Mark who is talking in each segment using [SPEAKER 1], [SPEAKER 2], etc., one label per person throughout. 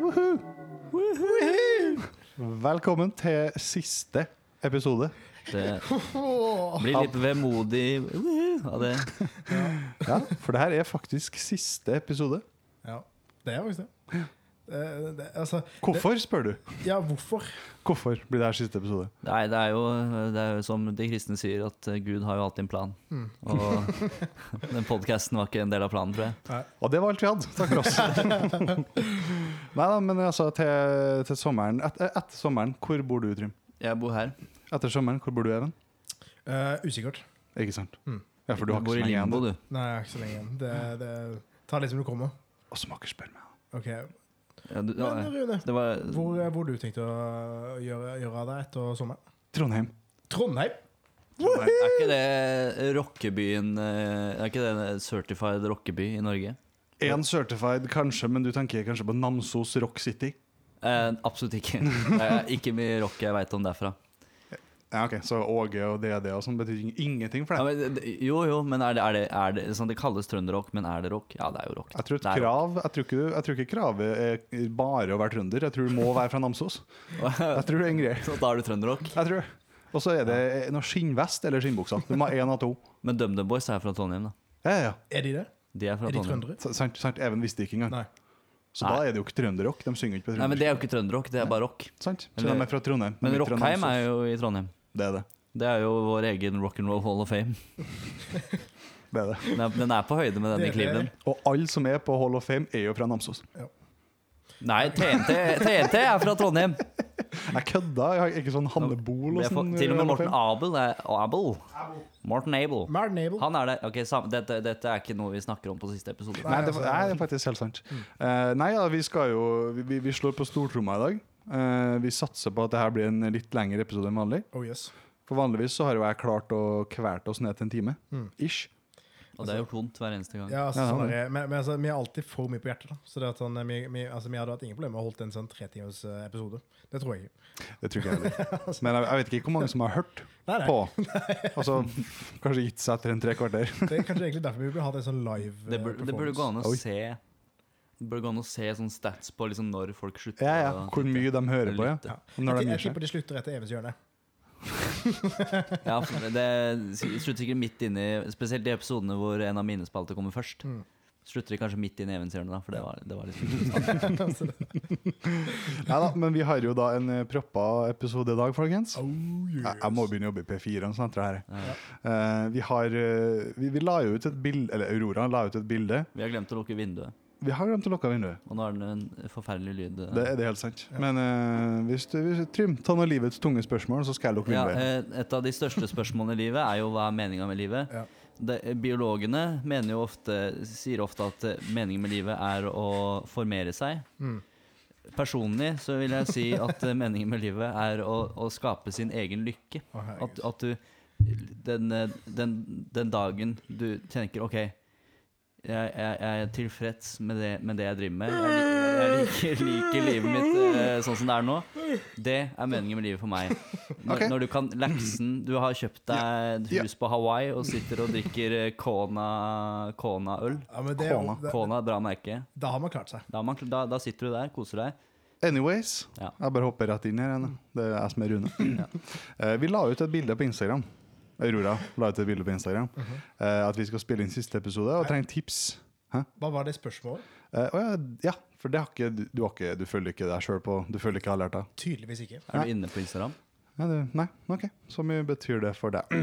[SPEAKER 1] Woohoo! Velkommen til siste episode.
[SPEAKER 2] Det eh, blir litt vemodig woohoo, av det.
[SPEAKER 1] Ja, For det her er faktisk siste episode.
[SPEAKER 3] Ja, det er faktisk det. det, det altså,
[SPEAKER 1] Hvorfor, spør du?
[SPEAKER 3] ja, hvorfor?
[SPEAKER 1] Hvorfor blir det her siste episode?
[SPEAKER 2] Nei, det er jo, det er jo som de kristne sier, at eh, Gud har jo alltid en plan.
[SPEAKER 3] Mm.
[SPEAKER 2] Og den podkasten var ikke en del av planen, tror jeg.
[SPEAKER 1] Og det var alt vi hadde. Takk for oss. Nei da, men altså til, til sommeren et, eh, Etter sommeren, hvor bor du, Trym?
[SPEAKER 2] Jeg bor her.
[SPEAKER 1] Etter sommeren, hvor bor du, Even?
[SPEAKER 3] Eh, usikkert.
[SPEAKER 1] Ikke sant?
[SPEAKER 3] Mm.
[SPEAKER 1] Ja, for du har ikke
[SPEAKER 2] bor
[SPEAKER 1] så
[SPEAKER 2] i
[SPEAKER 1] lenge igjen.
[SPEAKER 2] limbo,
[SPEAKER 1] da.
[SPEAKER 2] du.
[SPEAKER 3] Nei, jeg har ikke så lenge igjen. Det, det tar litt som det kommer.
[SPEAKER 1] Og smaker spør meg.
[SPEAKER 3] Ok,
[SPEAKER 2] Ja, du ja,
[SPEAKER 3] Men Rune,
[SPEAKER 2] det var,
[SPEAKER 3] hvor, eh, hvor du tenkte å gjøre, gjøre av deg etter sommeren?
[SPEAKER 1] Trondheim.
[SPEAKER 3] Trondheim?
[SPEAKER 2] er ikke det rockebyen eh, Er ikke det en certified rockeby i Norge?
[SPEAKER 1] Én certified kanskje, men du tenker kanskje på Namsos Rock City?
[SPEAKER 2] Eh, absolutt ikke. Det er ikke mye rock jeg veit om derfra.
[SPEAKER 1] Ja, ok, Så Åge og DD og sånn betyr ing- ingenting for
[SPEAKER 2] Ja,
[SPEAKER 1] deg?
[SPEAKER 2] men, det- det- jo, jo, men er det, er det, er det sånn, Det kalles trønderrock, men er det rock? Ja, det er jo rock.
[SPEAKER 1] Jeg tror, et
[SPEAKER 2] Det er rock.
[SPEAKER 1] krav, jeg, tror ikke, du- jeg tror ikke kravet er bare å være trønder. Jeg tror du må være fra Namsos. Jeg tror det er en greie.
[SPEAKER 2] Så da er du trønderrock.
[SPEAKER 1] Jeg tror det. Og så er det noe skinnvest eller skinnbuksa. Du må ha én av to.
[SPEAKER 2] Men DumDum Boys er fra Trondheim, da.
[SPEAKER 1] Ja, ja, ja.
[SPEAKER 3] Er de det?
[SPEAKER 2] De er fra
[SPEAKER 3] Er de
[SPEAKER 2] Trondheim.
[SPEAKER 3] trøndere?
[SPEAKER 1] S- Sant, sant. Even visste ikke engang.
[SPEAKER 3] Nei.
[SPEAKER 1] Så da er det jo ikke trønderrock. De synger ikke på
[SPEAKER 2] Nei, men
[SPEAKER 1] trøndersk.
[SPEAKER 2] Det er jo ikke trønderrock, det er bare rock.
[SPEAKER 1] Sant? Så
[SPEAKER 2] Eller-
[SPEAKER 1] de er fra Trondheim.
[SPEAKER 2] Men Rockheim er jo i Trondheim.
[SPEAKER 1] Det er det.
[SPEAKER 2] Det er jo vår egen rock'n'roll hall of fame.
[SPEAKER 1] det er det.
[SPEAKER 2] Den er, den er på høyde med den i
[SPEAKER 3] Det er det.
[SPEAKER 2] Cleveland.
[SPEAKER 1] Og alle som er på Hall of Fame, er jo fra Namsos.
[SPEAKER 2] Nei, TNT, TNT er fra Trondheim!
[SPEAKER 1] Jeg kødda. Jeg har ikke sånn Hanne Bol og
[SPEAKER 2] Det er for,
[SPEAKER 1] sånn.
[SPEAKER 2] til og med
[SPEAKER 1] Hall of
[SPEAKER 2] Morten
[SPEAKER 1] Fame.
[SPEAKER 2] Abel er Abel. Morten Abel.
[SPEAKER 3] Martin Abel.
[SPEAKER 2] Han er der. Ok, sam, dette, dette er ikke noe vi snakker om på siste episode.
[SPEAKER 1] Nei, det, nei, det er faktisk helt sant. Eh, nei, ja, vi skal jo Vi, vi- vi slår på stortromma i dag. Eh, vi satser på at det her blir en litt lengre episode enn vanlig.
[SPEAKER 3] Oh yes.
[SPEAKER 1] For vanligvis så har jo jeg klart å kverte oss ned til en time. Ish.
[SPEAKER 2] Og det har gjort vondt hver eneste gang.
[SPEAKER 3] Ja, altså,
[SPEAKER 1] Ja,
[SPEAKER 3] sånn
[SPEAKER 1] det er
[SPEAKER 3] er, det. men, men altså, vi har alltid for mye på hjertet. da Så det at sånn, vi, vi, altså, vi hadde hatt ingen problemer med å holde en sånn tretimers eh, episode. Det tror jeg ikke.
[SPEAKER 1] Det tror ikke jeg heller. Altså. Men jeg, jeg vet ikke hvor mange som har hørt
[SPEAKER 3] Nei, nei.
[SPEAKER 1] på. Altså kanskje gitt seg etter en tre kvarter.
[SPEAKER 3] Det er kanskje egentlig derfor vi burde hatt en sånn live eh,
[SPEAKER 2] Det burde, det burde gå an å
[SPEAKER 1] Oi.
[SPEAKER 2] se Det burde gå an å se sånn stats på liksom når folk slutter.
[SPEAKER 1] Ja, ja.
[SPEAKER 2] å-
[SPEAKER 1] Hvor mye de hører på, ja.
[SPEAKER 2] Lytte.
[SPEAKER 1] Når de
[SPEAKER 3] jeg,
[SPEAKER 1] gir
[SPEAKER 3] jeg
[SPEAKER 1] seg.
[SPEAKER 3] tipper de slutter etter Evens hjørne.
[SPEAKER 2] Ja, for det slutter sikkert midt inni Spesielt de episodene hvor en av mine spalter kommer først.
[SPEAKER 3] Mm.
[SPEAKER 2] Slutter de kanskje midt inn i eventyrene, da, for det var, det var liksom
[SPEAKER 1] Nei da, men vi har jo da en eh, proppa episode i dag, folkens.
[SPEAKER 3] Oh, yes.
[SPEAKER 1] Jeg, jeg må begynne å jobbe i P4. og sånt, det her. Eh, vi, har, eh, vi, vi la jo ut et bilde, eller Aurora la ut et bilde.
[SPEAKER 2] Vi har glemt å lukke vinduet,
[SPEAKER 1] Vi har glemt å lukke vinduet.
[SPEAKER 2] og nå er det en forferdelig lyd. eh.
[SPEAKER 1] Det er det helt sant. Men eh, hvis du hvis, Trym, ta noen livets tunge spørsmål, så skal jeg lukke
[SPEAKER 2] ja,
[SPEAKER 1] vinduet.
[SPEAKER 2] eh, et av de største spørsmålene i livet er jo hva er meninga med livet.
[SPEAKER 3] Ja.
[SPEAKER 2] Det- biologene mener jo ofte, sier ofte at eh, meningen med livet er å formere seg. Personlig så vil jeg si at eh, meningen med livet er å, å skape sin egen lykke.
[SPEAKER 3] Å, herregud.
[SPEAKER 2] At, at du den, eh, den, den dagen du tenker OK, jeg, jeg, jeg er tilfreds med det, med det jeg driver med. Jeg, lik- jeg liker, liker livet mitt eh, sånn som det er nå. Det er meningen med livet for meg. Når,
[SPEAKER 1] Ok.
[SPEAKER 2] når du kan laksen Du har kjøpt deg et
[SPEAKER 1] Ja.
[SPEAKER 2] hus på Hawaii og sitter og drikker eh, Kona- Kona-øl.
[SPEAKER 3] Ja, men det, er jo-
[SPEAKER 1] Kona.
[SPEAKER 3] det,
[SPEAKER 2] Kona er et bra merke.
[SPEAKER 3] da har man klart seg.
[SPEAKER 2] Da, er man, da, da sitter du der, koser deg.
[SPEAKER 1] Anyways,
[SPEAKER 2] eh, Ja.
[SPEAKER 1] jeg bare hopper rett inn her. Anne. Det er jeg som er Rune. Eh, vi la ut et bilde på Instagram. Aurora la ut et bilde på Instagram.
[SPEAKER 2] Mhm.
[SPEAKER 1] eh, at vi skal spille inn siste episode, og trenger tips. Hæ?
[SPEAKER 3] Hva var det spørsmålet?
[SPEAKER 1] Eh, å ja, ja, for det har ikke, du, du, har ikke, du følger ikke deg sjøl på Du følger ikke alerta?
[SPEAKER 3] Tydeligvis ikke.
[SPEAKER 2] Er du inne på Instagram?
[SPEAKER 1] Nei, du, nei, OK. Så mye betyr det for deg.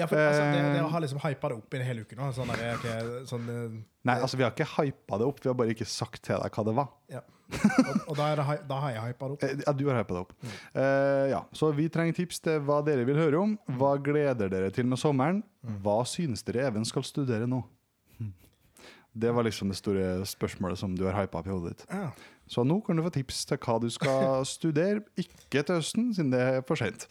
[SPEAKER 3] Ja, for altså, det, det har liksom hypa det opp i en hel uke nå. Sånn der, ok, sånn, eh,
[SPEAKER 1] Nei, altså, vi har ikke hypa det opp, vi har bare ikke sagt til deg hva det var.
[SPEAKER 3] ja. Og, og da, er det, hy- da har jeg hypa det opp.
[SPEAKER 1] Eh, Ja, du har hypa det opp. Eh, ja, så vi trenger tips til hva dere vil høre om. Hva gleder dere til med sommeren? Hva synes dere Even skal studere nå? Det var liksom det store spørsmålet som du har hypa opp i hodet ditt.
[SPEAKER 3] Ja.
[SPEAKER 1] Så nå kan du få tips til hva du skal studere. Ikke til høsten, siden det er for sent.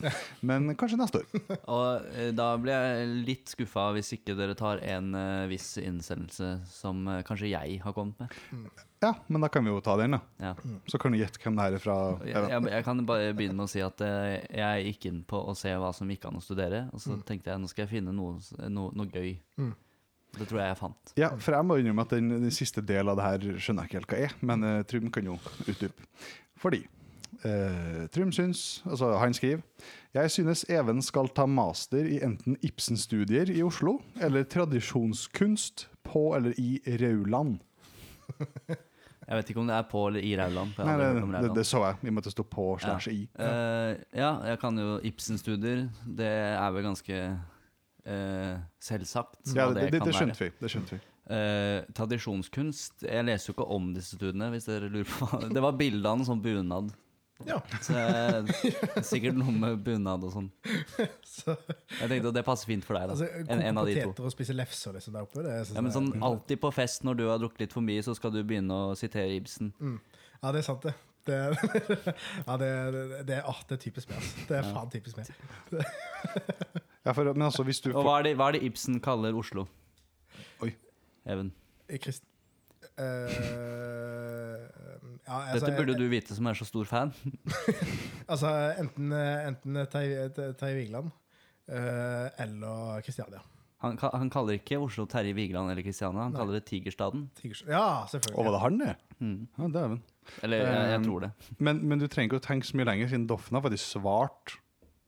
[SPEAKER 1] Men kanskje neste år.
[SPEAKER 2] Og eh, da blir jeg litt skuffa hvis ikke dere tar en eh, viss innsendelse som eh, kanskje jeg har kommet med.
[SPEAKER 1] Ja, men da kan vi jo ta den, da.
[SPEAKER 2] Ja.
[SPEAKER 1] Så kan du gjette hvem det her er fra.
[SPEAKER 2] Jeg,
[SPEAKER 1] Even.
[SPEAKER 2] jeg, jeg kan bare begynne med å si at eh, jeg gikk
[SPEAKER 1] Mm.
[SPEAKER 2] inn på å se hva som gikk an å studere, og så tenkte jeg nå skal jeg finne noe, s- noe, noe gøy. Det tror jeg jeg fant.
[SPEAKER 1] Ja, for jeg må innrømme at den, den siste delen av det her skjønner jeg ikke helt hva er, men eh, Trym kan jo utdype. Fordi eh, Trym syns, altså han skriver Jeg synes Even skal ta master i enten Ibsen-studier i Oslo eller tradisjonskunst på eller i Rauland.
[SPEAKER 2] Jeg vet ikke om det er på eller i Rauland. for jeg
[SPEAKER 1] Nei,
[SPEAKER 2] har aldri
[SPEAKER 1] det,
[SPEAKER 2] hørt om
[SPEAKER 1] det,
[SPEAKER 2] Rauland.
[SPEAKER 1] det så jeg, i og med at det sto på slash i.
[SPEAKER 2] Eh, ja, jeg kan jo Ibsen-studier. Det er vel ganske eh, selvsagt.
[SPEAKER 1] Ja,
[SPEAKER 2] hva
[SPEAKER 1] det, det,
[SPEAKER 2] kan
[SPEAKER 1] det
[SPEAKER 2] være.
[SPEAKER 1] skjønte vi. Det skjønte vi.
[SPEAKER 2] Eh, tradisjonskunst Jeg leser jo ikke om disse studiene, hvis dere lurer på hva- Det var bilde av en sånn bunad.
[SPEAKER 3] Ja,
[SPEAKER 2] Så jeg, sikkert noe med bunad og sånn.
[SPEAKER 3] så,
[SPEAKER 2] Jeg tenkte at det passer fint for deg, da.
[SPEAKER 3] altså,
[SPEAKER 2] en, en av de to.
[SPEAKER 3] poteter og spise lefser liksom, der oppe. Det, er
[SPEAKER 2] Ja, men
[SPEAKER 3] sånn-
[SPEAKER 2] sånn alltid på fest når du har drukket litt for mye, så skal du begynne å sitere Ibsen.
[SPEAKER 3] Mm. ja, det er sant, det. Det, ja, det, det, det, ah, det er typisk meg. Altså. Det er faen typisk meg.
[SPEAKER 1] Ja, for, men altså, hvis du
[SPEAKER 2] Og hva er det, hva er det Ibsen kaller Oslo?
[SPEAKER 1] Oi.
[SPEAKER 2] Even.
[SPEAKER 3] Krist... eh, ja, altså,
[SPEAKER 2] Dette burde du vite som er så stor fan.
[SPEAKER 3] Altså, enten, enten Tai- Tai- Tai Vigeland eh, eller Kristiania.
[SPEAKER 2] Han, ka- han kaller ikke Oslo Terje Vigeland eller Kristiania, han kaller det Tigerstaden.
[SPEAKER 3] Tigers- Ja,
[SPEAKER 1] Å, var
[SPEAKER 3] selvfølgelig.
[SPEAKER 1] det han, det?
[SPEAKER 2] Mm.
[SPEAKER 1] Ja, dæven.
[SPEAKER 2] Eller jeg, jeg
[SPEAKER 1] Um,
[SPEAKER 2] tror det.
[SPEAKER 1] Men, men du trenger ikke å tenke så mye lenger, siden Doffen har faktisk svart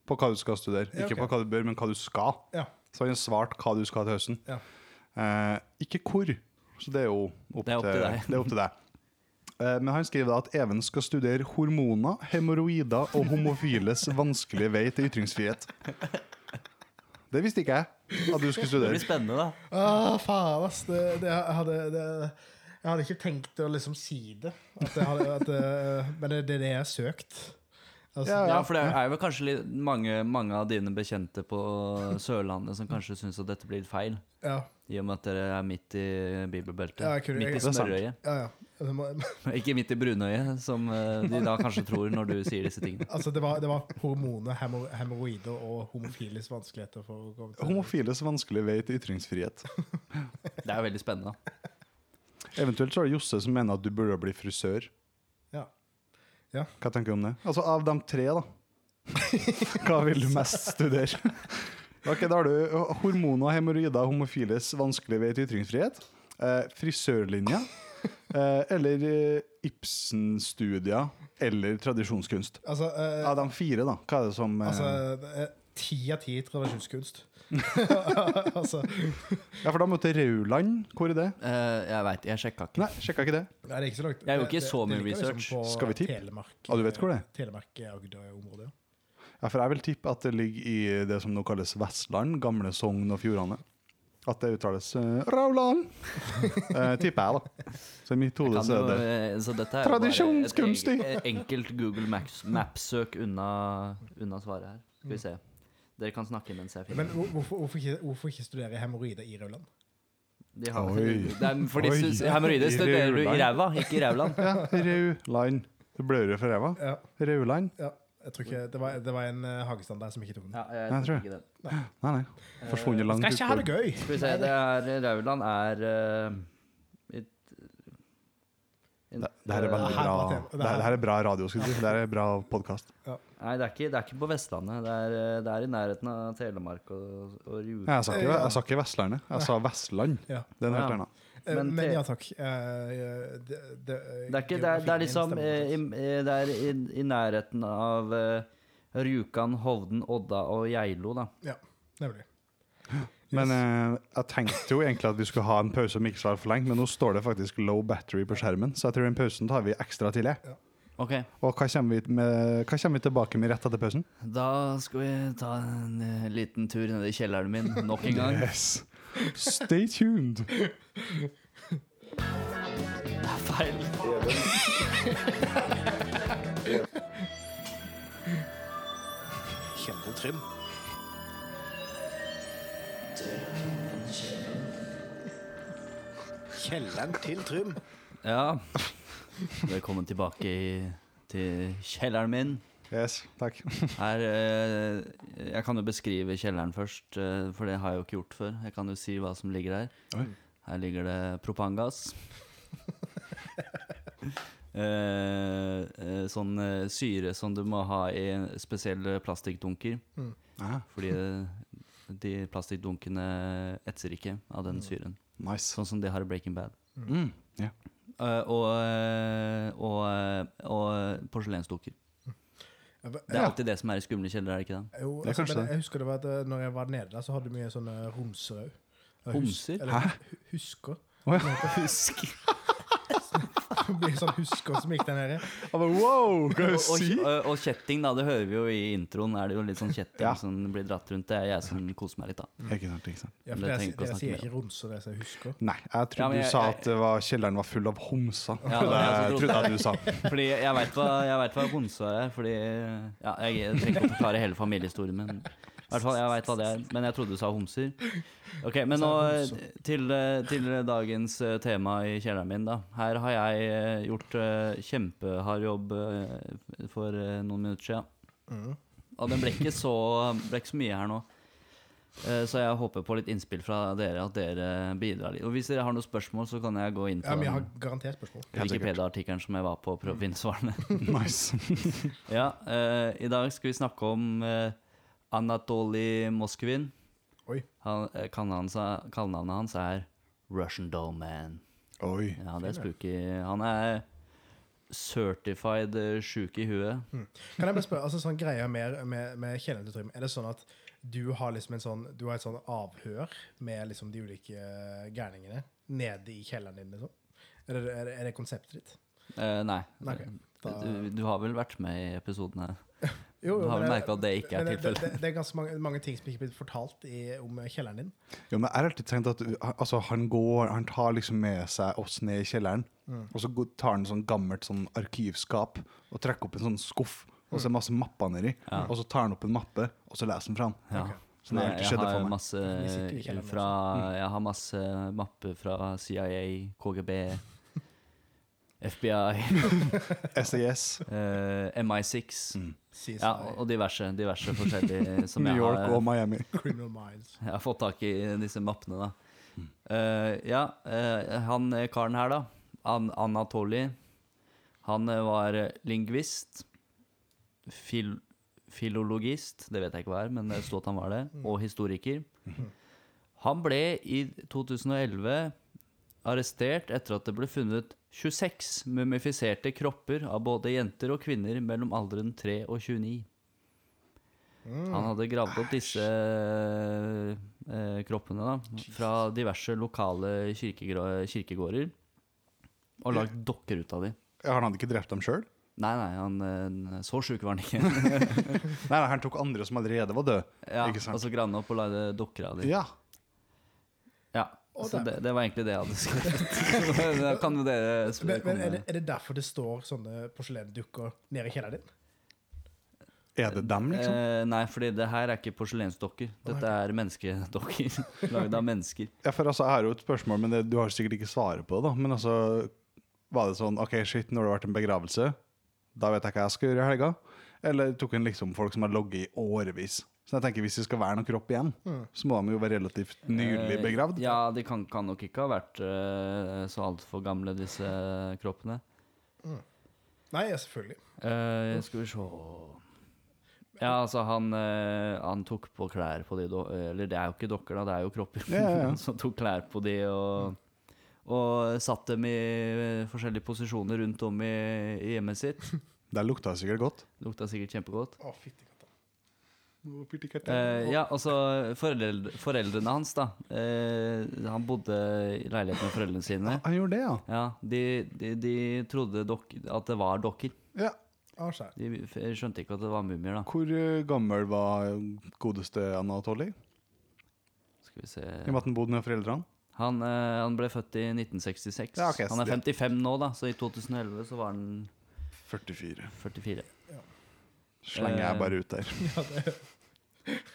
[SPEAKER 1] på hva du skal studere.
[SPEAKER 3] Ja,
[SPEAKER 1] Ikke
[SPEAKER 3] ok.
[SPEAKER 1] på hva du bør, men hva du skal.
[SPEAKER 3] Ja.
[SPEAKER 1] Så har han svart hva du skal til høsten.
[SPEAKER 3] Ja.
[SPEAKER 1] Eh, ikke hvor, så det er jo opp,
[SPEAKER 2] Det er opp til deg.
[SPEAKER 1] det er opp til deg. Eh, men han skriver da at Even skal studere hormoner, hemoroider og homofiles vanskelige vei til ytringsfrihet. Det visste ikke jeg at du skulle
[SPEAKER 2] Det
[SPEAKER 1] studere.
[SPEAKER 2] blir spennende, da.
[SPEAKER 3] Ah, faen, ass. Det, det, jeg, hadde, det, jeg hadde ikke tenkt å liksom si det. At jeg hadde, at, eh, men det det er det jeg har søkt. Altså,
[SPEAKER 1] Ja,
[SPEAKER 2] Ja, for det er jo kanskje litt mange, mange av dine bekjente på Sørlandet som kanskje syns at dette blir litt feil,
[SPEAKER 3] ja.
[SPEAKER 2] i og med at dere er midt i bibelbeltet.
[SPEAKER 3] Ja, jeg kunne-
[SPEAKER 2] midt
[SPEAKER 3] jeg-
[SPEAKER 2] i smørøyet.
[SPEAKER 3] Ja, ja. Det, må,
[SPEAKER 2] Ikke midt i brunøyet, som eh, de da kanskje tror når du sier disse tingene.
[SPEAKER 3] altså, det, var, det var hormoner, hemor- hemoroider og homofiles vanskeligheter for å komme til
[SPEAKER 1] Homofiles vanskelige vei til ytringsfrihet.
[SPEAKER 2] Det er jo veldig spennende. da.
[SPEAKER 1] Eventuelt så er det Josse som mener at du burde bli frisør.
[SPEAKER 3] Ja.
[SPEAKER 1] Hva tenker du om det? Altså, av de tre, da. Hva vil du mest studere? Ok, Da har du hormoner, hemoroider, homofiles, vanskelig vei til ytringsfrihet. Eh, frisørlinja. Eh, eller eh, Ibsen-studier. Eller tradisjonskunst.
[SPEAKER 3] Altså, eh,
[SPEAKER 1] Av de fire, da. Hva er det som eh,
[SPEAKER 3] altså eh, Ti av ti tradisjonskunst. altså,
[SPEAKER 1] Ja, for da måtte Rauland Hvor er det?
[SPEAKER 2] Eh, jeg veit, jeg sjekka ikke.
[SPEAKER 1] Nei, sjekka ikke det.
[SPEAKER 3] nei, det er ikke så langt.
[SPEAKER 2] Jeg gjorde ikke
[SPEAKER 3] Det-
[SPEAKER 2] så
[SPEAKER 3] det-
[SPEAKER 2] mye
[SPEAKER 3] det ligger liksom
[SPEAKER 2] research.
[SPEAKER 3] på
[SPEAKER 1] Skal vi tippe?
[SPEAKER 3] Telemark, eh,
[SPEAKER 1] Ah, du vet hvor det er?
[SPEAKER 3] Telemark Agder-området. ja.
[SPEAKER 1] Ja, For jeg vil tippe at det ligger i det som nå kalles Vestland, gamle Sogn og Fjordane. At det uttales eh, Rauland! Eh, tipper jeg, da. Så i mitt hode
[SPEAKER 2] Kan
[SPEAKER 1] så er
[SPEAKER 2] jo,
[SPEAKER 1] det
[SPEAKER 2] eh, så dette er jo bare et
[SPEAKER 1] Tradisjonskunstig.
[SPEAKER 2] eget- enkelt Google Maps- Maps-søk unna, unna svaret her. Skal vi se. Dere kan snakke mens jeg
[SPEAKER 3] Men
[SPEAKER 2] finner
[SPEAKER 3] hvor- hvorfor, hvorfor, ikke, hvorfor ikke studere hemoroider i Rauland?
[SPEAKER 2] De har-
[SPEAKER 1] Oi.
[SPEAKER 2] Det er fordi
[SPEAKER 1] Oi.
[SPEAKER 2] sus- hemoroider studerer du i ræva, ikke i rævland.
[SPEAKER 1] Ja, Rauland. Det blør jo fra ræva.
[SPEAKER 3] Ja,
[SPEAKER 1] Rauland.
[SPEAKER 3] ja. Jeg tror ikke, det, var, det var en eh, hagestand der som ikke tok den.
[SPEAKER 2] Ja, jeg,
[SPEAKER 1] Jeg tror
[SPEAKER 2] tror
[SPEAKER 1] det.
[SPEAKER 2] ikke den.
[SPEAKER 1] Nei, nei. Forsvunnet langt
[SPEAKER 3] Skal ikke ha det
[SPEAKER 1] utfor.
[SPEAKER 3] gøy!
[SPEAKER 2] Skal vi se, det er Rauland er eh, et, en-
[SPEAKER 1] Det, det her er veldig bra
[SPEAKER 3] Her var
[SPEAKER 1] det,
[SPEAKER 3] det- det her-
[SPEAKER 1] her- det her er bra radio, skulle jeg si. Det her er bra podkast.
[SPEAKER 2] Nei, det er, ikke, det er ikke på Vestlandet. Det er, eh, det er i nærheten av Telemark og, og Rjukan.
[SPEAKER 1] Jeg sa ikke, jeg sa ikke Vestlandet, jeg sa Vestland.
[SPEAKER 3] Ja.
[SPEAKER 1] Det er noe helt
[SPEAKER 2] Ja.
[SPEAKER 1] annet.
[SPEAKER 3] Eh,
[SPEAKER 2] Men
[SPEAKER 3] Men,
[SPEAKER 2] te-
[SPEAKER 3] ja takk. Eh, det, det,
[SPEAKER 2] Det er, ikke, det er, det er liksom eh, i,
[SPEAKER 3] geografien stemmer
[SPEAKER 2] eh, Det er i, i nærheten av eh, Rjukan, Hovden, Odda og Geilo, da.
[SPEAKER 3] ikke. Ja, nemlig.
[SPEAKER 1] Men eh, jeg tenkte jo egentlig at vi skulle ha en pause som ikke så altfor lenge, men nå står det faktisk low battery på skjermen, så jeg tror den pausen tar vi ekstra tidlig.
[SPEAKER 2] Ok,
[SPEAKER 1] Og hva kommer vi, med, hva kommer vi tilbake med rett etter pausen?
[SPEAKER 2] da skal vi ta en eh, liten tur ned i kjelleren min nok en gang.
[SPEAKER 1] Yes. Stay tuned.
[SPEAKER 2] Feil.
[SPEAKER 4] Kjempetrim. Kjelleren til Trym.
[SPEAKER 2] Ja. Velkommen tilbake i, til kjelleren min.
[SPEAKER 1] Yes, takk.
[SPEAKER 2] Her, eh, jeg kan jo beskrive kjelleren først, eh, for det har jeg jo ikke gjort før. Jeg kan jo si hva som ligger her.
[SPEAKER 1] Oi.
[SPEAKER 2] Her ligger det propangass. eh, eh, sånn eh, syre som du må ha i spesielle plastikkdunker.
[SPEAKER 1] Ah,
[SPEAKER 2] Fordi det, de plastikkdunkene etser ikke av
[SPEAKER 1] Mm.
[SPEAKER 2] den syren.
[SPEAKER 1] Nice.
[SPEAKER 2] Sånn som de har i Breaking Bad.
[SPEAKER 1] Mm. Ja.
[SPEAKER 2] Eh, og, eh, og, eh, og porselensdukker.
[SPEAKER 3] Jeg,
[SPEAKER 2] Det er
[SPEAKER 1] Ja.
[SPEAKER 2] alltid det som er i skumle kjeller, er det ikke det?
[SPEAKER 3] jo,
[SPEAKER 1] Det er
[SPEAKER 3] altså,
[SPEAKER 1] kanskje
[SPEAKER 3] men
[SPEAKER 1] det.
[SPEAKER 3] jeg husker det var at eh, når jeg var nede der, så hadde vi sånne romser òg.
[SPEAKER 2] Homser?
[SPEAKER 1] Hæ?
[SPEAKER 3] Husker.
[SPEAKER 1] Å ja.
[SPEAKER 2] Husk!
[SPEAKER 3] Det blir en sånn husker som gikk der nede.
[SPEAKER 1] Jeg bare, Wow, hva er
[SPEAKER 2] Og,
[SPEAKER 1] det du
[SPEAKER 2] og,
[SPEAKER 1] sier?
[SPEAKER 2] og- og kjetting, da. Det hører vi jo i introen. Er det jo litt sånn kjetting
[SPEAKER 1] Ja.
[SPEAKER 2] som blir dratt rundt. Det er jeg som koser meg litt, da.
[SPEAKER 1] Ikke sant, ikke sant.
[SPEAKER 3] Ja,
[SPEAKER 2] Men
[SPEAKER 3] for
[SPEAKER 2] jeg
[SPEAKER 3] det,
[SPEAKER 2] tenker ikke å
[SPEAKER 3] det
[SPEAKER 2] snakke
[SPEAKER 3] sier
[SPEAKER 2] mer
[SPEAKER 3] ikke romser, det sier jeg husker.
[SPEAKER 1] Nei, jeg
[SPEAKER 2] Ja,
[SPEAKER 1] trodde
[SPEAKER 2] men
[SPEAKER 1] du
[SPEAKER 2] jeg-
[SPEAKER 1] sa
[SPEAKER 2] jeg-
[SPEAKER 1] at det var, kjelleren var full av homser.
[SPEAKER 2] Ja, det var jeg
[SPEAKER 1] jeg
[SPEAKER 2] som
[SPEAKER 1] trodde jeg du sa.
[SPEAKER 2] Fordi jeg veit hva, jeg vet hva homse er, fordi ja, Jeg trenger ikke å forklare hele familiehistorien, men i hvert fall, jeg vet hva det er. Men jeg trodde du sa homser. Ok, Men nå eh, til, eh, til dagens eh, tema i kjelleren min, da. Her har jeg eh, gjort eh, kjempehard jobb eh, for eh, noen minutter siden. Og den ble ikke så, ble ikke så mye her nå. Eh, Så jeg håper på litt innspill fra dere, at dere bidrar litt. Og hvis dere har noen spørsmål, så kan jeg gå inn på
[SPEAKER 3] Ja, men jeg
[SPEAKER 2] den.
[SPEAKER 3] har garantert spørsmål.
[SPEAKER 1] Helt sikkert.
[SPEAKER 2] Wikipedia-artikkelen som jeg var på å prøve å finne svarene.
[SPEAKER 1] Nice.
[SPEAKER 2] Ja, eh, I dag skal vi snakke om eh, Anatoly Moskvin.
[SPEAKER 3] Oi.
[SPEAKER 2] Han, eh, kallenavnet, hans- kallenavnet hans er Russian Dollman.
[SPEAKER 1] Oi.
[SPEAKER 2] Ja, det er spooky. Han er certified eh, sjuk i huet.
[SPEAKER 3] Kan jeg bare spørre, altså sånn greia med, med, med kjelen til Trym, er det sånn at du har liksom en sånn, du har et sånn avhør med liksom de ulike gærningene nede i kjelleren din, liksom? Er det, er det, er det konseptet ditt?
[SPEAKER 2] Eh, nei.
[SPEAKER 3] Nei, ok. Da-
[SPEAKER 2] Du, du har vel vært med i episodene?
[SPEAKER 3] Jo,
[SPEAKER 2] Du har vel
[SPEAKER 3] men
[SPEAKER 2] merket at det ikke er
[SPEAKER 3] men
[SPEAKER 2] tilfellet.
[SPEAKER 3] Det, det, det er ganske mange, mange ting som ikke er blitt fortalt i, om kjelleren din.
[SPEAKER 1] Jo, men jeg har alltid tenkt at uh, altså, han går, han tar liksom med seg oss ned i kjelleren, og så går- tar han sånn gammelt sånn arkivskap og trekker opp en sånn skuff, og så er det masse mapper nedi, og så tar han opp en mappe, og så leser han fra den.
[SPEAKER 2] Ja.
[SPEAKER 1] Så det har alltid
[SPEAKER 2] jeg
[SPEAKER 1] skjedd det
[SPEAKER 2] har
[SPEAKER 1] for meg. Mm.
[SPEAKER 2] masse,
[SPEAKER 3] Vi sitter jo i kjelleren liksom.
[SPEAKER 2] fra, jeg har masse mapper fra CIA, KGB, FBI,
[SPEAKER 1] SAS.
[SPEAKER 2] eh, MI6.
[SPEAKER 3] Mm. CSI,
[SPEAKER 2] Ja, og diverse, diverse forskjellige som
[SPEAKER 1] New
[SPEAKER 2] jeg
[SPEAKER 1] York og
[SPEAKER 2] har,
[SPEAKER 1] Miami.
[SPEAKER 3] Criminal Minds.
[SPEAKER 2] jeg har fått tak i disse mappene, da. Eh, ja, eh, han eh, karen her, da, An Anatoly, han eh, var eh, lingvist, fil filologist, det vet jeg ikke hva er, men det sto at han var det, og historiker. Han ble i 2011 arrestert etter at det ble funnet 26 mumifiserte kropper av både jenter og kvinner mellom alderen 3 og 29. Han
[SPEAKER 1] Mm.
[SPEAKER 2] hadde gravd opp disse eh, kroppene da, fra diverse lokale kirkegra- kirkegårder og lagd dokker ut av dem.
[SPEAKER 1] Ja, han hadde ikke drept dem sjøl?
[SPEAKER 2] Nei, nei, han, eh, så sjuk var han ikke.
[SPEAKER 1] Nei, nei, han tok andre som allerede var døde.
[SPEAKER 2] ja,
[SPEAKER 1] Ikke sant?
[SPEAKER 2] Og så gravde han opp og lagde dokker av dem.
[SPEAKER 1] Ja.
[SPEAKER 2] Ja,
[SPEAKER 3] Og
[SPEAKER 2] så
[SPEAKER 3] der.
[SPEAKER 2] det, det var egentlig det jeg hadde skrevet. da kan jo dere
[SPEAKER 3] Men,
[SPEAKER 2] spørre
[SPEAKER 3] men er, det,
[SPEAKER 2] komme-
[SPEAKER 3] er det derfor det står sånne porselenddukker nede i kjelleren din?
[SPEAKER 1] Er det dem, liksom?
[SPEAKER 2] Eh, nei, fordi det her er ikke porselensdokker. Dette er menneskedokker. Lagd av mennesker.
[SPEAKER 1] Ja, for altså, jeg har jo et spørsmål, men det, du har sikkert ikke svaret på det. da. Men altså, var det sånn OK, shit, når det har vært en begravelse, da vet jeg hva jeg skal gjøre i helga? Eller tok en liksom folk som har ligget i årevis? Så jeg tenker, Hvis det skal være noen kropp igjen, så må de jo være relativt nylig
[SPEAKER 2] Eh,
[SPEAKER 1] begravd.
[SPEAKER 2] Ja, de kan, kan nok ikke ha vært eh, så altfor gamle, disse kroppene.
[SPEAKER 3] Nei, ja, selvfølgelig.
[SPEAKER 2] Eh, skal vi se Ja, altså, han, eh, han tok på klær på de do- Eller det er jo ikke dokker, da, det er jo kropper.
[SPEAKER 1] Ja, ja, ja.
[SPEAKER 2] Så tok klær på de og, og satt dem i eh, forskjellige posisjoner rundt om i, i hjemmet sitt.
[SPEAKER 1] Der lukta det sikkert godt.
[SPEAKER 2] Lukta sikkert kjempegodt.
[SPEAKER 3] Å, fytti katta.
[SPEAKER 2] Eh, ja, altså foreldre, foreldrene hans, da. Eh, han bodde i leilighet med foreldrene sine.
[SPEAKER 1] Han gjorde det, ja.
[SPEAKER 2] Ja, de, de, de trodde dok at det var dokker.
[SPEAKER 1] ja.
[SPEAKER 3] Å, skjær.
[SPEAKER 2] De f- skjønte ikke at det var mumier, da.
[SPEAKER 1] Hvor eh, gammel var godeste Anatoly?
[SPEAKER 2] Skal vi se
[SPEAKER 1] I og med at han bodde med foreldrene?
[SPEAKER 2] Han, eh, han ble født i 1966.
[SPEAKER 1] Ja, ok,
[SPEAKER 2] han
[SPEAKER 1] så
[SPEAKER 2] er 55 nå, da, så i 2011 så var han
[SPEAKER 1] 44.
[SPEAKER 2] 44.
[SPEAKER 1] Slenger
[SPEAKER 2] Eh,
[SPEAKER 1] jeg bare ut der.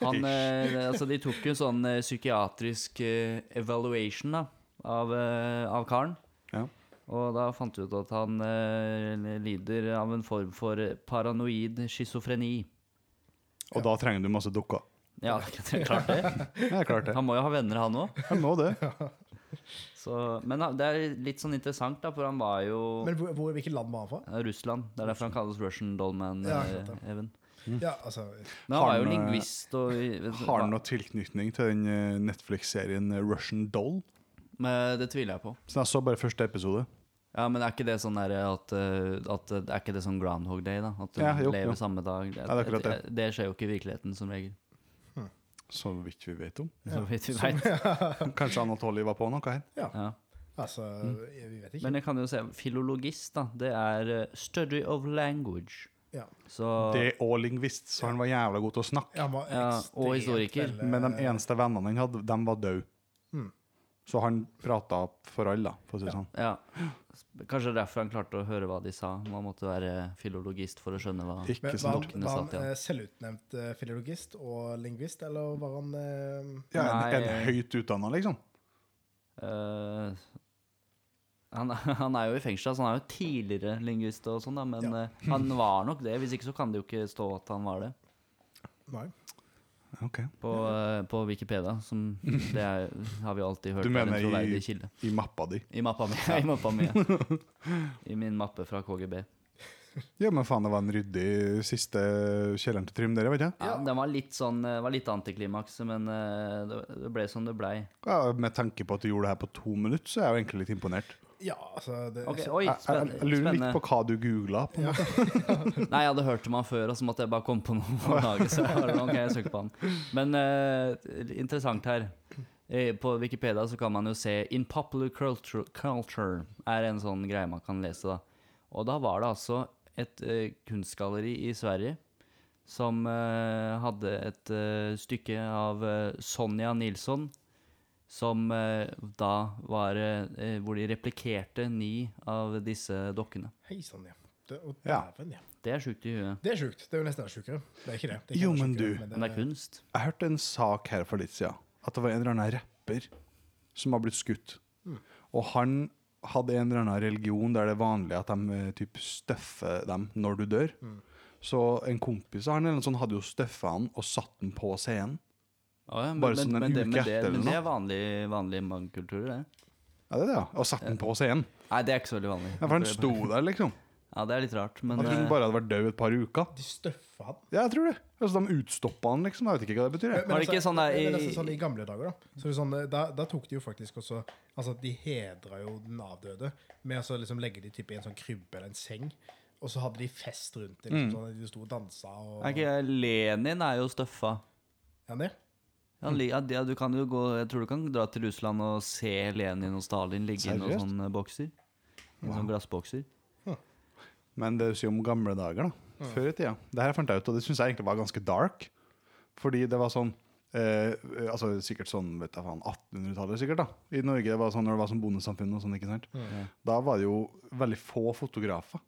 [SPEAKER 2] Han, eh, altså, de tok jo sånn eh, psykiatrisk eh, evaluation da, av, eh, av karen.
[SPEAKER 1] Ja.
[SPEAKER 2] Og da fant de ut at han eh, lider av en form for paranoid schizofreni. Eh,
[SPEAKER 1] Og da trenger du masse dukker.
[SPEAKER 2] Ja, det er klart det.
[SPEAKER 1] Ja, klart det.
[SPEAKER 2] Han må jo ha venner, han òg.
[SPEAKER 1] Han må det.
[SPEAKER 2] Men han- det er litt sånn interessant, da, for han var jo
[SPEAKER 3] Men hvor, hvor, hvilket land var han fra?
[SPEAKER 2] Ja, Russland. Det er derfor han kalles Russian Dollman,
[SPEAKER 3] Ja,
[SPEAKER 2] eh,
[SPEAKER 3] sant det.
[SPEAKER 2] Even.
[SPEAKER 3] Ja, altså
[SPEAKER 2] Men han var jo
[SPEAKER 1] Har han, eh,
[SPEAKER 2] lingvist og vet du
[SPEAKER 1] Har han
[SPEAKER 2] hva?
[SPEAKER 1] noe tilknytning til den eh, Netflix-serien eh, Russian Doll?
[SPEAKER 2] Men eh, det tviler jeg på.
[SPEAKER 1] Så jeg så bare første episode.
[SPEAKER 2] Ja, Men er ikke det sånn der at, eh, at eh, Er ikke det sånn groundhog day, da? At du
[SPEAKER 1] Ja, jo,
[SPEAKER 2] lever
[SPEAKER 1] jo.
[SPEAKER 2] samme dag? Det,
[SPEAKER 1] Ja, det er akkurat
[SPEAKER 2] det, det skjer jo ikke i virkeligheten, som regel.
[SPEAKER 1] Så vidt vi vet om.
[SPEAKER 2] Så vidt vi vet.
[SPEAKER 1] Kanskje Anatoly var på noe her.
[SPEAKER 2] Ja.
[SPEAKER 3] Altså, jeg- vi vet ikke.
[SPEAKER 2] Mm. Men jeg kan jo se Filologist, da. Det er eh, study of language.
[SPEAKER 3] Ja.
[SPEAKER 2] Så
[SPEAKER 1] Det og lingvist, så han var jævla god til å snakke.
[SPEAKER 3] Han var
[SPEAKER 2] Ja, og
[SPEAKER 3] ekstremt eh,
[SPEAKER 2] historiker.
[SPEAKER 3] veldig-
[SPEAKER 1] Men de eneste vennene han hadde, de var døde.
[SPEAKER 3] Mm.
[SPEAKER 1] Så han prata for alle, da, for å si det sånn.
[SPEAKER 2] Hmm. Ja. Kanskje derfor han klarte å høre hva de sa. Man måtte være filologist for å skjønne hva
[SPEAKER 1] Ikke
[SPEAKER 3] Men, var
[SPEAKER 1] sant?
[SPEAKER 3] han,
[SPEAKER 2] Dokkene
[SPEAKER 3] var
[SPEAKER 2] satt
[SPEAKER 3] han
[SPEAKER 2] igjen.
[SPEAKER 3] eh, selvutnevnt eh, filologist og lingvist, eller var han eh,
[SPEAKER 1] Ja, en, en
[SPEAKER 2] Nei.
[SPEAKER 1] høyt utdanna, liksom.
[SPEAKER 2] Eh, han, han er jo i fengsel, så han er jo tidligere lingvist og sånn, da, men
[SPEAKER 3] Ja.
[SPEAKER 2] eh, han var nok det. Hvis ikke så kan det jo ikke stå at han var det
[SPEAKER 3] Nei.
[SPEAKER 1] Ok.
[SPEAKER 2] på, eh, på Wikipedia. Som det er, har vi alltid hørt
[SPEAKER 1] Du
[SPEAKER 2] er en
[SPEAKER 1] mener i-
[SPEAKER 2] troverdig kilde.
[SPEAKER 1] I mappa di.
[SPEAKER 2] I mappa mi. I, mappa mi ja. I min mappe fra KGB.
[SPEAKER 1] Ja, men faen, det var en ryddig siste kjelleren til Trym, dere, vet jeg.
[SPEAKER 2] Ja, den var litt sånn eh, var litt antiklimaks, men eh, det det ble som det blei.
[SPEAKER 1] Ja, med tanke på at du gjorde det her på to minutter, så er jeg jo egentlig litt imponert.
[SPEAKER 3] Ja, altså det,
[SPEAKER 2] Ok, Oi,
[SPEAKER 1] Jeg, jeg,
[SPEAKER 2] spenn-
[SPEAKER 1] jeg lurer litt
[SPEAKER 2] spennende.
[SPEAKER 1] på hva du googla. På en måte.
[SPEAKER 2] Nei, jeg hadde hørt om han før, og så måtte jeg bare komme på noe. å lage, så jeg bare, ok, jeg søker på han. Men eh, interessant her. Eh, På Wikipedia så kan man jo se 'In popular culture, culture' er en sånn greie man kan lese. da. Og da var det altså et eh, kunstgalleri i Sverige som eh, hadde et eh, stykke av eh, Sonja Nilsson, som eh, da var eh, Hvor de replikerte ni av disse dokkene.
[SPEAKER 3] Hei sann, ja. Det, og
[SPEAKER 1] Ja.
[SPEAKER 3] dæven, ja.
[SPEAKER 2] Det er sjukt i huet.
[SPEAKER 3] Det er sjukt. Det er jo nesten enda sjukere. Det er ikke det. det er ikke
[SPEAKER 1] Jo,
[SPEAKER 3] enda
[SPEAKER 1] men
[SPEAKER 3] sjukere,
[SPEAKER 1] du.
[SPEAKER 2] Men det er kunst.
[SPEAKER 1] Jeg hørte en sak her for litt siden. At det var en eller annen rapper som har blitt skutt.
[SPEAKER 2] Mm.
[SPEAKER 1] Og han hadde en eller annen religion der det er vanlig at de eh, typ støffer dem når du dør.
[SPEAKER 2] Mm.
[SPEAKER 1] Så en kompis av han eller noe sånt hadde jo støffa han og satt han på scenen.
[SPEAKER 2] Ja, ja, men,
[SPEAKER 1] Bare
[SPEAKER 2] men,
[SPEAKER 1] sånn en
[SPEAKER 2] men, det,
[SPEAKER 1] uke
[SPEAKER 2] men, det,
[SPEAKER 1] etter
[SPEAKER 2] men
[SPEAKER 1] eller
[SPEAKER 2] det er vanlig, vanlig mangekultur, det.
[SPEAKER 1] Ja, det er det, ja. Og satt han på scenen.
[SPEAKER 2] Nei, det er ikke så veldig vanlig.
[SPEAKER 1] Ja, for han sto der, liksom.
[SPEAKER 2] Ja, det er litt rart, men
[SPEAKER 1] Han trodde han
[SPEAKER 2] eh,
[SPEAKER 1] bare hadde vært død et par uker.
[SPEAKER 3] De støffer han.
[SPEAKER 1] Ja, jeg tror det. Altså, de utstoppa han, liksom. Jeg vet ikke hva det betyr. jeg.
[SPEAKER 2] Var det ikke sånn der
[SPEAKER 3] i,
[SPEAKER 2] i-
[SPEAKER 3] sånn I gamle dager, da. Så det er sånn, eh, da, da tok de jo faktisk også Altså, de hedra jo den avdøde med å så liksom legge de typ i en sånn krybbe eller en seng. Og så hadde de fest rundt det. Liksom, sånn, at de sto og dansa og
[SPEAKER 2] er ikke Lenin er jo støffa.
[SPEAKER 3] Ja, det?
[SPEAKER 2] Ja, li- ja, det- ja, du kan jo gå, jeg tror du kan dra til Russland og se Lenin og Stalin ligge i noen
[SPEAKER 1] Seriøst?
[SPEAKER 2] sånne bokser. I Noen sånne glassbokser.
[SPEAKER 1] Men det du sier om gamle dager, da. Før i tida. Det her fant jeg ut, og det syns jeg egentlig var ganske dark. Fordi det var sånn eh, altså Sikkert sånn vet jeg faen, 1800-tallet, sikkert. da I Norge det var sånn når det var sånn bondesamfunn og sånn. ikke sant? Da var det jo veldig få fotografer.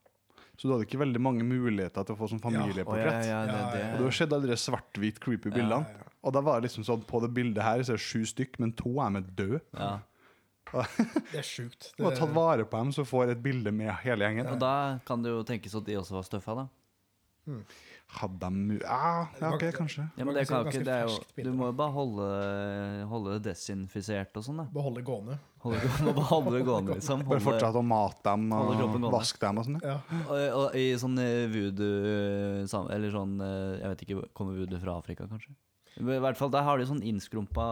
[SPEAKER 1] Så du hadde ikke veldig mange muligheter til å få sånn
[SPEAKER 2] Å, ja,
[SPEAKER 1] familieportrett.
[SPEAKER 2] ja, det,
[SPEAKER 3] Ja, ja,
[SPEAKER 1] Og du
[SPEAKER 2] det.
[SPEAKER 1] har sett alle de svart-hvit creepy bildene. Og da var det liksom sånn på det bildet her så er det sju stykk, men to er med død.
[SPEAKER 2] Ja.
[SPEAKER 3] Det er sjukt.
[SPEAKER 1] Du må ta vare på dem, så får et bilde med hele gjengen.
[SPEAKER 2] Og da kan det jo tenkes at de også var støffa, da.
[SPEAKER 1] Hadde de mu... Ah, ja, OK, kanskje.
[SPEAKER 2] Ja, men det kan jo
[SPEAKER 3] Ganske
[SPEAKER 2] ikke, det er jo,
[SPEAKER 3] ferskt bilde,
[SPEAKER 2] Du må jo bare holde, holde det desinfisert og sånn, da.
[SPEAKER 3] Beholde gående.
[SPEAKER 2] Holde, må bare holde det gående, liksom.
[SPEAKER 1] Bare
[SPEAKER 2] Holde,
[SPEAKER 1] fortsette å mate dem
[SPEAKER 2] Holde kroppen
[SPEAKER 1] og
[SPEAKER 2] gående.
[SPEAKER 1] vaske dem og sånn. ja.
[SPEAKER 3] Ja.
[SPEAKER 2] Og, og I sånn eh, voodoo eh, sam- Eller sånn eh, Jeg vet ikke, kommer voodoo fra Afrika, kanskje? Men I hvert fall, Der har de sånn innskrumpa,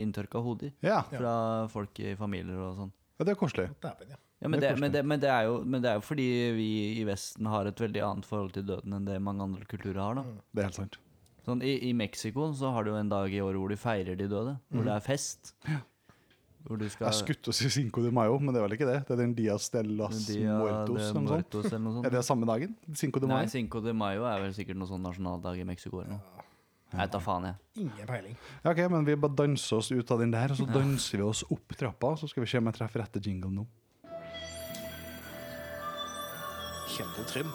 [SPEAKER 2] inntørka hoder
[SPEAKER 1] Ja.
[SPEAKER 2] fra folk i familier og sånn.
[SPEAKER 1] ja, det er koselig.
[SPEAKER 3] Dæven, ja.
[SPEAKER 2] Ja, men
[SPEAKER 1] Det
[SPEAKER 2] det,
[SPEAKER 1] er
[SPEAKER 2] men, det, men, det er jo, men det er jo fordi vi i Vesten har et veldig annet forhold til døden enn det mange andre kulturer har. da.
[SPEAKER 1] Det er helt sant.
[SPEAKER 2] Sånn, I, i Mexico så har du jo en dag i året hvor de feirer de døde. Hvor det er fest. Hvor du skal
[SPEAKER 1] Jeg Mm. skutt å si Cinco de Mayo, men det er vel ikke det. Det er den Dias de las
[SPEAKER 2] Dia
[SPEAKER 1] Muertos. eller
[SPEAKER 2] de
[SPEAKER 1] noe sånt.
[SPEAKER 2] Muertos eller noe sånt.
[SPEAKER 1] Er det samme dagen? Cinco de
[SPEAKER 2] Nei,
[SPEAKER 1] Mayo?
[SPEAKER 2] Cinco de Mayo er vel sikkert noen sånn nasjonaldag i Mexico eller noe. Jeg tar faen, jeg.
[SPEAKER 3] Ingen peiling.
[SPEAKER 1] Ja, ok, men vi bare danser oss ut av den der, og så danser vi oss opp trappa. Så skal vi se om jeg treffer rette jingle nå.
[SPEAKER 4] Kjente Trym.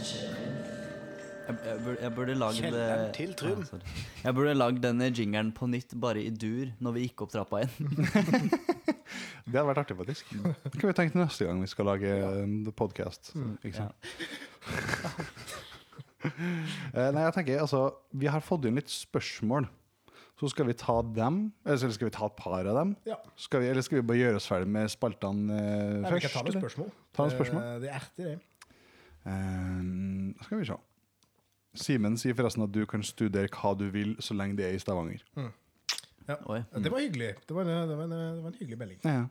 [SPEAKER 2] Jeg, jeg, burde, jeg burde lagd
[SPEAKER 4] Kjelleren til Trym.
[SPEAKER 2] Ah, sorry. jeg burde lagd denne jingeren på nytt, bare i dur, når vi gikk opp trappa igjen.
[SPEAKER 1] Det hadde vært artig, faktisk. Mm. Det kan vi tenke til neste gang vi skal lage eh, podcast.
[SPEAKER 3] Mm.
[SPEAKER 1] Ikke sant? Eh, Nei, jeg tenker, altså, vi har fått inn litt spørsmål. Så skal vi ta dem, eller så skal vi ta et par av dem?
[SPEAKER 3] Ja.
[SPEAKER 1] Skal vi, eller skal vi bare gjøre oss ferdig med spaltene eh,
[SPEAKER 3] Nei, vi kan
[SPEAKER 1] først?
[SPEAKER 3] ta noen
[SPEAKER 1] eller?
[SPEAKER 3] spørsmål.
[SPEAKER 1] Ta noen spørsmål.
[SPEAKER 3] Eh, Det er artig, det.
[SPEAKER 1] Eh, skal vi se. Simen sier forresten at du kan studere hva du vil så lenge det er i Stavanger.
[SPEAKER 2] Oi.
[SPEAKER 3] Ja, Det var hyggelig. Det var, en- det var, en, det var en hyggelig melding.
[SPEAKER 1] Ja.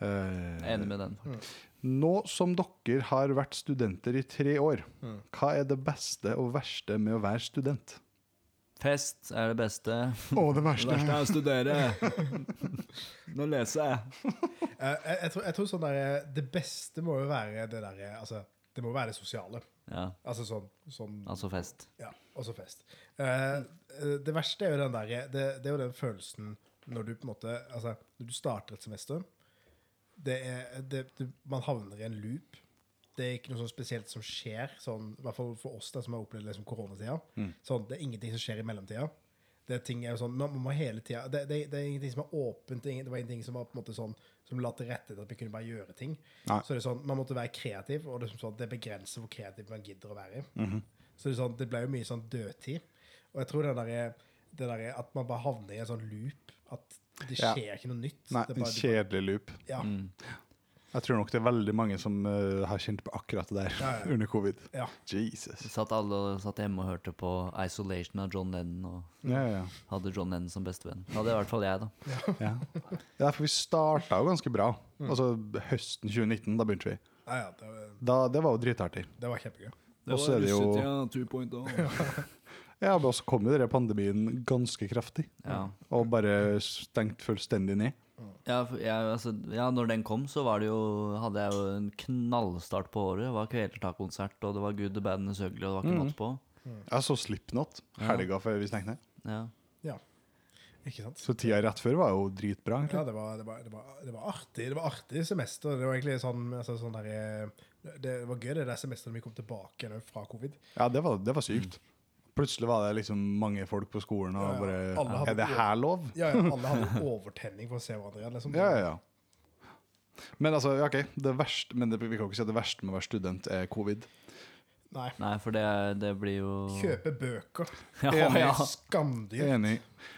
[SPEAKER 1] Eh,
[SPEAKER 2] Jeg er enig med den.
[SPEAKER 1] Nå som dere har vært studenter i tre år,
[SPEAKER 3] Mm.
[SPEAKER 1] hva er det beste og verste med å være student?
[SPEAKER 2] Fest er det beste.
[SPEAKER 1] Og det
[SPEAKER 2] Det verste er å studere. Nå leser jeg.
[SPEAKER 3] Eh, jeg, jeg, tror, jeg tror sånn der, eh, Det beste må jo være det der, eh, altså, det må jo være det sosiale.
[SPEAKER 2] Ja,
[SPEAKER 3] Altså sånn, sånn
[SPEAKER 2] altså fest.
[SPEAKER 3] Ja, også fest. Eh, eh, det verste er jo den der det, det er jo den følelsen når du på en måte Altså, når du starter et semester det er, det, det, Man havner i en loop. Det er ikke noe sånn spesielt som skjer, sånn, i hvert fall for oss da, som har opplevd liksom, koronatida.
[SPEAKER 1] Mm.
[SPEAKER 3] Sånn, det er ingenting som skjer i mellomtida. Det er ting er jo sånn, man, man må hele tida, det, det, det er ingenting som er åpent. Det, er ingen- det var ingenting som var på en måte sånn, som la til rette til at vi kunne bare gjøre ting.
[SPEAKER 1] Nei.
[SPEAKER 3] Så det er sånn, Man måtte være kreativ, og det, er som sånn, det begrenser hvor kreativ man gidder å være. i.
[SPEAKER 1] Mm-hmm.
[SPEAKER 3] Så det, er sånn, det ble jo mye sånn dødtid. Og jeg tror det der, er- det der er at man bare havner i en sånn loop. At det
[SPEAKER 1] Ja.
[SPEAKER 3] skjer ikke noe nytt.
[SPEAKER 1] Nei, Mm.
[SPEAKER 3] det er
[SPEAKER 1] en
[SPEAKER 3] bare, du
[SPEAKER 1] kjedelig loop.
[SPEAKER 3] bare- ja,
[SPEAKER 1] Jeg tror nok det er veldig mange som eh, har kjent på akkurat det der
[SPEAKER 3] Ja, ja.
[SPEAKER 1] under covid.
[SPEAKER 3] ja.
[SPEAKER 1] Jesus.
[SPEAKER 2] Satt alle satt hjemme og hørte på Isolation av John Lennon og
[SPEAKER 1] Ja, ja,
[SPEAKER 2] hadde John Lennon som bestevenn. Ja, det er i hvert fall jeg, da.
[SPEAKER 1] ja. ja. Det er for vi starta jo ganske bra.
[SPEAKER 3] Mm.
[SPEAKER 1] Altså høsten 2019, da begynte vi.
[SPEAKER 3] ja, ja det, var-
[SPEAKER 1] Da, det var jo dritartig.
[SPEAKER 3] det var kjempegøy.
[SPEAKER 1] Og så er det jo
[SPEAKER 2] jo
[SPEAKER 1] Ja, men også kom jo denne pandemien ganske kraftig.
[SPEAKER 2] ja.
[SPEAKER 1] Og bare stengt fullstendig ned.
[SPEAKER 2] Ja, for jeg, altså, ja, når den kom, så var det jo, hadde jeg jo en knallstart på året. Det var kvelertak-konsert, og det var Good the Bad and the Søgler, og det var ikke natt på.
[SPEAKER 1] Jeg så Slipknot helga før vi stengte ned.
[SPEAKER 2] Ja.
[SPEAKER 3] Ikke sant?
[SPEAKER 1] Så tida rett før var jo dritbra. egentlig.
[SPEAKER 3] Ja, det var, det, var, det, var, det var artig Det var artig semester. Det var egentlig sånn, altså, sånn der, eh, Det var gøy det der semesteret vi kom tilbake igjen fra covid.
[SPEAKER 1] Ja, det var, det var sykt. Plutselig var det liksom mange folk på skolen,
[SPEAKER 3] Ja, ja.
[SPEAKER 1] og
[SPEAKER 3] Alle
[SPEAKER 1] bare
[SPEAKER 3] hadde-
[SPEAKER 1] Er det her lov?
[SPEAKER 3] Ja, ja, Alle hadde overtenning for å se hverandre igjen. Liksom.
[SPEAKER 1] Ja, ja, ja. Men altså, ja, OK. Det verste, men det, vi kan jo ikke si at det verste med å være student er covid.
[SPEAKER 3] Nei.
[SPEAKER 2] Nei, for det, det blir jo
[SPEAKER 3] Kjøpe bøker.
[SPEAKER 2] Ja,
[SPEAKER 3] Det er
[SPEAKER 2] ja.
[SPEAKER 3] Skamdyrt.
[SPEAKER 1] Enig.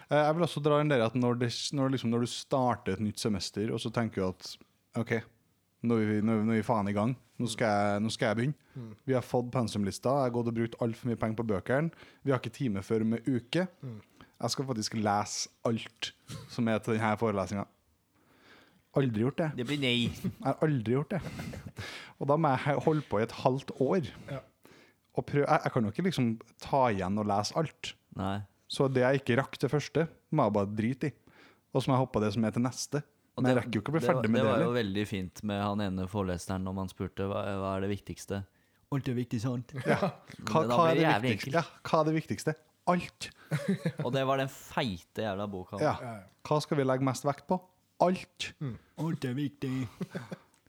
[SPEAKER 1] Eh, Jeg vil også dra inn der at når, det, når, liksom, når du starter et nytt semester, og så tenker du at OK, nå er vi, nå er vi, nå er vi faen i gang. Nå skal, jeg, nå skal jeg begynne. Vi har fått pensumlista. Jeg har gått og brukt altfor mye penger på bøkene. Vi har ikke time før om ei uke. Jeg skal faktisk lese alt som er til denne forelesninga. Aldri gjort det.
[SPEAKER 2] Det blir nei.
[SPEAKER 1] Jeg har aldri gjort det. Og da må jeg holde på i et halvt år.
[SPEAKER 3] Ja.
[SPEAKER 1] Og prøve. Jeg, jeg kan jo ikke liksom ta igjen og lese alt.
[SPEAKER 2] Nei.
[SPEAKER 1] Så det jeg ikke rakk til første, må jeg bare drite i. Og så må jeg hoppe av det som er til neste.
[SPEAKER 2] Og
[SPEAKER 1] Men jeg
[SPEAKER 2] det-
[SPEAKER 1] rekker jo ikke å bli
[SPEAKER 2] det var-
[SPEAKER 1] ferdig med det.
[SPEAKER 2] Det var jo
[SPEAKER 1] heller.
[SPEAKER 2] veldig fint med han ene foreleseren om han spurte hva, hva er det viktigste. Alt er viktig, sant?
[SPEAKER 1] Hva,
[SPEAKER 2] Men da
[SPEAKER 1] hva,
[SPEAKER 2] blir
[SPEAKER 1] er det
[SPEAKER 2] det jævlig
[SPEAKER 1] viktigste? Ja, hva er det viktigste? Alt.
[SPEAKER 2] Og det var den feite jævla boka.
[SPEAKER 1] Ja. Mm.
[SPEAKER 3] Ja, ja.
[SPEAKER 1] Hva skal vi legge mest vekt på? Alt.
[SPEAKER 2] Alt er viktig.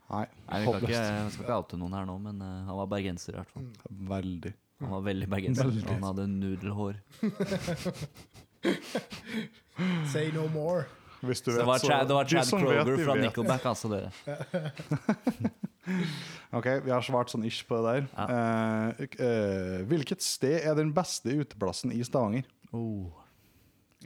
[SPEAKER 1] Nei,
[SPEAKER 2] Nei, vi skal ikke,
[SPEAKER 1] håpløst.
[SPEAKER 2] jeg skal ikke oute noen her nå, men eh, han var bergenser i hvert
[SPEAKER 1] Mm.
[SPEAKER 2] fall.
[SPEAKER 1] Veldig.
[SPEAKER 2] Han var veldig bergenser.
[SPEAKER 1] Veldig.
[SPEAKER 2] og Han hadde nudelhår.
[SPEAKER 3] Say no more.
[SPEAKER 1] Hvis du
[SPEAKER 2] Så det var,
[SPEAKER 1] så-
[SPEAKER 2] Chad, det var
[SPEAKER 1] de
[SPEAKER 2] Chad
[SPEAKER 1] som vet,
[SPEAKER 2] Kroger
[SPEAKER 1] de
[SPEAKER 2] fra
[SPEAKER 1] vet.
[SPEAKER 2] Nickelback, altså, dere.
[SPEAKER 1] Ok, vi har svart sånn ish på det der. Eh, eh, hvilket sted er den beste uteplassen i Stavanger?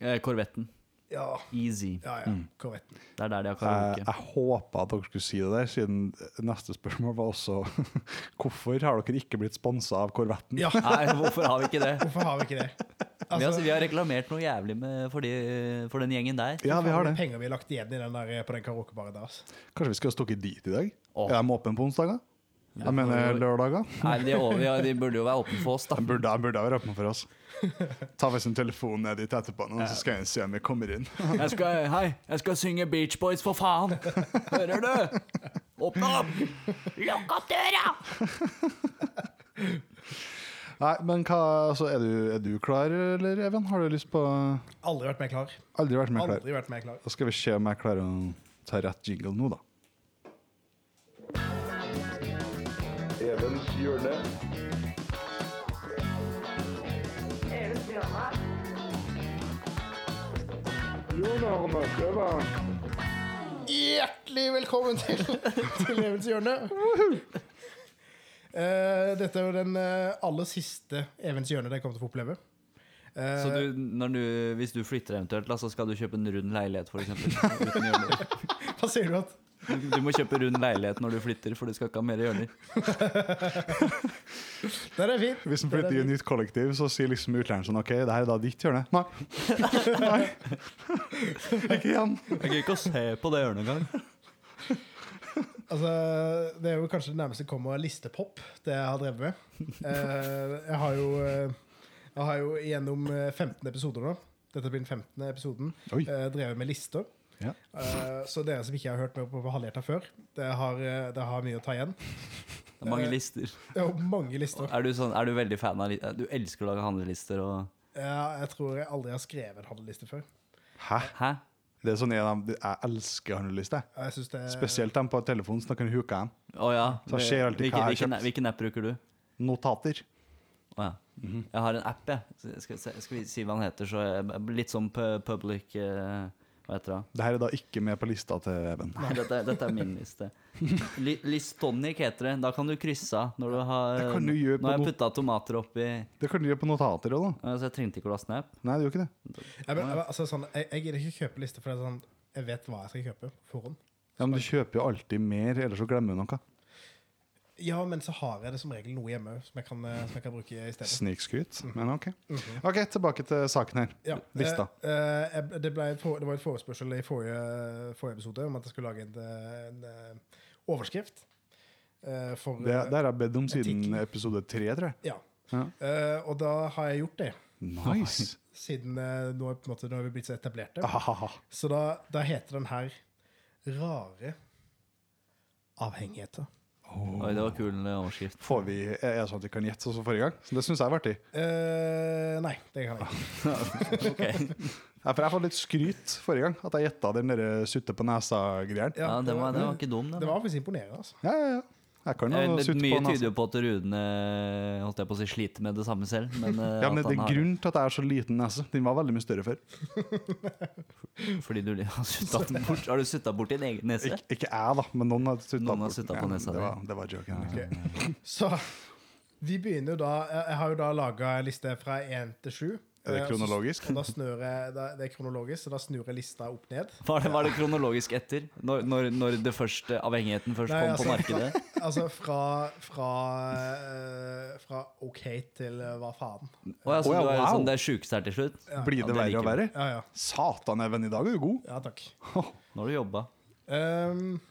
[SPEAKER 2] Eh, Korvetten.
[SPEAKER 3] Ja,
[SPEAKER 2] Easy.
[SPEAKER 3] ja, ja.
[SPEAKER 1] Mm.
[SPEAKER 3] Korvetten.
[SPEAKER 2] Det er der de har
[SPEAKER 1] Jeg,
[SPEAKER 2] karaoke.
[SPEAKER 1] jeg håpa at dere skulle si det der, siden neste spørsmål var også Hvorfor har dere ikke blitt sponsa av Korvetten?
[SPEAKER 3] Ja,
[SPEAKER 2] Nei, hvorfor har vi ikke det?
[SPEAKER 3] hvorfor har vi ikke det?
[SPEAKER 2] Vi har,
[SPEAKER 3] Altså,
[SPEAKER 2] vi har reklamert noe jævlig med, for, de, eh, for den gjengen der.
[SPEAKER 1] Ja, vi har det.
[SPEAKER 3] penger vi har lagt igjen i den der, eh, på den karaokebaren deres.
[SPEAKER 1] Kanskje vi skal stukket dit i dag?
[SPEAKER 2] Åh.
[SPEAKER 1] Er de åpne på onsdager? Jeg mener lørdager.
[SPEAKER 2] Nei, de, er over, ja, de burde jo være åpne for oss, da.
[SPEAKER 1] De burde, de burde ha vært åpne for oss. Ta faktisk en telefon ned dit etterpå, nå, så skal jeg se om vi kommer inn.
[SPEAKER 2] Jeg skal, hei, jeg skal synge Beach Boys, for faen! Hører du? Åpne opp! Lukk opp døra!
[SPEAKER 1] Nei, men hva, så er du, er du klar, eller Even? Har du lyst på
[SPEAKER 3] Aldri vært mer klar.
[SPEAKER 1] Aldri vært mer klar.
[SPEAKER 3] Aldri vært mer klar.
[SPEAKER 1] Da skal vi se om jeg klarer å ta rett jingle nå, da.
[SPEAKER 5] Evens hjørne. Jonar Møkkøva.
[SPEAKER 3] Hjertelig velkommen til, til Evens hjørne. Eh, dette er jo den eh, aller siste Evens hjørne dere kommer til å få oppleve. Eh,
[SPEAKER 2] Så du, når du, hvis du flytter eventuelt, da, så skal du kjøpe en rund leilighet, for eksempel? Uten hjørner.
[SPEAKER 3] Eh, Hva sier du at
[SPEAKER 2] Du, du må kjøpe rund leilighet når du flytter, for du skal ikke ha mer hjørner.
[SPEAKER 3] Den er fin.
[SPEAKER 1] Hvis en flytter i et nytt kollektiv, så sier liksom utlenderen sånn OK, det her er da ditt hjørne. Nei. Nei. Ikke igjen.
[SPEAKER 2] Jeg gidder ikke å se på det hjørnet engang.
[SPEAKER 3] Altså, det er jo kanskje det nærmeste kommer listepop, det jeg har drevet med. Eh, jeg, har jo, eh, jeg har jo gjennom eh, 15 episoder nå, dette blir den 15. episoden,
[SPEAKER 1] Oi.
[SPEAKER 3] eh, drevet med lister.
[SPEAKER 1] Ja.
[SPEAKER 3] Eh, så dere som ikke har hørt meg på, på halvhjerta før, det har, eh, det har mye å ta igjen.
[SPEAKER 2] Det er mange lister.
[SPEAKER 3] Det er jo mange lister.
[SPEAKER 2] Er du, sånn, er du veldig fan av li- Du elsker å lage handlelister og
[SPEAKER 3] Ja, jeg tror jeg aldri har skrevet en handleliste før.
[SPEAKER 1] Hæ?
[SPEAKER 2] Hæ?
[SPEAKER 1] Det er sånn en av de Jeg elsker handlelister.
[SPEAKER 3] Og Jeg synes det er,
[SPEAKER 1] Spesielt dem på telefonen, så da kan du hooke dem.
[SPEAKER 2] Å ja.
[SPEAKER 1] Så skjer alltid hva
[SPEAKER 2] hvilken,
[SPEAKER 1] jeg har
[SPEAKER 2] hvilken,
[SPEAKER 1] kjøpt.
[SPEAKER 2] hvilken app bruker du?
[SPEAKER 1] Notater.
[SPEAKER 2] Å ja.
[SPEAKER 1] Mhm.
[SPEAKER 2] Jeg har en app, jeg. Så Skal, skal skal vi si hva den heter? Så jeg, litt sånn pu- public eh, Hva heter det?
[SPEAKER 1] Det her er da ikke med på lista til Even.
[SPEAKER 2] Nei, dette, er- dette er min liste. Li, listonic heter det. Da kan du krysse av når du har
[SPEAKER 1] Det kan du gjøre på
[SPEAKER 2] Nå har jeg
[SPEAKER 1] no-
[SPEAKER 2] putta tomater oppi
[SPEAKER 1] Det kan du gjøre på notater òg, da.
[SPEAKER 2] eh, Så jeg trengte ikke å laste ned app.
[SPEAKER 1] Nei, det gjør ikke det.
[SPEAKER 3] Nei, men, altså, sånn, jeg, jeg gidder ikke kjøpe lister, for det er sånn, jeg vet hva jeg skal kjøpe på forhånd.
[SPEAKER 1] Ja, Men du kjøper jo alltid mer, ellers så glemmer du noe.
[SPEAKER 3] Ja, men så har jeg det som regel noe hjemme som jeg kan, eh, som jeg kan bruke i stedet.
[SPEAKER 1] Snikskryt. Men OK. Ok, Tilbake til saken her.
[SPEAKER 3] Mm. Mhm. Ja.
[SPEAKER 1] Lista.
[SPEAKER 3] Eh, eh, jeg- det, ble, et for- det var et forespørsel i forrige, forrige episode om at jeg skulle lage en, eh, en eh, overskrift. eh, for,
[SPEAKER 1] Det, det har jeg bedt om siden
[SPEAKER 3] Etikk.
[SPEAKER 1] episode tre, tror jeg.
[SPEAKER 3] Ja.
[SPEAKER 1] Ja.
[SPEAKER 3] Eh, og da har jeg gjort det,
[SPEAKER 1] Nice!
[SPEAKER 3] siden eh, nå, er på en måte, nå har vi blitt så etablerte.
[SPEAKER 1] Ahaha.
[SPEAKER 3] Så da, da heter den her Rare avhengigheter.
[SPEAKER 2] Oi, det var kul eh, overskrift.
[SPEAKER 1] Får vi, er det sånn at vi kan gjette sånn som forrige gang? Så det syns jeg var artig.
[SPEAKER 3] Eh, nei, det kan jeg ikke.
[SPEAKER 2] Ok.
[SPEAKER 1] Ja, for jeg fikk litt skryt forrige gang, at jeg gjetta den der sutte på nesa-greien. Ja.
[SPEAKER 2] Ja, den var, den var ikke dum, den.
[SPEAKER 3] det var faktisk imponerende. altså.
[SPEAKER 1] ja, ja, Jeg kan
[SPEAKER 2] Eh,
[SPEAKER 1] jo
[SPEAKER 2] det-
[SPEAKER 1] sutte
[SPEAKER 2] Mye
[SPEAKER 1] på altså.
[SPEAKER 2] tyder
[SPEAKER 1] nesa.
[SPEAKER 2] jo på at Rune eh, holdt jeg på å si, sliter med det samme selv. Men, eh,
[SPEAKER 1] Ja, men Det
[SPEAKER 2] at han
[SPEAKER 1] er
[SPEAKER 2] har-
[SPEAKER 1] grunnen til at jeg har så liten nese. Den var veldig mye større før.
[SPEAKER 2] Fordi du har suttet den bort. Har du sutta bort din egen nese?
[SPEAKER 1] Ik ikke jeg, da, men noen har sutta
[SPEAKER 2] Noen har suttet på nesa
[SPEAKER 1] Det
[SPEAKER 2] di.
[SPEAKER 1] var, det var joken.
[SPEAKER 3] Ok. Så vi begynner jo da Jeg jeg har jo da laga ei liste fra én til sju.
[SPEAKER 1] Er det
[SPEAKER 3] Eh,
[SPEAKER 1] kronologisk?
[SPEAKER 3] Og da snur jeg, da, det er kronologisk, så da snur jeg lista opp ned.
[SPEAKER 2] Var det, var det kronologisk etter? Når, når, når det første avhengigheten først
[SPEAKER 3] Nei,
[SPEAKER 2] kom på
[SPEAKER 3] altså-
[SPEAKER 2] markedet?
[SPEAKER 3] Altså fra, fra, eh, fra OK til eh, hva faen.
[SPEAKER 2] Å ja, så
[SPEAKER 1] Å ja,
[SPEAKER 2] du er
[SPEAKER 1] wow.
[SPEAKER 2] sånn, det er sjukeste her til slutt?
[SPEAKER 1] Blir
[SPEAKER 2] Ja,
[SPEAKER 1] det
[SPEAKER 2] det
[SPEAKER 1] verre
[SPEAKER 2] liker
[SPEAKER 1] og
[SPEAKER 2] vi.
[SPEAKER 1] verre?
[SPEAKER 3] Ja, ja.
[SPEAKER 1] Satan, Even, i dag er du god.
[SPEAKER 3] Ja, takk.
[SPEAKER 2] Nå har du jobba.
[SPEAKER 3] Ehm,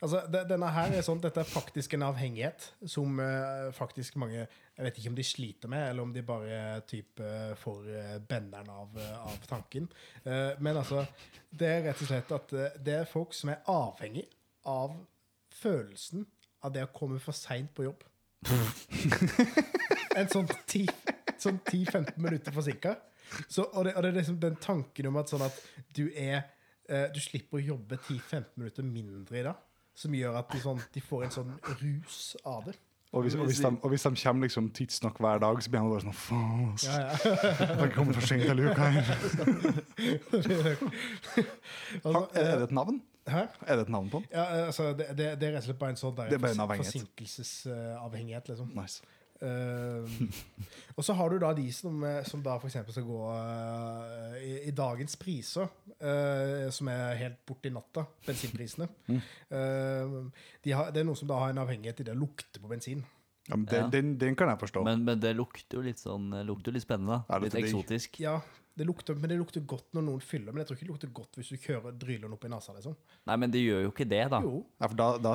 [SPEAKER 3] altså, de, denne her er sånn, dette er faktisk en avhengighet som eh, faktisk mange Jeg vet ikke om de sliter med, eller om de bare typ, eh, får eh, benderen av, eh, av tanken. Eh, men altså, det er rett og slett at eh, det er folk som er avhengig av følelsen av det å komme for seint på jobb. en sånn 10 sånn 10-15 minutter forsinka. Så, og, det, og det er liksom den tanken om at sånn at du er eh, Du slipper å jobbe 10-15 minutter mindre i dag, som gjør at de, sånn, de får en sånn rus av det.
[SPEAKER 1] Og hvis, og, hvis de, og hvis de kommer liksom tidsnok hver dag, så blir han bare sånn Faen, ass. Jeg kommer for sent til uka her.
[SPEAKER 3] Altså,
[SPEAKER 1] Er det et navn?
[SPEAKER 3] Hæ?
[SPEAKER 1] Er det et navn på den?
[SPEAKER 3] Ja, eh, altså, det, det, det er rett og slett bare en sånn der
[SPEAKER 1] Det er bare en
[SPEAKER 3] forsin-
[SPEAKER 1] avhengighet.
[SPEAKER 3] forsinkelsesavhengighet, liksom.
[SPEAKER 1] Nice.
[SPEAKER 3] Eh, og så har du da de som, eh, som da f.eks. skal gå eh, i, i dagens priser, eh, som er helt borti natta, bensinprisene.
[SPEAKER 1] Mm.
[SPEAKER 3] Eh, de har, det er noen som da har en avhengighet i det å lukte på bensin.
[SPEAKER 1] Ja, men den,
[SPEAKER 2] Ja.
[SPEAKER 1] den, den kan jeg forstå.
[SPEAKER 2] Men, men det lukter jo litt sånn eh, lukter jo litt spennende. da
[SPEAKER 1] Ja, det
[SPEAKER 2] Litt
[SPEAKER 1] lukter digg.
[SPEAKER 2] eksotisk.
[SPEAKER 3] Ja, det lukter, men det lukter godt når noen fyller, men jeg tror ikke det lukter godt hvis du kjører dryleren opp i nesa. liksom.
[SPEAKER 2] Nei, men det gjør jo ikke det, da.
[SPEAKER 3] Jo,
[SPEAKER 1] Ja, for da, da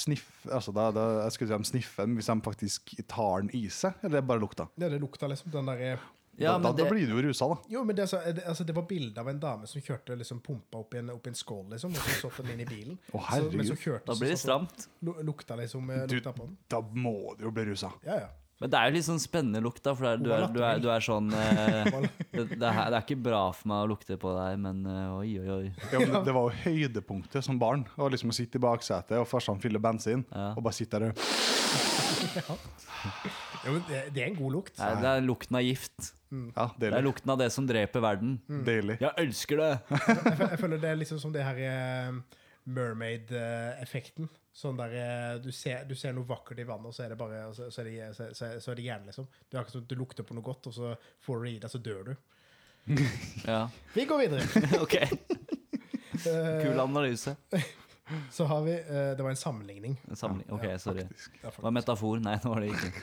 [SPEAKER 1] sniff, altså da, da, jeg skulle si de sniffer den hvis de faktisk tar den i seg, eller det er bare lukta.
[SPEAKER 3] det, det lukter liksom den der, eh,
[SPEAKER 1] da, da,
[SPEAKER 2] Ja, men det,
[SPEAKER 1] da blir du jo rusa, da.
[SPEAKER 3] Jo, men det, er så- det- altså, det var bilde av en dame som kjørte liksom pumpa opp i en, opp i en skål, liksom, og så satte den inn i bilen.
[SPEAKER 1] Å,
[SPEAKER 3] så, men så kjørte,
[SPEAKER 2] da blir det
[SPEAKER 3] så
[SPEAKER 1] altså,
[SPEAKER 3] satt-
[SPEAKER 2] stramt.
[SPEAKER 3] lu- Lukta liksom eh,
[SPEAKER 1] Du-
[SPEAKER 3] lukta på den.
[SPEAKER 1] Da må du jo bli rusa.
[SPEAKER 3] Ja, ja.
[SPEAKER 2] Men det er jo litt sånn spennende lukt, da. For det er, du, er, du, er, du er sånn eh, det, det, her, det er ikke bra for meg å lukte på deg, men eh, oi, oi, oi.
[SPEAKER 1] Ja, men det, det var jo høydepunktet som barn. Å liksom sitte i baksetet, og farsan fyller bensin, og bare sitte der og
[SPEAKER 3] Jo, men det, det er en god lukt.
[SPEAKER 2] Nei, det er lukten av gift.
[SPEAKER 1] Ja,
[SPEAKER 2] Det er
[SPEAKER 1] deilig.
[SPEAKER 2] lukten av det som dreper verden.
[SPEAKER 1] deilig.
[SPEAKER 2] Jeg elsker det!
[SPEAKER 3] Jeg, fø- jeg føler det er liksom som det her eh, mermaid-effekten. Sånn der eh, du ser, du ser noe vakkert i vannet, og så er det bare så, så er det, så, så, så er det hjernen, liksom. Du, er akkurat som du lukter på noe godt, og så får du det i deg, så dør du.
[SPEAKER 2] Ja,
[SPEAKER 3] Vi går videre.
[SPEAKER 2] ok.
[SPEAKER 3] Eh,
[SPEAKER 2] Kul analyse.
[SPEAKER 3] Så har vi eh, Det var en sammenligning.
[SPEAKER 2] En sammenligning. Ok, sorry.
[SPEAKER 3] Ja, faktisk.
[SPEAKER 2] Det var metafor. Nei, det var det ikke.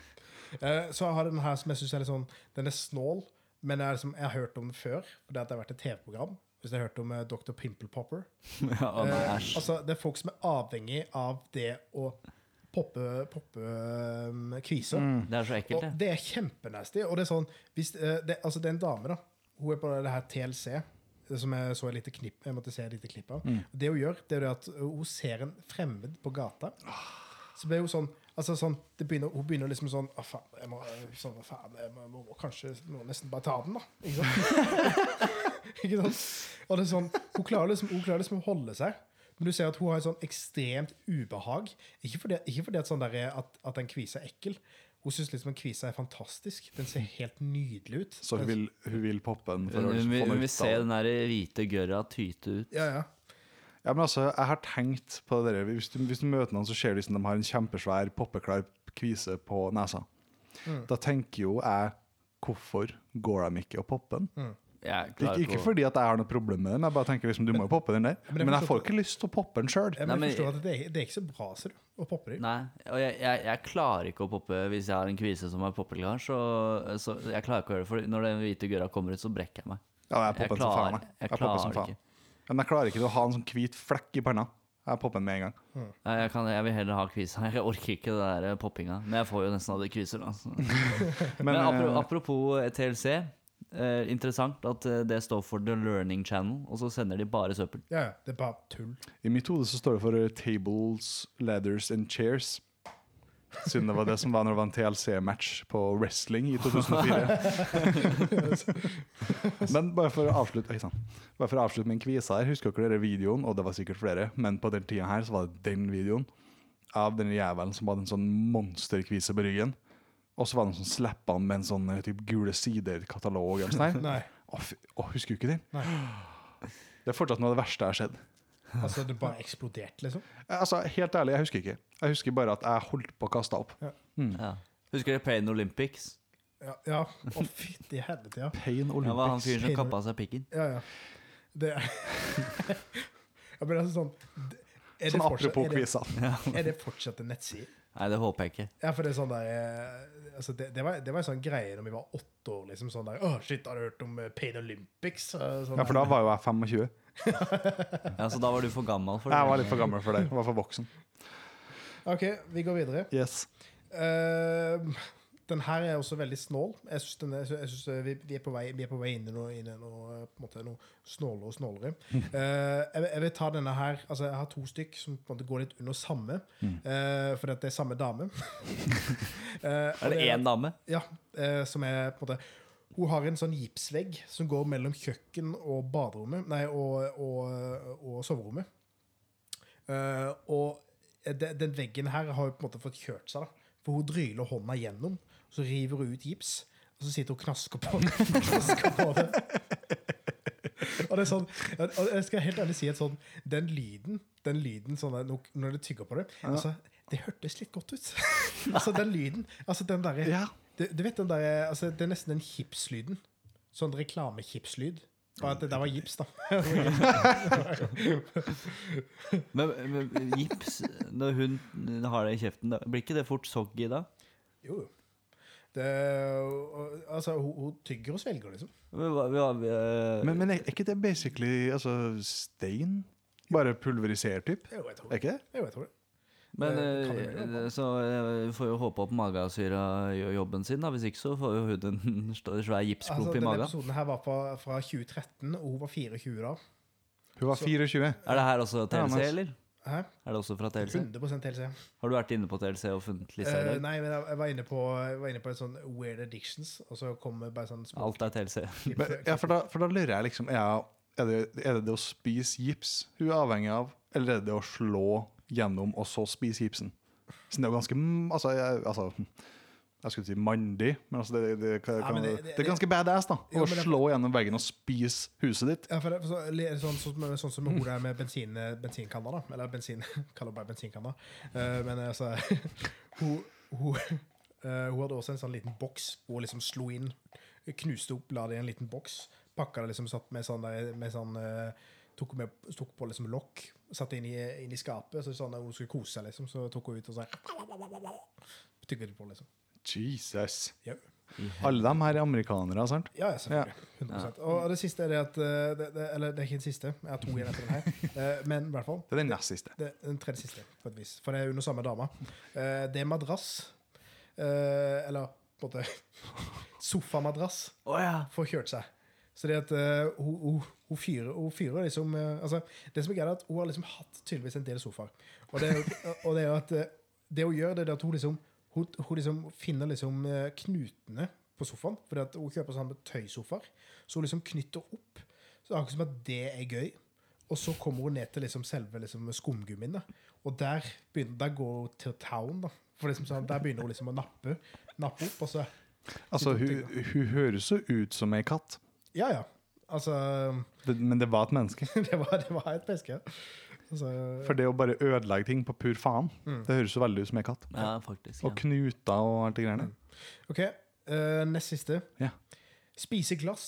[SPEAKER 3] Eh, Så jeg har den her som jeg synes er litt sånn Den er snål, men jeg, er liksom, jeg har hørt om den før. Fordi at det har vært et TV-program. Hvis jeg har hørt om eh, Dr. Pimple Popper.
[SPEAKER 2] Ja, å, nei,
[SPEAKER 3] Eh,
[SPEAKER 2] æsj.
[SPEAKER 3] altså, det er folk som er avhengig av det å poppe, poppe eh, kviser.
[SPEAKER 2] Det er så ekkelt,
[SPEAKER 3] Og
[SPEAKER 2] det.
[SPEAKER 3] det er kjempenasty. Og det er sånn hvis, eh, det, altså, det er en dame, da. Hun er på det her TLC, det som jeg så et lite klipp Jeg måtte se et lite klipp av.
[SPEAKER 2] Mm.
[SPEAKER 3] Det hun gjør, det er det at uh, hun ser en fremmed på gata.
[SPEAKER 2] Ah.
[SPEAKER 3] Så blir hun sånn Altså sånn, det begynner, Hun begynner liksom sånn Å, faen, jeg må, sånn, «Å, faen, jeg må, må, må kanskje må nesten bare ta den, da. Ikke sant? ikke sant? Og det er sånn, hun klarer, liksom, hun klarer liksom å holde seg. Men du ser at hun har et sånn ekstremt ubehag. Ikke fordi, ikke fordi at, sånn der, er at, at en kvise er ekkel. Hun syns liksom en kvise er fantastisk. Den ser helt nydelig ut.
[SPEAKER 1] Så hun vil, hun vil poppe den for
[SPEAKER 2] Hun
[SPEAKER 1] å liksom
[SPEAKER 2] vil,
[SPEAKER 1] få
[SPEAKER 2] hun
[SPEAKER 1] noe
[SPEAKER 2] vil
[SPEAKER 1] ut
[SPEAKER 2] se
[SPEAKER 1] av det.
[SPEAKER 2] den der hvite gørra tyte ut.
[SPEAKER 3] Ja, ja.
[SPEAKER 1] Ja, men altså, jeg har tenkt på det der. Hvis du, hvis du møter noen, så ser du liksom de har en kjempesvær poppeklar kvise på nesa.
[SPEAKER 3] Mm.
[SPEAKER 1] Da tenker jo jeg Hvorfor går de ikke og popper den?
[SPEAKER 3] Mm.
[SPEAKER 2] Jeg
[SPEAKER 1] Ikke,
[SPEAKER 2] klarer
[SPEAKER 1] ikke
[SPEAKER 2] å-
[SPEAKER 1] fordi at jeg har noe problem med den, jeg bare tenker liksom, du må jo poppe den der.
[SPEAKER 3] men jeg
[SPEAKER 1] Men jeg
[SPEAKER 3] forstår-
[SPEAKER 1] får ikke lyst til å poppe den sjøl.
[SPEAKER 3] Jeg,
[SPEAKER 2] Nei, men-
[SPEAKER 3] jeg forstår at det, er- det er ikke så bra, ser du, å poppe dem.
[SPEAKER 2] Nei, og jeg, jeg, jeg klarer ikke å poppe hvis jeg har en kvise som er poppeklar. Så, så jeg klarer ikke å gjøre det, for når den hvite gørra kommer ut, så brekker jeg meg.
[SPEAKER 1] Ja, jeg popper
[SPEAKER 2] Jeg
[SPEAKER 1] den som
[SPEAKER 2] klarer-
[SPEAKER 1] faen. Jeg,
[SPEAKER 2] jeg
[SPEAKER 1] jeg popper som
[SPEAKER 2] klarer
[SPEAKER 1] faen. Men jeg klarer ikke til å ha en sånn hvit flekk i panna. Jeg popper den med en gang.
[SPEAKER 2] Nei, Jeg, kan, jeg vil heller ha kvisa. Jeg orker ikke det der eh, poppinga. Men jeg får jo nesten alle kviser, da. så.
[SPEAKER 1] Men,
[SPEAKER 2] Men apro-
[SPEAKER 1] eh,
[SPEAKER 2] apropos eh, TLC. Eh, interessant at eh, det står for The Learning Channel, og så sender de bare søppel.
[SPEAKER 3] Ja, ja, det er bare tull.
[SPEAKER 1] I mitt hode så står det for eh, Tables, Ladders and Chairs. Siden det var det som var når det var en TLC-match på wrestling i 2004. men bare for å avslutte Oi, sann. Bare for å avslutte med en kvise her. Husker dere videoen? Og det var sikkert flere, men på den tida her så var det den videoen av den jævelen som hadde en sånn monsterkvise på ryggen. Og så var det noen som slappa han med en sånn eh, typ gule sider-katalog. eller noe sånt her.
[SPEAKER 3] Nei.
[SPEAKER 1] Å, fy- å, husker du ikke den?
[SPEAKER 3] Nei.
[SPEAKER 1] Det er fortsatt noe av det verste jeg har sett.
[SPEAKER 3] Altså, det bare eksploderte, liksom.
[SPEAKER 1] Altså, Helt ærlig, jeg husker ikke. Jeg husker bare at jeg holdt på å kaste opp.
[SPEAKER 2] Ja. Husker dere Pain Olympics?
[SPEAKER 3] Ja, ja. Å, fytti helvete, ja.
[SPEAKER 1] Pain
[SPEAKER 2] Det var han
[SPEAKER 1] Olympics.
[SPEAKER 2] fyren som
[SPEAKER 3] Pain Ol-
[SPEAKER 2] kappa seg pikken.
[SPEAKER 3] Ja, ja. Det er Jeg ble altså sånn d- er det
[SPEAKER 1] Sånn
[SPEAKER 3] fortsatt-
[SPEAKER 1] apropos
[SPEAKER 3] er det-
[SPEAKER 1] quizene.
[SPEAKER 3] Er det fortsatt en nettside?
[SPEAKER 2] Nei, det håper jeg ikke.
[SPEAKER 3] Ja, for det er sånn der eh, altså det, det, var, det var en sånn greie når vi var åtte år, liksom. Sånn der Å, shit, har du hørt om eh, Pain Olympics? Eh, Sånn
[SPEAKER 1] Ja, for da var jo jeg 25.
[SPEAKER 2] Ja, Så da var du for gammel for det.
[SPEAKER 1] Jeg var litt for gammel for det. Jeg var for voksen.
[SPEAKER 3] der. OK, vi går videre.
[SPEAKER 1] Yes.
[SPEAKER 3] Eh, den her er også veldig snål. Jeg synes den er, jeg synes eh, vi, vi, er på vei, vi er på vei inn i noe, inn i noe, eh, på en måte, noe snålere og snålere. Eh, jeg, vil- jeg vil ta denne her altså Jeg har to stykk som på en måte går litt under samme,
[SPEAKER 1] Mm.
[SPEAKER 3] eh, fordi at det er samme dame. Eh, og
[SPEAKER 2] Er det én dame?
[SPEAKER 3] Ja, eh, som er på en måte Hun har en sånn gipsvegg som går mellom kjøkken og baderommet Nei, og, og, og soverommet. Eh, og eh, de, den veggen her har jo på en måte fått kjørt seg, da. For hun dryler hånda gjennom, så river hun ut gips, og så sitter hun og knasker på, knasker på det. Og det er sånn, og jeg skal helt ærlig si at sånn, den lyden, den lyden sånn, der, når- når du tygger på det, altså, det hørtes litt godt ut. altså den lyden, altså den derre
[SPEAKER 1] Ja.
[SPEAKER 3] du, du vet den der, altså, Det er nesten den gipslyden. Sånn reklamegipslyd. Bare at det der var gips, da.
[SPEAKER 2] Men, men gips, når hun har det i kjeften, da, blir ikke det fort soggy da?
[SPEAKER 3] Jo, jo. Det, og- altså, hun, hun tygger og svelger, liksom.
[SPEAKER 2] Men, hva- hva- hva-
[SPEAKER 1] Men, men er er ikke det basically altså, stein? Bare pulverisert, typ?
[SPEAKER 3] Jo, jeg tror
[SPEAKER 1] Er
[SPEAKER 3] det.
[SPEAKER 1] ikke det?
[SPEAKER 3] Jo, jeg tror det.
[SPEAKER 2] Men
[SPEAKER 3] Eh, kan
[SPEAKER 2] eh,
[SPEAKER 3] det bli noe?
[SPEAKER 2] så eh, vi får jo håpe at magasyra gjør jobben sin, da. Hvis ikke så får jo hun en st- svær
[SPEAKER 3] Altså,
[SPEAKER 2] gipsklump i
[SPEAKER 3] denne
[SPEAKER 2] magen.
[SPEAKER 3] episoden her var fra, fra 2013, og hun var 24 da.
[SPEAKER 1] Hun var 24.
[SPEAKER 2] Er det her også
[SPEAKER 1] Ja,
[SPEAKER 2] TLC,
[SPEAKER 1] men-
[SPEAKER 2] eller?
[SPEAKER 3] Hæ?
[SPEAKER 2] Er det også fra TLC?
[SPEAKER 3] 100 TLC.
[SPEAKER 2] Har du vært inne på TLC og funnet lista i
[SPEAKER 3] Eh,
[SPEAKER 2] dag?
[SPEAKER 3] nei, men jeg, jeg, var inne på, jeg var inne på et sånn Weird Addictions, og så kom det bare sånn små
[SPEAKER 2] Alt er TLC.
[SPEAKER 3] klipp.
[SPEAKER 1] Men, ja, for da, for da lurer jeg liksom er, jeg- er, det, er det det å spise gips hun er avhengig av, eller er det det å slå gjennom og så spise gipsen? Så det er jo ganske mm, Altså, jeg, altså jeg skulle si mandig, men altså det, det, det, kan,
[SPEAKER 3] Ja, men det-
[SPEAKER 1] det,
[SPEAKER 3] det-
[SPEAKER 1] er ganske badass, da.
[SPEAKER 3] Ja,
[SPEAKER 1] Å
[SPEAKER 3] men det-
[SPEAKER 1] slå gjennom veggen og spise huset ditt.
[SPEAKER 3] Ja, for det, er så, li- sånn, sånn, sånn, sånn som med hun der med bensin, eh, bensinkanna, da. Eller bensin, kaller det bare bensinkanna. Eh, men altså Hun, hun, eh, hun hadde også en sånn liten boks hvor hun liksom slo inn, knuste opp, la det i en liten boks. Pakka det liksom satt med sånn, der, med sånn eh, tok hun med, tok på liksom lokk, satte inn i, inn i skapet, så sånn at hun skulle kose seg, liksom, så tok hun ut og sånn Tygget på, liksom.
[SPEAKER 1] Jesus.
[SPEAKER 3] Ja,
[SPEAKER 1] Alle dem her er amerikanere, sant?
[SPEAKER 3] ja, ja selvfølgelig. 100 Og det siste er det at eh, det, det, Eller det er ikke den siste, jeg har to igjen etter den her. Eh, Men i hvert fall.
[SPEAKER 1] Det er den nest siste.
[SPEAKER 3] Det, den tredje siste, på et vis. For det er under samme dama. Eh, det er madrass. Eh, eller på en måte Sofamadrass
[SPEAKER 2] Å ja.
[SPEAKER 3] får kjørt seg. Så det at eh, hun, hun, hun, fyrer, hun fyrer liksom eh, altså, Det som er greit, er at hun har liksom hatt tydeligvis en del sofaer. Og det er jo, og det er jo at eh, det hun gjør, det er at hun liksom hun, hun liksom finner liksom eh, knutene på sofaen. Fordi at hun kjøper sånne tøysofaer. Så hun liksom knytter opp. Så det er akkurat som at det er gøy. Og så kommer hun ned til liksom selve liksom skumgummien. Da. Og der, begynner, der går hun til town. Da. For liksom sånn, der begynner hun liksom å nappe, nappe opp. Og så
[SPEAKER 1] Altså, hun, hun høres jo ut som ei katt,
[SPEAKER 3] Ja, ja. Altså
[SPEAKER 1] det, men det var et menneske.
[SPEAKER 3] det, var, det var et menneske. Altså,
[SPEAKER 1] For det å bare ødelegge ting på pur faen, det høres jo veldig ut som ei katt.
[SPEAKER 2] ja, faktisk.
[SPEAKER 1] Og
[SPEAKER 2] Ja.
[SPEAKER 1] knuter og alt det greiene.
[SPEAKER 3] OK, eh, nest siste.
[SPEAKER 1] Ja.
[SPEAKER 3] Spise glass.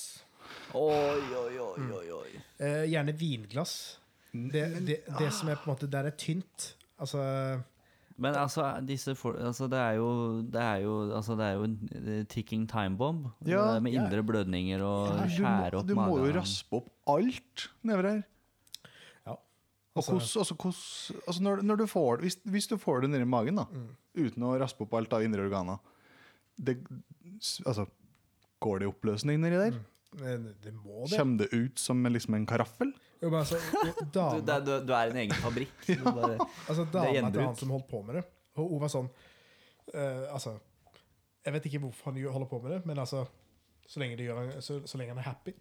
[SPEAKER 2] Oi, oi, oi, oi, oi.
[SPEAKER 3] Eh, gjerne vinglass. Det, det, det som er på en måte der det er tynt. Altså
[SPEAKER 2] Men altså, disse for, altså, det er jo Det er jo, altså, det er jo en eh, ticking time bomb.
[SPEAKER 1] Ja.
[SPEAKER 2] eh, med indre blødninger og
[SPEAKER 1] Du
[SPEAKER 2] skjære
[SPEAKER 1] må,
[SPEAKER 2] opp
[SPEAKER 1] du må jo
[SPEAKER 2] magen.
[SPEAKER 1] raspe opp alt nedover her.
[SPEAKER 3] Ja.
[SPEAKER 1] Og hvordan, altså, hvordan, altså når, når du får, hvis, hvis du får det nedi magen, da, uten å raspe opp alt av indre organer det, s- altså, Går det i oppløsning nedi der?
[SPEAKER 3] Det, det må det.
[SPEAKER 1] Kommer det ut som en- liksom en karaffel?
[SPEAKER 3] Jo, men altså,
[SPEAKER 2] Du, det
[SPEAKER 3] dama,
[SPEAKER 2] er- du, du er en egen fabrikk. Du bare, det
[SPEAKER 3] altså,
[SPEAKER 2] er
[SPEAKER 3] dama til
[SPEAKER 2] gjenbruk.
[SPEAKER 3] han som holdt på med det, og hun var sånn eh, Altså Jeg vet ikke hvorfor han gjør- holder på med det, men altså Så lenge, det gjør, så, så lenge han er happy,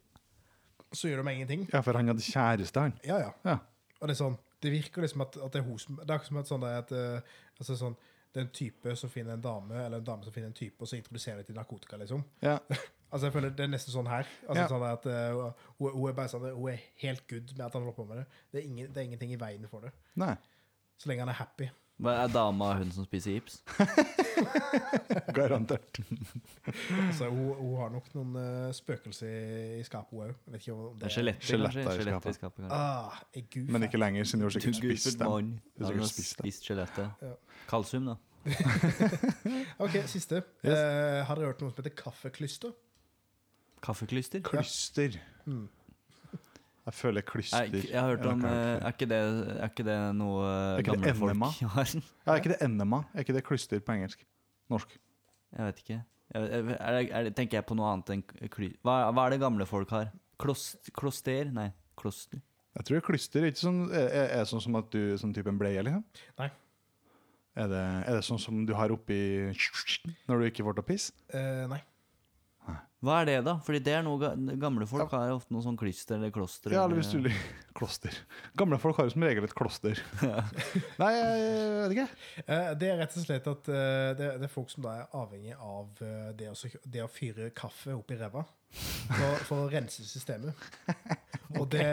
[SPEAKER 3] så gjør det meg ingenting.
[SPEAKER 1] Ja, for han hadde kjæreste, han.
[SPEAKER 3] Ja, ja.
[SPEAKER 1] Ja.
[SPEAKER 3] Og det er sånn Det virker liksom at, at det er hun som Det er akkurat som at sånn der at eh, altså sånn, Det er en type som finner en dame, eller en dame som finner en type, og så introduserer de til narkotika, liksom.
[SPEAKER 1] ja.
[SPEAKER 3] Altså jeg føler Det er nesten sånn her. Altså
[SPEAKER 1] Ja.
[SPEAKER 3] sånn der at eh, hun, hun er bare sånn Hun er helt good med at han holder på med det. Det er, ingen, det er ingenting i veien for det.
[SPEAKER 1] Nei.
[SPEAKER 3] Så lenge han er happy.
[SPEAKER 2] Hva er dama hun som spiser gips?
[SPEAKER 1] Garantert.
[SPEAKER 3] Altså Hun, hun har nok noen eh, spøkelser i- i skapet, hun òg. Vet ikke om
[SPEAKER 2] Det
[SPEAKER 3] det
[SPEAKER 2] er skjeletter,
[SPEAKER 1] Skjeletter
[SPEAKER 2] kanskje?
[SPEAKER 1] i
[SPEAKER 2] Skjeletter i
[SPEAKER 1] skapet.
[SPEAKER 2] skapet, kanskje.
[SPEAKER 3] Ah, er gud
[SPEAKER 1] Men ikke lenger, siden du har
[SPEAKER 2] Du
[SPEAKER 1] sikkert spist
[SPEAKER 2] gulpet
[SPEAKER 1] dem.
[SPEAKER 2] mann.
[SPEAKER 1] Du har
[SPEAKER 2] Ja, hun har
[SPEAKER 1] sikkert spist dem.
[SPEAKER 2] spist skjelettet.
[SPEAKER 3] Ja.
[SPEAKER 2] Kalsium, da.
[SPEAKER 3] OK, siste.
[SPEAKER 1] Yes.
[SPEAKER 3] Eh, har dere hørt noe som heter kaffeklyster?
[SPEAKER 2] Kaffeklyster?
[SPEAKER 1] Klyster. Jeg føler klyster.
[SPEAKER 2] Er, jeg har hørt om eh, Er ikke det, er ikke det noe eh,
[SPEAKER 1] Er ikke
[SPEAKER 2] gamle
[SPEAKER 1] det enema?
[SPEAKER 2] folk har?
[SPEAKER 1] Ja, er ikke det enema? Er ikke det klyster på engelsk? Norsk.
[SPEAKER 2] Jeg vet ikke. Jeg, jeg, er, det- er, det- tenker jeg på noe annet enn kly... Hva, hva er det gamle folk har? Klost, kloster? Nei, kloster.
[SPEAKER 1] Jeg tror klyster er ikke sånn, er, er- er sånn som at du sånn type en bleie, liksom.
[SPEAKER 3] Nei.
[SPEAKER 1] Er det, er det sånn som du har oppi når du ikke får til å pisse?
[SPEAKER 3] Eh, nei.
[SPEAKER 2] Hva er det, da? Fordi det er noe ga- gamle folk har jo ofte noe sånn klyster eller kloster.
[SPEAKER 1] Ja, eller hvis du liker kloster. Gamle folk har jo som regel et kloster. Nei, jeg vet ikke.
[SPEAKER 3] Eh, Det er rett og slett at eh, det, det er folk som da er avhengig av eh, det å, så- det å fyre kaffe opp i ræva for, for å rense systemet. Og det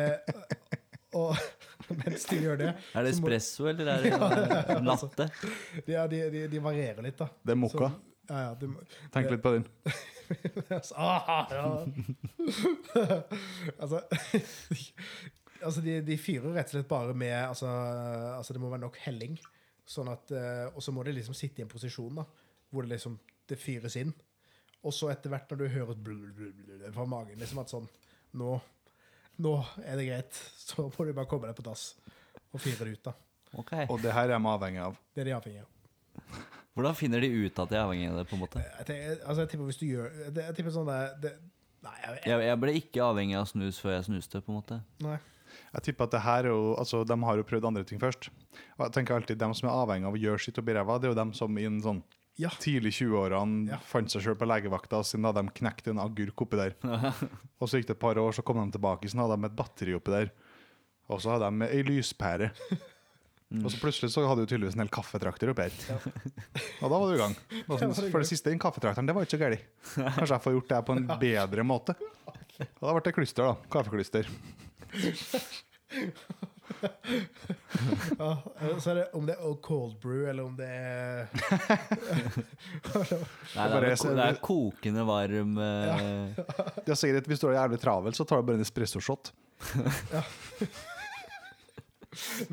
[SPEAKER 3] og, Mens de gjør det
[SPEAKER 2] Er det
[SPEAKER 3] så må-
[SPEAKER 2] espresso, eller er det latte?
[SPEAKER 3] Ja, de, de, de varierer litt, da.
[SPEAKER 1] Det er mokka.
[SPEAKER 3] Så- Ja, ja, de,
[SPEAKER 1] Tenk litt på den.
[SPEAKER 3] altså, ah, ja. altså, altså de, de fyrer rett og slett bare med altså, altså det må være nok helling. Sånn at, eh, og så må det liksom sitte i en posisjon da, hvor det liksom det fyres inn. Og så etter hvert når du hører et blul, blul, blul fra magen, liksom at sånn, nå, nå er det greit. Så må du bare komme deg på dass og fyre det ut da.
[SPEAKER 2] Ok.
[SPEAKER 1] Og det her er man avhengig av.
[SPEAKER 3] Det er de avhengig av.
[SPEAKER 2] Hvordan finner de ut at de er avhengig av det, på en måte?
[SPEAKER 3] Jeg tenker, altså jeg tipper hvis du gjør, det- jeg tipper sånn der, det, nei, jeg, jeg,
[SPEAKER 2] Jeg, jeg ble ikke avhengig av snus før jeg snuste, på en måte.
[SPEAKER 3] nei.
[SPEAKER 1] Jeg tipper at det her er jo, altså, de har jo prøvd andre ting først. Og jeg tenker alltid, De som er avhengig av å gjøre sitt oppi ræva, det er jo dem som i en sånn
[SPEAKER 3] Ja.
[SPEAKER 1] tidlig 20-årene
[SPEAKER 3] Ja.
[SPEAKER 1] fant seg sjøl på legevakta, siden hadde de knekt en agurk oppi der. og så gikk det et par år, så kom de tilbake, så hadde de et batteri oppi der. Og så hadde de ei lyspære.
[SPEAKER 3] Mm.
[SPEAKER 1] Og så plutselig så hadde du tydeligvis en hel kaffetrakter oppi her. Og da var du i gang. Og
[SPEAKER 3] Ja, da var
[SPEAKER 1] så-
[SPEAKER 3] du i
[SPEAKER 1] For
[SPEAKER 3] gang.
[SPEAKER 1] det siste, den kaffetrakteren, det var ikke så gærent. Kanskje jeg får gjort det her på en bedre måte. Og da ble det klyster, da. Kaffeklyster.
[SPEAKER 3] Ja, eh, så er det om det er Old cold brew, eller om det er
[SPEAKER 2] Nei, det,
[SPEAKER 1] bare
[SPEAKER 2] er,
[SPEAKER 1] jeg ser-
[SPEAKER 2] det er kokende varm eh,
[SPEAKER 1] Det er sikkert, Hvis du er jævlig travel, så tar du bare en espresso-shot.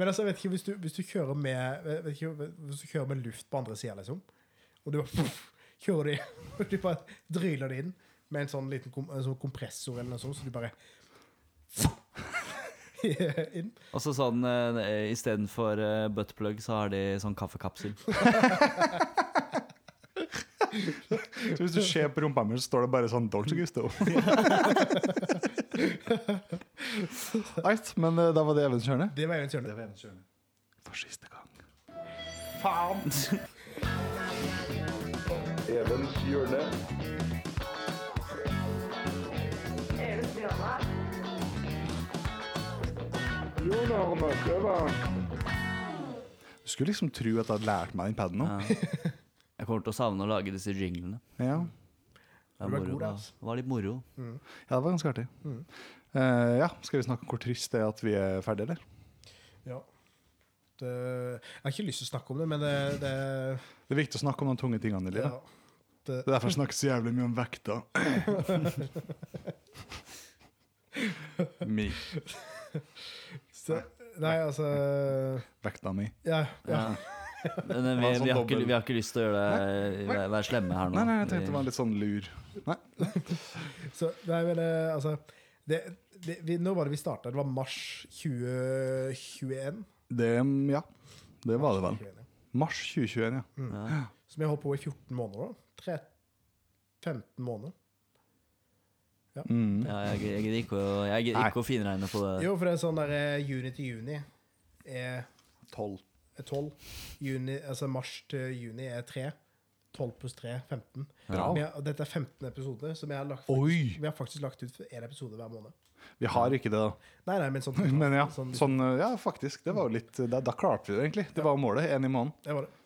[SPEAKER 3] Men altså, jeg vet ikke, hvis du, hvis du kjører med jeg vet ikke, Hvis du kjører med luft på andre sida, liksom, og du bare puff, kjører det og du bare dryler det inn med en sånn liten kom, en sånn kompressor eller noe sånt, så du bare inn.
[SPEAKER 2] Og så sånn eh, istedenfor eh, buttplug, så har de sånn kaffekapsel.
[SPEAKER 1] Så Hvis du ser på rumpa mi, så står det bare sånn Dolce Gusto. Eit, men eh, da var det eventyrene.
[SPEAKER 3] Det var Evens hjørne.
[SPEAKER 1] For siste gang.
[SPEAKER 5] Evens hjørne.
[SPEAKER 6] Evens hjørne.
[SPEAKER 5] Jo, Norma, det var
[SPEAKER 1] Du skulle liksom tro at jeg hadde lært meg den paden nå.
[SPEAKER 2] Ja. Jeg kommer til å savne å lage disse jinglene.
[SPEAKER 1] Ja.
[SPEAKER 2] Det
[SPEAKER 3] Du
[SPEAKER 2] er
[SPEAKER 3] er
[SPEAKER 2] moro,
[SPEAKER 3] god,
[SPEAKER 2] da.
[SPEAKER 1] altså.
[SPEAKER 3] ass.
[SPEAKER 2] Det var litt moro.
[SPEAKER 1] ja, det var ganske artig. Eh, ja, Skal vi snakke om hvor trist det er at vi er ferdige, eller?
[SPEAKER 3] Ja. Det, jeg har ikke lyst til å snakke om det, men det, det,
[SPEAKER 1] Det er viktig å snakke om de tunge tingene i
[SPEAKER 3] ja.
[SPEAKER 1] livet. Det er derfor jeg snakker så jævlig mye om vekta. mi.
[SPEAKER 3] Så, Nei, altså
[SPEAKER 1] Vekta mi.
[SPEAKER 3] Ja. ja.
[SPEAKER 2] Ja. Men eh, vi,
[SPEAKER 1] Det var sånn
[SPEAKER 2] vi, har ikke,
[SPEAKER 1] dobbel-
[SPEAKER 2] vi har ikke lyst til å gjøre deg være, være slemme her nå.
[SPEAKER 1] Nei, nei, jeg tenkte det
[SPEAKER 2] Vi-
[SPEAKER 1] var litt sånn lur. Nei,
[SPEAKER 3] Så, nei, men eh, altså det, det, vi, Når var det vi starta? Det var mars 2021?
[SPEAKER 1] det mm, Ja, det var det vel.
[SPEAKER 3] 2021, ja.
[SPEAKER 1] Mars 2021, ja.
[SPEAKER 2] ja.
[SPEAKER 3] Som jeg holdt på i 14 måneder, da. Tre, 15 måneder.
[SPEAKER 1] Mm.
[SPEAKER 2] Ja, jeg gidder- jeg gidder ikke, å- jeg gidder
[SPEAKER 1] Nei.
[SPEAKER 2] ikke å finregne på det.
[SPEAKER 3] Jo, for det er sånn der eh, juni til juni er,
[SPEAKER 1] 12.
[SPEAKER 3] er 12. Juni, altså mars til juni er 3. 12 pluss 3 15.
[SPEAKER 1] Bra.
[SPEAKER 3] Vi har, og dette er 15 episoder, så vi har, lagt,
[SPEAKER 1] Oi!
[SPEAKER 3] vi har faktisk lagt ut én episode hver måned.
[SPEAKER 1] Vi har ikke det, da.
[SPEAKER 3] Nei, nei, men sånn
[SPEAKER 1] Men ja,
[SPEAKER 3] sånn-
[SPEAKER 1] sånn, ja faktisk. Det var jo litt Da, da klarte vi det, egentlig. Det var jo målet. Én i måneden.
[SPEAKER 3] Det var det.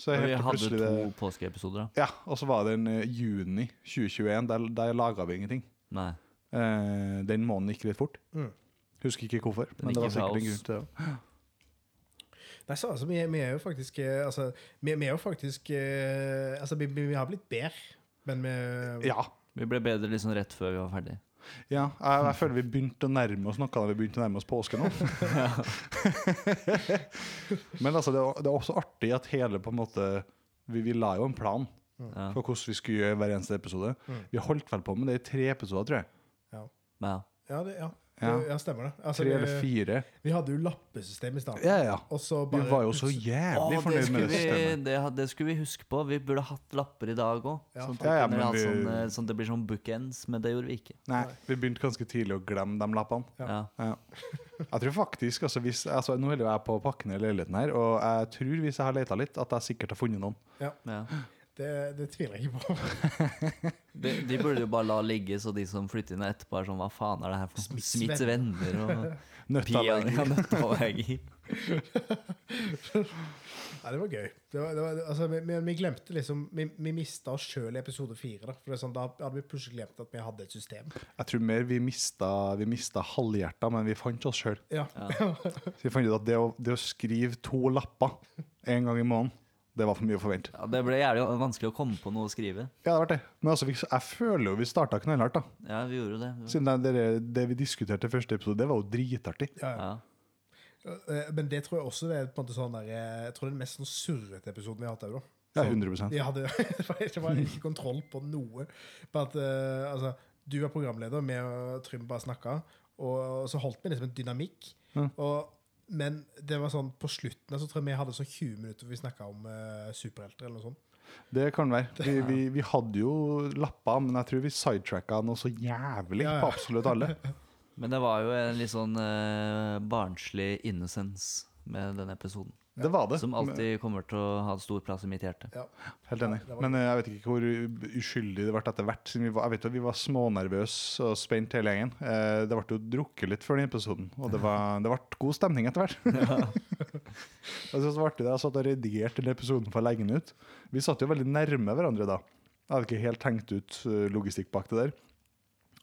[SPEAKER 1] Så
[SPEAKER 2] Men
[SPEAKER 1] helt
[SPEAKER 2] Vi
[SPEAKER 1] til
[SPEAKER 2] hadde
[SPEAKER 1] plutselig
[SPEAKER 2] to
[SPEAKER 1] det
[SPEAKER 2] påskeepisoder, da.
[SPEAKER 1] Ja, og så var det en eh, juni 2021. Der, der laga vi ingenting.
[SPEAKER 2] Nei.
[SPEAKER 1] Eh, den måneden gikk litt fort.
[SPEAKER 3] Mm.
[SPEAKER 1] Husker ikke hvorfor, men
[SPEAKER 2] gikk
[SPEAKER 1] det var
[SPEAKER 2] i
[SPEAKER 1] sikkert en
[SPEAKER 2] kaos.
[SPEAKER 1] grunn til det.
[SPEAKER 3] Nei, så altså, vi, er- vi er jo faktisk eh, Altså, vi, vi er jo faktisk eh, Altså, vi, vi, vi har blitt bedre, men vi
[SPEAKER 1] Ja.
[SPEAKER 2] Vi ble bedre liksom rett før vi var ferdig.
[SPEAKER 1] Ja, jeg, jeg føler vi begynte å nærme oss noe da vi begynte å nærme oss påske nå. Men altså, det, er- det er også artig at hele på en måte vi, vi la jo en plan
[SPEAKER 2] Ja.
[SPEAKER 1] for hvordan vi skulle gjøre hver eneste episode.
[SPEAKER 2] Mm.
[SPEAKER 1] Vi holdt vel på med det i tre episoder, tror jeg.
[SPEAKER 2] Men ja.
[SPEAKER 3] Ja, det, ja.
[SPEAKER 1] Ja.
[SPEAKER 3] Det, ja stemmer det. Altså,
[SPEAKER 1] Tre eller
[SPEAKER 3] vi,
[SPEAKER 1] fire.
[SPEAKER 3] vi hadde jo lappesystem i starten.
[SPEAKER 1] Ja, ja.
[SPEAKER 3] Og så
[SPEAKER 1] Vi
[SPEAKER 3] bare
[SPEAKER 1] var jo så
[SPEAKER 3] plutselig-
[SPEAKER 1] jævlig
[SPEAKER 2] Å, det,
[SPEAKER 1] fornøyd med
[SPEAKER 2] skulle
[SPEAKER 1] det
[SPEAKER 2] vi,
[SPEAKER 1] systemet.
[SPEAKER 2] det, ha- det skulle vi huske på. Vi burde hatt lapper i dag òg.
[SPEAKER 3] Ja,
[SPEAKER 2] sånn, at
[SPEAKER 1] ja, ja,
[SPEAKER 2] vi kunne
[SPEAKER 1] men
[SPEAKER 2] hatt
[SPEAKER 1] vi-
[SPEAKER 2] sånn, eh, sånn at det blir sånn bookends, men det gjorde vi ikke.
[SPEAKER 1] Nei, vi begynte ganske tidlig å glemme de lappene.
[SPEAKER 2] Ja.
[SPEAKER 1] Ja. Jeg tror faktisk, altså, hvis, altså, Nå holder jeg på å pakke ned leiligheten her, og jeg tror hvis jeg har leta litt, at jeg sikkert har funnet noen.
[SPEAKER 2] Ja.
[SPEAKER 3] Det, det tviler jeg ikke på.
[SPEAKER 2] De, de burde jo bare la ligge, så de som flytter inn etterpå, er sånn Hva faen er det her for noe?
[SPEAKER 3] Smiths
[SPEAKER 2] Smiths venner og
[SPEAKER 1] Nøtteallergi.
[SPEAKER 2] Pia- ja, nøtteallergi.
[SPEAKER 3] Ja, det var gøy. Det var, det var, altså, vi, vi, vi glemte liksom Vi, vi mista oss sjøl i episode fire. Da. For det er sånn, da hadde vi plutselig glemt at vi hadde et system.
[SPEAKER 1] Jeg tror mer vi mista, vi mista halvhjerta, men vi fant oss sjøl.
[SPEAKER 3] Ja.
[SPEAKER 1] Så vi fant ut at det å, det å skrive to lapper én gang i måneden, det var for mye å forvente.
[SPEAKER 2] Ja, det ble jævlig vanskelig å komme på noe å skrive.
[SPEAKER 1] Ja, det har vært det. Men altså, vi, jeg føler jo vi starta knallhardt, da.
[SPEAKER 2] Ja, vi gjorde det.
[SPEAKER 1] Siden det, det, det vi diskuterte i første episode, det var jo dritartig.
[SPEAKER 2] Ja.
[SPEAKER 3] Eh, Men det tror jeg også det er på en måte sånn der, eh, Jeg tror det er den mest sånn surrete episoden vi har hatt òg, da.
[SPEAKER 1] Ja, 100
[SPEAKER 3] Vi hadde det var- det var ikke kontroll på noe. På at, eh, altså, du var programleder, vi og Trym bare snakka. Og så holdt vi liksom en dynamikk. Og, men det var sånn på slutten så tror jeg vi hadde sånn 20 minutter hvor vi snakka om eh, superhelter eller noe sånt.
[SPEAKER 1] Det kan være. Vi, vi, vi hadde jo lapper, men jeg tror vi sidetracka noe så jævlig
[SPEAKER 3] Ja, ja.
[SPEAKER 1] på absolutt alle.
[SPEAKER 2] Men det var jo en litt sånn eh, barnslig innocence med denne episoden.
[SPEAKER 1] Det var det.
[SPEAKER 2] Som alltid kommer til å ha stor plass i mitt hjerte.
[SPEAKER 3] Ja.
[SPEAKER 1] Helt enig.
[SPEAKER 3] det var-
[SPEAKER 1] Men eh, jeg vet ikke hvor u- uskyldig det ble etter hvert. Siden vi var, jeg vet jo at vi var smånervøse og spent hele gjengen. Eh, Det ble jo drukket litt før den episoden, og det, var, det ble god stemning etter hvert. Jeg synes det var artig da jeg satt og redigerte den episoden for å legge den ut. Vi satt jo veldig nærme hverandre da. Jeg hadde ikke helt tenkt ut eh, logistikk bak det der.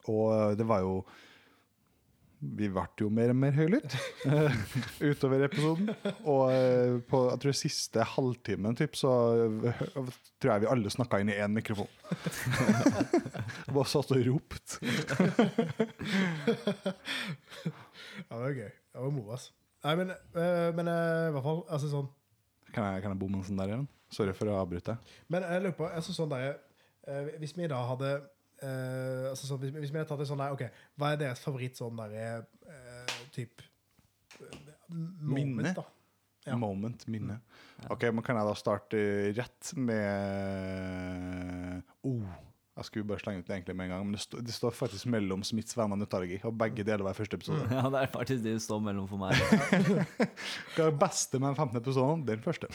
[SPEAKER 1] Og eh, det var jo Vi ble jo mer og mer høylytt eh, utover episoden. Og eh, på jeg tror siste halvtimen typ, så eh, tror jeg vi alle snakka inn i én mikrofon. Bare satt og ropte.
[SPEAKER 3] Ja, det var gøy. Det var moro, altså. Nei, men, eh, men eh, i hvert fall altså sånn,
[SPEAKER 1] Kan jeg, kan jeg bomme en sånn der igjen? Sorry for å avbryte.
[SPEAKER 3] Men jeg lurer på altså sånn der, eh, Hvis vi da hadde eh, altså sånn, hvis, hvis vi hadde tatt en sånn der ok, Hva er deres favoritt sånn der eh, typ, eh, moment,
[SPEAKER 1] Minne?
[SPEAKER 3] Da? Ja.
[SPEAKER 1] Moment, minne. Ok, men Kan jeg da starte rett med oh, Jeg skulle bare slenge ut det egentlig med en gang, men det, sto- det står faktisk mellom Smiths venner og Nutargi, og begge deler var i første episode.
[SPEAKER 2] Ja, det er faktisk det det står mellom for meg.
[SPEAKER 1] Hva er det beste med den 15. episoden? Den første.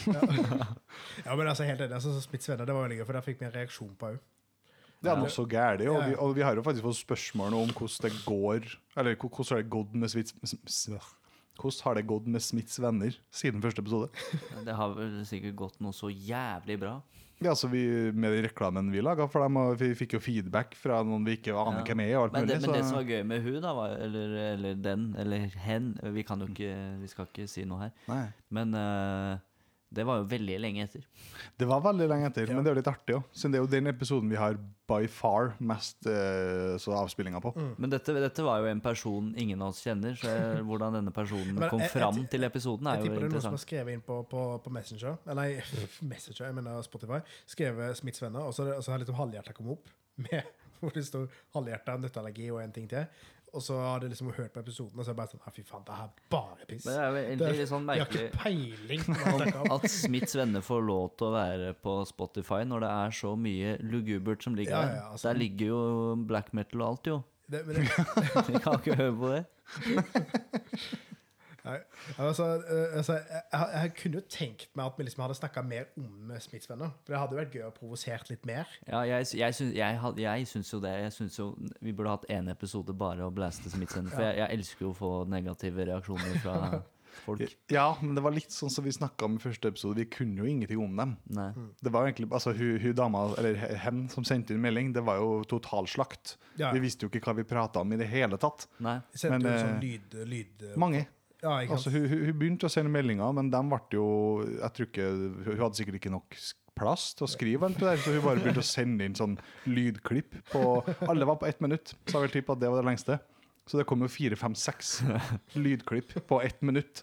[SPEAKER 3] Ja, men altså helt enig, altså, Smiths venner, det var veldig gøy, for der fikk vi en reaksjon på òg.
[SPEAKER 1] Det er noe så gærent. Og,
[SPEAKER 3] Ja, ja.
[SPEAKER 1] vi- og vi har jo faktisk fått spørsmål nå om hvordan det går Eller hvor- hvordan har det gått med Smiths s- s- Hvordan har det gått med Smiths venner siden første episode?
[SPEAKER 2] Det har vel sikkert gått noe så jævlig bra.
[SPEAKER 1] Ja, så vi, Med den reklamen vi laga for dem, og vi fikk jo feedback fra noen vi ikke aner
[SPEAKER 2] Ja.
[SPEAKER 1] hvem er. og alt
[SPEAKER 2] Men det,
[SPEAKER 1] mulig,
[SPEAKER 2] men det som
[SPEAKER 1] så-
[SPEAKER 2] var gøy med hun, da, var, eller, eller den, eller hen Vi kan jo ikke, vi skal ikke si noe her.
[SPEAKER 1] Nei.
[SPEAKER 2] Men eh, det var jo veldig lenge etter.
[SPEAKER 1] Det var veldig lenge etter, men det er jo litt artig òg. Siden det er jo den episoden vi har by far mest eh, så avspillinga på.
[SPEAKER 2] Men dette, dette var jo en person ingen av oss kjenner, så jeg- hvordan denne personen
[SPEAKER 3] Men
[SPEAKER 2] kom
[SPEAKER 3] jeg- jeg
[SPEAKER 2] fram
[SPEAKER 3] ti-
[SPEAKER 2] til episoden,
[SPEAKER 3] Jeg
[SPEAKER 2] er jo
[SPEAKER 3] tipper det er noen som har
[SPEAKER 2] interessant.
[SPEAKER 3] skrevet inn på, på, på Messenger, Eh, nei, Messenger, jeg mener Spotify, skrevet Smiths venner, og så, og så har liksom halvhjertet kommet opp, med, hvor det står halvhjertet, nøtteallergi og en ting til. Og så har de liksom hørt på episoden, og så er det bare sånn, ja fy faen, det her er bare piss.
[SPEAKER 2] Men det er jo egentlig litt sånn
[SPEAKER 3] Jeg har
[SPEAKER 2] merkelig
[SPEAKER 3] ikke peiling på hva det er.
[SPEAKER 2] at Smiths venner får lov til å være på Spotify når det er så mye lugubert som ligger
[SPEAKER 3] Ja,
[SPEAKER 2] der.
[SPEAKER 3] ja, altså.
[SPEAKER 2] Der ligger jo black metal og alt, jo.
[SPEAKER 3] Det- men det-
[SPEAKER 2] Vi kan ikke høre på det.
[SPEAKER 3] Nei, altså, eh, altså, jeg, jeg jeg kunne jo tenkt meg at vi liksom hadde snakka mer om Smiths venner. For det hadde jo vært gøy å provosert litt mer.
[SPEAKER 2] Ja, jeg, sy- jeg, syns, jeg, had- jeg syns jo det. Jeg syns jo Vi burde hatt én episode bare å blaste Smiths venner. For jeg, jeg elsker jo å få negative reaksjoner fra folk.
[SPEAKER 1] Ja, men det var litt sånn som vi snakka om i første episode. Vi kunne jo ingenting om dem.
[SPEAKER 2] Nei.
[SPEAKER 1] Det var egentlig, altså Hun, hun dama, eller he- hen, som sendte inn melding, det var jo totalslakt.
[SPEAKER 3] Ja, ja.
[SPEAKER 1] Vi visste jo ikke hva vi prata om i det hele tatt.
[SPEAKER 2] Nei.
[SPEAKER 3] Sendte
[SPEAKER 1] Men,
[SPEAKER 3] jo en sånn
[SPEAKER 1] eh,
[SPEAKER 3] lyd... lyd
[SPEAKER 1] Mange.
[SPEAKER 3] ja, ikke sant?
[SPEAKER 1] Altså, hun, hun hun begynte å sende meldinger, men dem ble jo Jeg tror ikke Hun hadde sikkert ikke nok s- plass til å skrive alt det der, så hun bare begynte å sende inn sånn lydklipp på Alle var på ett minutt, så jeg vil tippe at det var det lengste. Så det kom jo fire, fem, seks lydklipp på ett minutt.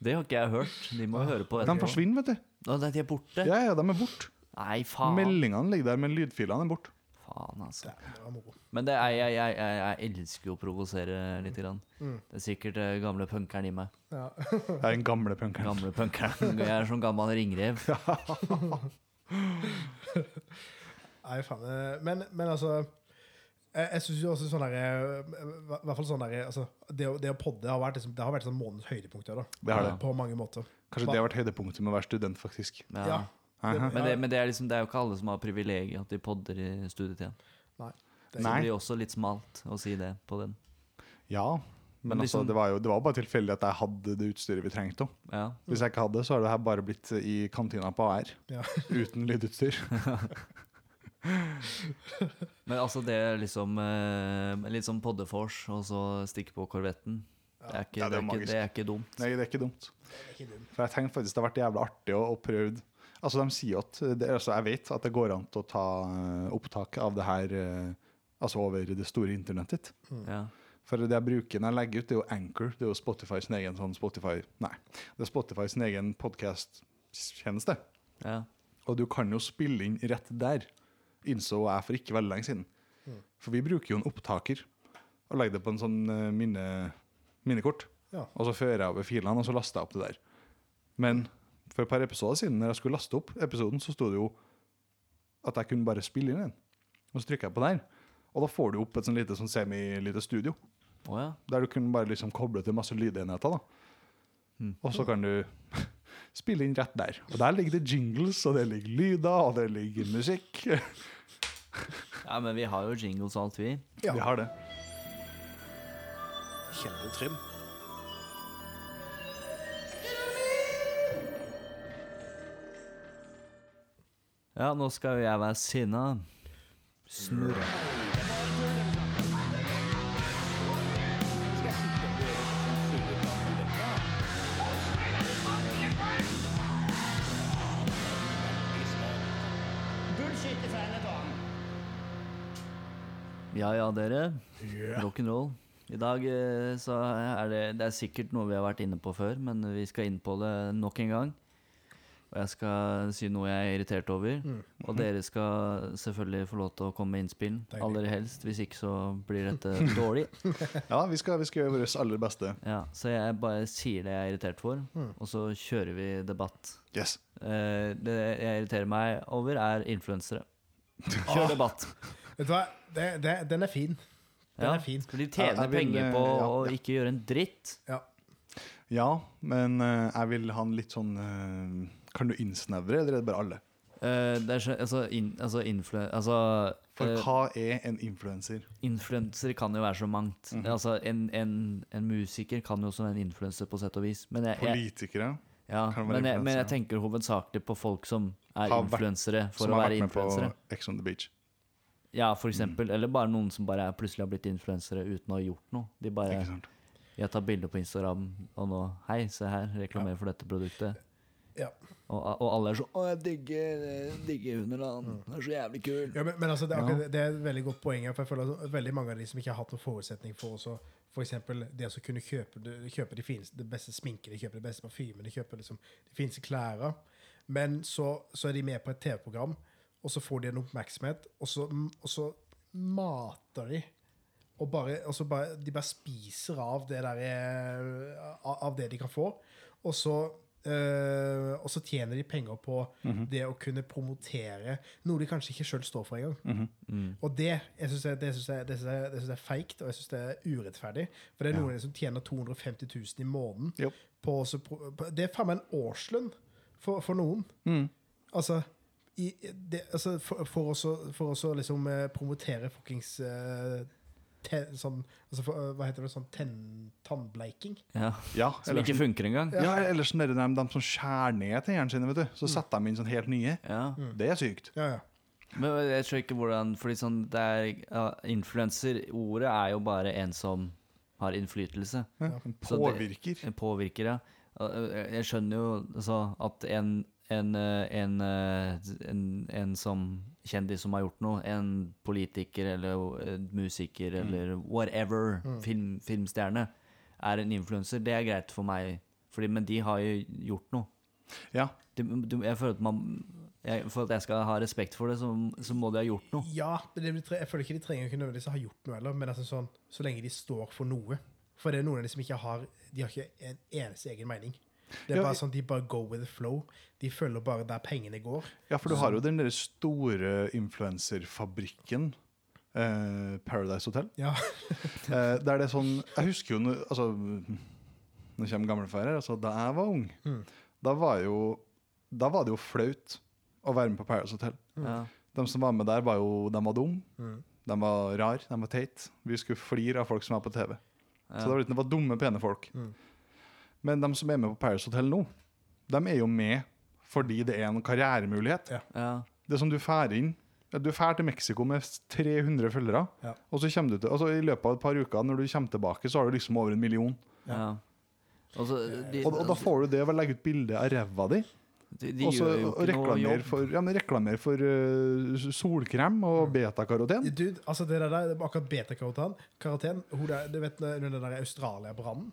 [SPEAKER 2] Det har ikke jeg hørt. De må høre på
[SPEAKER 1] De
[SPEAKER 2] etterpå.
[SPEAKER 1] forsvinner, vet du.
[SPEAKER 2] Å, nei, de er borte?
[SPEAKER 1] Ja, ja, de er borte.
[SPEAKER 2] Nei, faen.
[SPEAKER 1] Meldingene ligger der, men lydfilene er borte.
[SPEAKER 2] Faen, altså.
[SPEAKER 3] Det var moro.
[SPEAKER 2] Men det er, jeg, jeg, jeg, jeg elsker jo å provosere litt. Grann.
[SPEAKER 1] Mm.
[SPEAKER 2] Det er sikkert eh, gamle punkeren i meg.
[SPEAKER 3] Ja.
[SPEAKER 1] Det er den gamle punkeren.
[SPEAKER 2] Gamle punkeren. Jeg er som gammel ringrev.
[SPEAKER 3] Nei, faen. eh, Men, men altså Jeg, jeg syns jo også sånn derre I hvert fall sånn derre altså, det, å- det å podde har vært, liksom, det har vært sånn månedens høydepunkt. Ja, da,
[SPEAKER 1] Det har det.
[SPEAKER 3] På mange måter.
[SPEAKER 1] Kanskje det har vært høydepunktet med å være student, faktisk.
[SPEAKER 2] Ja.
[SPEAKER 3] Ja.
[SPEAKER 1] Aha.
[SPEAKER 2] Men, det, men det, er liksom, det er jo ikke alle som har privilegiet at de podder i studietiden.
[SPEAKER 3] Nei.
[SPEAKER 2] Så det
[SPEAKER 1] Nei.
[SPEAKER 2] blir også litt smalt å si det på den.
[SPEAKER 1] Ja. Men
[SPEAKER 2] Men
[SPEAKER 1] altså,
[SPEAKER 2] liksom-
[SPEAKER 1] det var jo det var bare tilfeldig at jeg hadde det utstyret vi trengte. også.
[SPEAKER 2] Ja.
[SPEAKER 1] Hvis jeg ikke hadde, så har det her bare blitt eh, i kantina på AR.
[SPEAKER 3] Ja.
[SPEAKER 1] Uten lydutstyr.
[SPEAKER 2] Men altså, det er liksom eh, litt som poddefors, og så stikke på korvetten. Det er ikke,
[SPEAKER 1] Ja, det
[SPEAKER 2] det
[SPEAKER 1] er
[SPEAKER 2] er ikke,
[SPEAKER 1] magisk.
[SPEAKER 2] det er ikke dumt.
[SPEAKER 1] Nei, det er ikke dumt.
[SPEAKER 3] Ikke dum.
[SPEAKER 1] For jeg tenkte faktisk det har vært jævla artig å, å prøve Altså, de sier jo at det, altså, Jeg vet at det går an til å ta eh, opptak av det her eh, altså over det store internettet.
[SPEAKER 2] Ja.
[SPEAKER 1] For det jeg bruker når jeg legger ut, det er jo Anchor. Det er jo Spotify sin egen sånn Spotify Nei, det er Spotify sin egen podkast-tjeneste.
[SPEAKER 2] Ja.
[SPEAKER 1] Og du kan jo spille inn rett der, innså jeg for ikke veldig lenge siden. For vi bruker jo en opptaker og legger det på en sånn eh, minne, minnekort.
[SPEAKER 3] Ja.
[SPEAKER 1] Og så fører jeg over filene, og så laster jeg opp det der. Men for et par episoder siden, når jeg skulle laste opp episoden, så sto det jo at jeg kunne bare spille inn den. Og så trykker jeg på der, og da får du opp et sånn lite sånn semi-lite studio.
[SPEAKER 2] Å ja.
[SPEAKER 1] Der du kunne bare liksom koble til masse lydenheter. da. Og så kan du spille inn rett der. Og der ligger det jingles, og det ligger lyder, og det ligger musikk.
[SPEAKER 2] ja. Men vi har jo jingles og alt, vi.
[SPEAKER 3] Ja.
[SPEAKER 1] Vi har det.
[SPEAKER 4] Kjeldetrim.
[SPEAKER 2] Ja, nå skal jo jeg være sinna. Snurre.
[SPEAKER 6] Skal
[SPEAKER 2] Ja ja, dere.
[SPEAKER 3] Yeah.
[SPEAKER 2] Rock'n'roll. I dag eh, så er det Det er sikkert noe vi har vært inne på før, men vi skal inn på det nok en gang. Og jeg skal si noe jeg er irritert over.
[SPEAKER 3] Mm.
[SPEAKER 2] Og dere skal selvfølgelig få lov til å komme med innspill.
[SPEAKER 3] Deilig.
[SPEAKER 2] Aller helst. Hvis ikke så blir dette dårlig.
[SPEAKER 1] Ja, vi skal, vi skal gjøre vårt aller beste.
[SPEAKER 2] Ja, så jeg bare sier det jeg er irritert for,
[SPEAKER 3] Mm.
[SPEAKER 2] og så kjører vi debatt.
[SPEAKER 1] Yes.
[SPEAKER 2] Eh, det jeg irriterer meg over, er influensere.
[SPEAKER 3] Ah.
[SPEAKER 2] Kjør debatt.
[SPEAKER 3] Vet du hva? Det, det, den er fin. Den
[SPEAKER 2] Ja,
[SPEAKER 3] er fin.
[SPEAKER 2] for de tjener
[SPEAKER 1] Jeg- jeg vil,
[SPEAKER 2] penger på
[SPEAKER 1] eh, ja,
[SPEAKER 2] å
[SPEAKER 1] ja.
[SPEAKER 2] ikke gjøre en dritt.
[SPEAKER 3] Ja.
[SPEAKER 1] Ja, men eh, jeg vil ha en litt sånn eh, Kan du innsnevre, eller er det bare alle?
[SPEAKER 2] Eh, det er så, altså, in, altså, influ, altså
[SPEAKER 1] For
[SPEAKER 2] eh,
[SPEAKER 1] hva er en influenser?
[SPEAKER 2] Influenser kan jo være så mangt.
[SPEAKER 1] Mhm.
[SPEAKER 2] Altså, en, en, en musiker kan jo også være en influenser, på sett og vis. Men jeg, jeg,
[SPEAKER 1] Politikere?
[SPEAKER 2] ja,
[SPEAKER 1] kan være
[SPEAKER 2] men jeg, men jeg
[SPEAKER 1] influencer,
[SPEAKER 2] tenker hovedsakelig på folk som er
[SPEAKER 1] Har vært-
[SPEAKER 2] influensere for
[SPEAKER 1] som
[SPEAKER 2] å
[SPEAKER 1] har
[SPEAKER 2] være
[SPEAKER 1] vært med på Mhm.
[SPEAKER 2] influensere.
[SPEAKER 1] Ex on the Beach.
[SPEAKER 2] Ja, for eksempel. Eller bare noen som bare er- plutselig har blitt influensere uten å ha gjort noe. De bare
[SPEAKER 1] Ikke sant?
[SPEAKER 2] Jeg tar bilder på Instagram, og nå Hei, se her, reklamerer for dette produktet.
[SPEAKER 3] Ja.
[SPEAKER 2] Og, og alle er så Å, jeg digger, jeg digger Underland. Det er så jævlig kul.
[SPEAKER 3] Ja, men, men altså, det, er akkurat, det er et veldig godt poeng. her, For jeg føler at veldig mange av de som ikke har hatt noen forutsetning for også, for eksempel det å kunne kjøpe, de- kjøpe de fineste, det beste sminke, de kjøper det beste parfyme, de kjøper liksom, de fineste klærne. Men så, så er de med på et TV-program, og så får de en oppmerksomhet, og så, og så mater de. Og, bare, og så bare, de bare spiser av det, der, eh, av- av det de kan få. Og så, eh, og så tjener de penger på det å kunne promotere noe de kanskje ikke sjøl står for engang. Og det jeg synes jeg, det synes jeg, det synes jeg, det synes jeg er feigt, og jeg syns det er urettferdig. For det er noen som tjener 250 000 i måneden.
[SPEAKER 1] Jo.
[SPEAKER 3] På, å så pro- på, det er faen meg en årslønn for, for noen. Altså, i, det, altså for, for, også, for også liksom eh, promotere fuckings eh, te, sånn, altså for, eh, Hva heter det? Sånn tenn, tannbleiking?
[SPEAKER 2] Ja.
[SPEAKER 1] Ja,
[SPEAKER 2] Som
[SPEAKER 1] eller
[SPEAKER 2] ikke funker engang.
[SPEAKER 1] ja, eller sånn der, de, de som skjærer ned tennene sine, vet du.
[SPEAKER 2] Mm.
[SPEAKER 1] Så setter de inn sånn helt nye.
[SPEAKER 2] Ja.
[SPEAKER 1] Det er sykt.
[SPEAKER 3] Ja, ja.
[SPEAKER 2] Men jeg skjønner ikke hvordan Fordi sånn det er ja, Influenser, ordet er jo bare en som har innflytelse.
[SPEAKER 1] Ja. en
[SPEAKER 2] Så det-
[SPEAKER 1] Påvirker.
[SPEAKER 2] En påvirker, ja. Og, ø, ø, Jeg skjønner jo altså, at en, en, ø, en, ø, en, en som kjendis som har gjort noe, en politiker eller en musiker eller whatever, film, filmstjerne, er en influenser, det er greit for meg. Fordi, men de har jo gjort noe.
[SPEAKER 1] Ja.
[SPEAKER 2] De, du- jeg føler at man jeg, For at jeg skal ha respekt for det, så, så må de ha gjort noe.
[SPEAKER 3] Ja, men det, tre- jeg føler ikke de trenger ikke nødvendigvis å ha gjort noe heller, men altså sånn, så lenge de står for noe. For det er noen av de som ikke har De har ikke en eneste egen mening. Det er
[SPEAKER 1] Ja,
[SPEAKER 3] bare
[SPEAKER 1] i-
[SPEAKER 3] sånn, De bare go with the flow. De følger bare der pengene går.
[SPEAKER 1] ja, for du har jo den der store influenserfabrikken. Eh, Paradise Hotel.
[SPEAKER 3] Ja,
[SPEAKER 1] Eh, der det er sånn Jeg husker jo når- altså, Nå kommer gamlefar her. Altså, da jeg var ung, da, var jo, da var det jo flaut å være med på Paradise Hotel.
[SPEAKER 2] Ja.
[SPEAKER 1] De som var med der, var jo De var dumme.
[SPEAKER 2] Mm.
[SPEAKER 1] De var rare. De var teite. Vi skulle flire av folk som er på TV. Så det var, litt- det var dumme, pene folk.
[SPEAKER 2] Mm.
[SPEAKER 1] Men de som er med på Paradise Hotel nå, de er jo med fordi det er en karrieremulighet.
[SPEAKER 3] Ja.
[SPEAKER 2] Ja.
[SPEAKER 1] Det er som du fær inn Du fær til Mexico med 300 følgere,
[SPEAKER 3] Ja.
[SPEAKER 1] og så kommer du til altså, I løpet av et par uker, når du kommer tilbake, så har du liksom over en million.
[SPEAKER 2] ja. Og, så, de,
[SPEAKER 1] Og, og da får du det ved å legge ut bilde av ræva di,
[SPEAKER 2] de, de
[SPEAKER 1] og så
[SPEAKER 2] gjør jo ikke noe
[SPEAKER 1] reklamere
[SPEAKER 2] jobb.
[SPEAKER 1] for, ja, men reklamere for eh, solkrem
[SPEAKER 2] Mm.
[SPEAKER 1] og betakaroten.
[SPEAKER 3] Dude, altså det der, det var akkurat beta-karoten karoten, hun der- Du vet når- når den der Australia-brannen?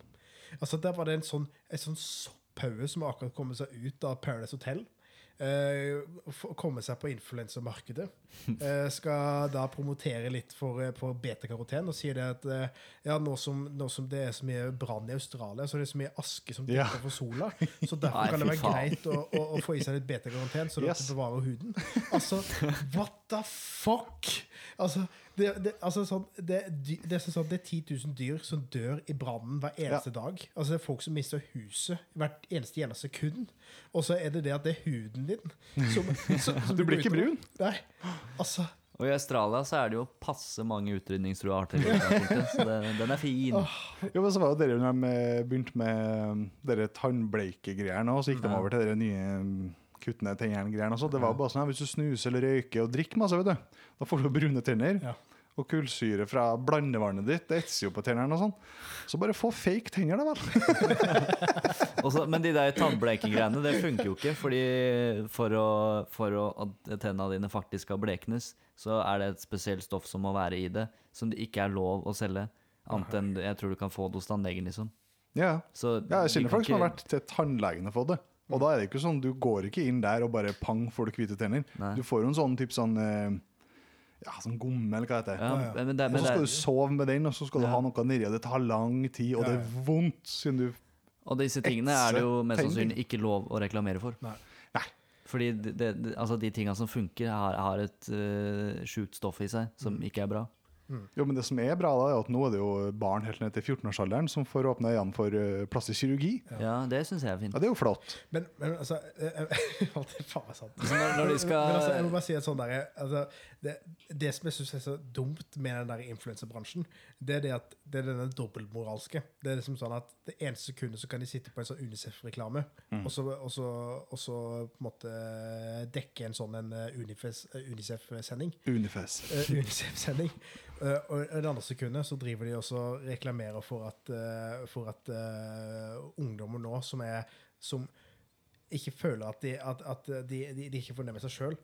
[SPEAKER 3] Altså Der var det en sånn, en sånn sopphauge som akkurat kom seg ut av Paradise Hotel. Eh, for å komme seg på influensermarkedet. Eh, skal da promotere litt for, eh, for beta-karoten og sier det at eh, ja, nå som, nå som det er så mye brann i Australia, så er det så mye aske som dekker
[SPEAKER 1] Ja.
[SPEAKER 3] for sola, så derfor
[SPEAKER 2] Nei,
[SPEAKER 3] kan det
[SPEAKER 2] fy
[SPEAKER 3] være
[SPEAKER 2] faen.
[SPEAKER 3] greit å, å, å få i seg litt beta-karoten, så
[SPEAKER 1] Yes.
[SPEAKER 3] yes. bevarer huden. Altså, what the fuck? Altså, det, det, altså sånn, det, er dy- det, er sånn at det er 10 000 dyr som dør i brannen hver eneste dag. Altså, det er folk som mister huset hvert eneste gjennom sekund. Og så er det det at det er huden din som, som, som
[SPEAKER 1] Du blir ikke
[SPEAKER 3] utover.
[SPEAKER 1] brun.
[SPEAKER 3] Nei. Altså,
[SPEAKER 2] Og i Australia så er det jo passe mange utrydningstrua arter. i utgangspunktet, Så det, den er fin.
[SPEAKER 1] Jo, men så var jo dere når de eh, begynte med um, dere tannbleikegreiene, og så gikk de over til dere nye mm, kuttende tennene-greiene. og så. Det var bare sånn her, hvis du snuser eller røyker og drikker masse, vet du, da får du brune tenner.
[SPEAKER 3] Ja.
[SPEAKER 1] Og kullsyre fra blandevannet ditt, det etser jo på tennene og sånn. Så bare få fake tenner, da vel.
[SPEAKER 2] Og altså, men de der tannblekegreiene, det funker jo ikke. Fordi for, å, for å, at tennene dine faktisk skal bleknes, så er det et spesielt stoff som må være i det, som det ikke er lov å selge. Annet enn jeg tror du kan få det hos tannlegen, liksom.
[SPEAKER 1] Ja.
[SPEAKER 2] Så
[SPEAKER 1] Ja, jeg
[SPEAKER 2] vi
[SPEAKER 1] kjenner
[SPEAKER 2] kan
[SPEAKER 1] folk som har
[SPEAKER 2] ikke-
[SPEAKER 1] vært til tannlegen og fått det. Og da er det ikke sånn, du går ikke inn der og bare pang, får du hvite tenner.
[SPEAKER 2] Nei.
[SPEAKER 1] Du får jo en sånn typ sånn eh, Ja, sånn gomme, eller hva det heter.
[SPEAKER 2] ja, men det,
[SPEAKER 1] Og så
[SPEAKER 2] men det,
[SPEAKER 1] skal du sove med den, og så skal du
[SPEAKER 2] Ja.
[SPEAKER 1] ha noe nedi, og det tar lang tid, og
[SPEAKER 3] Ja,
[SPEAKER 1] det
[SPEAKER 3] ja.
[SPEAKER 1] er vondt siden du
[SPEAKER 2] Og disse tingene er det jo mest
[SPEAKER 1] Etse
[SPEAKER 2] sannsynlig ikke lov å reklamere for.
[SPEAKER 3] Nei.
[SPEAKER 1] Nei.
[SPEAKER 2] Fordi det, det, det- altså de tinga som funker, har, har et uh, sjukt stoff i seg som
[SPEAKER 1] Mm.
[SPEAKER 2] ikke er bra.
[SPEAKER 1] Jo, men det som er bra, da, er at nå er det jo barn helt ned til 14-årsalderen som får åpna øynene for eh, plastisk kirurgi.
[SPEAKER 2] Ja, det syns jeg er fint.
[SPEAKER 1] Ja, det er jo flott.
[SPEAKER 3] Men, men altså eh, eh, Alt er faen meg sant.
[SPEAKER 2] Så når, når de
[SPEAKER 3] Men altså,
[SPEAKER 2] skal
[SPEAKER 3] jeg må bare si et sånt der, altså, det, det som jeg syns er så dumt med den der influensebransjen, det er det at det er denne dobbeltmoralske. Det er liksom sånn at det ene sekundet så kan de sitte på en sånn Unicef-reklame,
[SPEAKER 2] Mm.
[SPEAKER 3] og, så, og, så, og så på en måte dekke en sånn en eh, Unifes- eh, Unicef-sending.
[SPEAKER 1] Unifes.
[SPEAKER 3] Eh, Unicef-sending. Eh, og i det andre sekundet så driver de også og reklamerer for at, eh, for at eh, ungdommer nå som er som ikke føler at de, at, at de, de, de ikke får det med seg sjøl,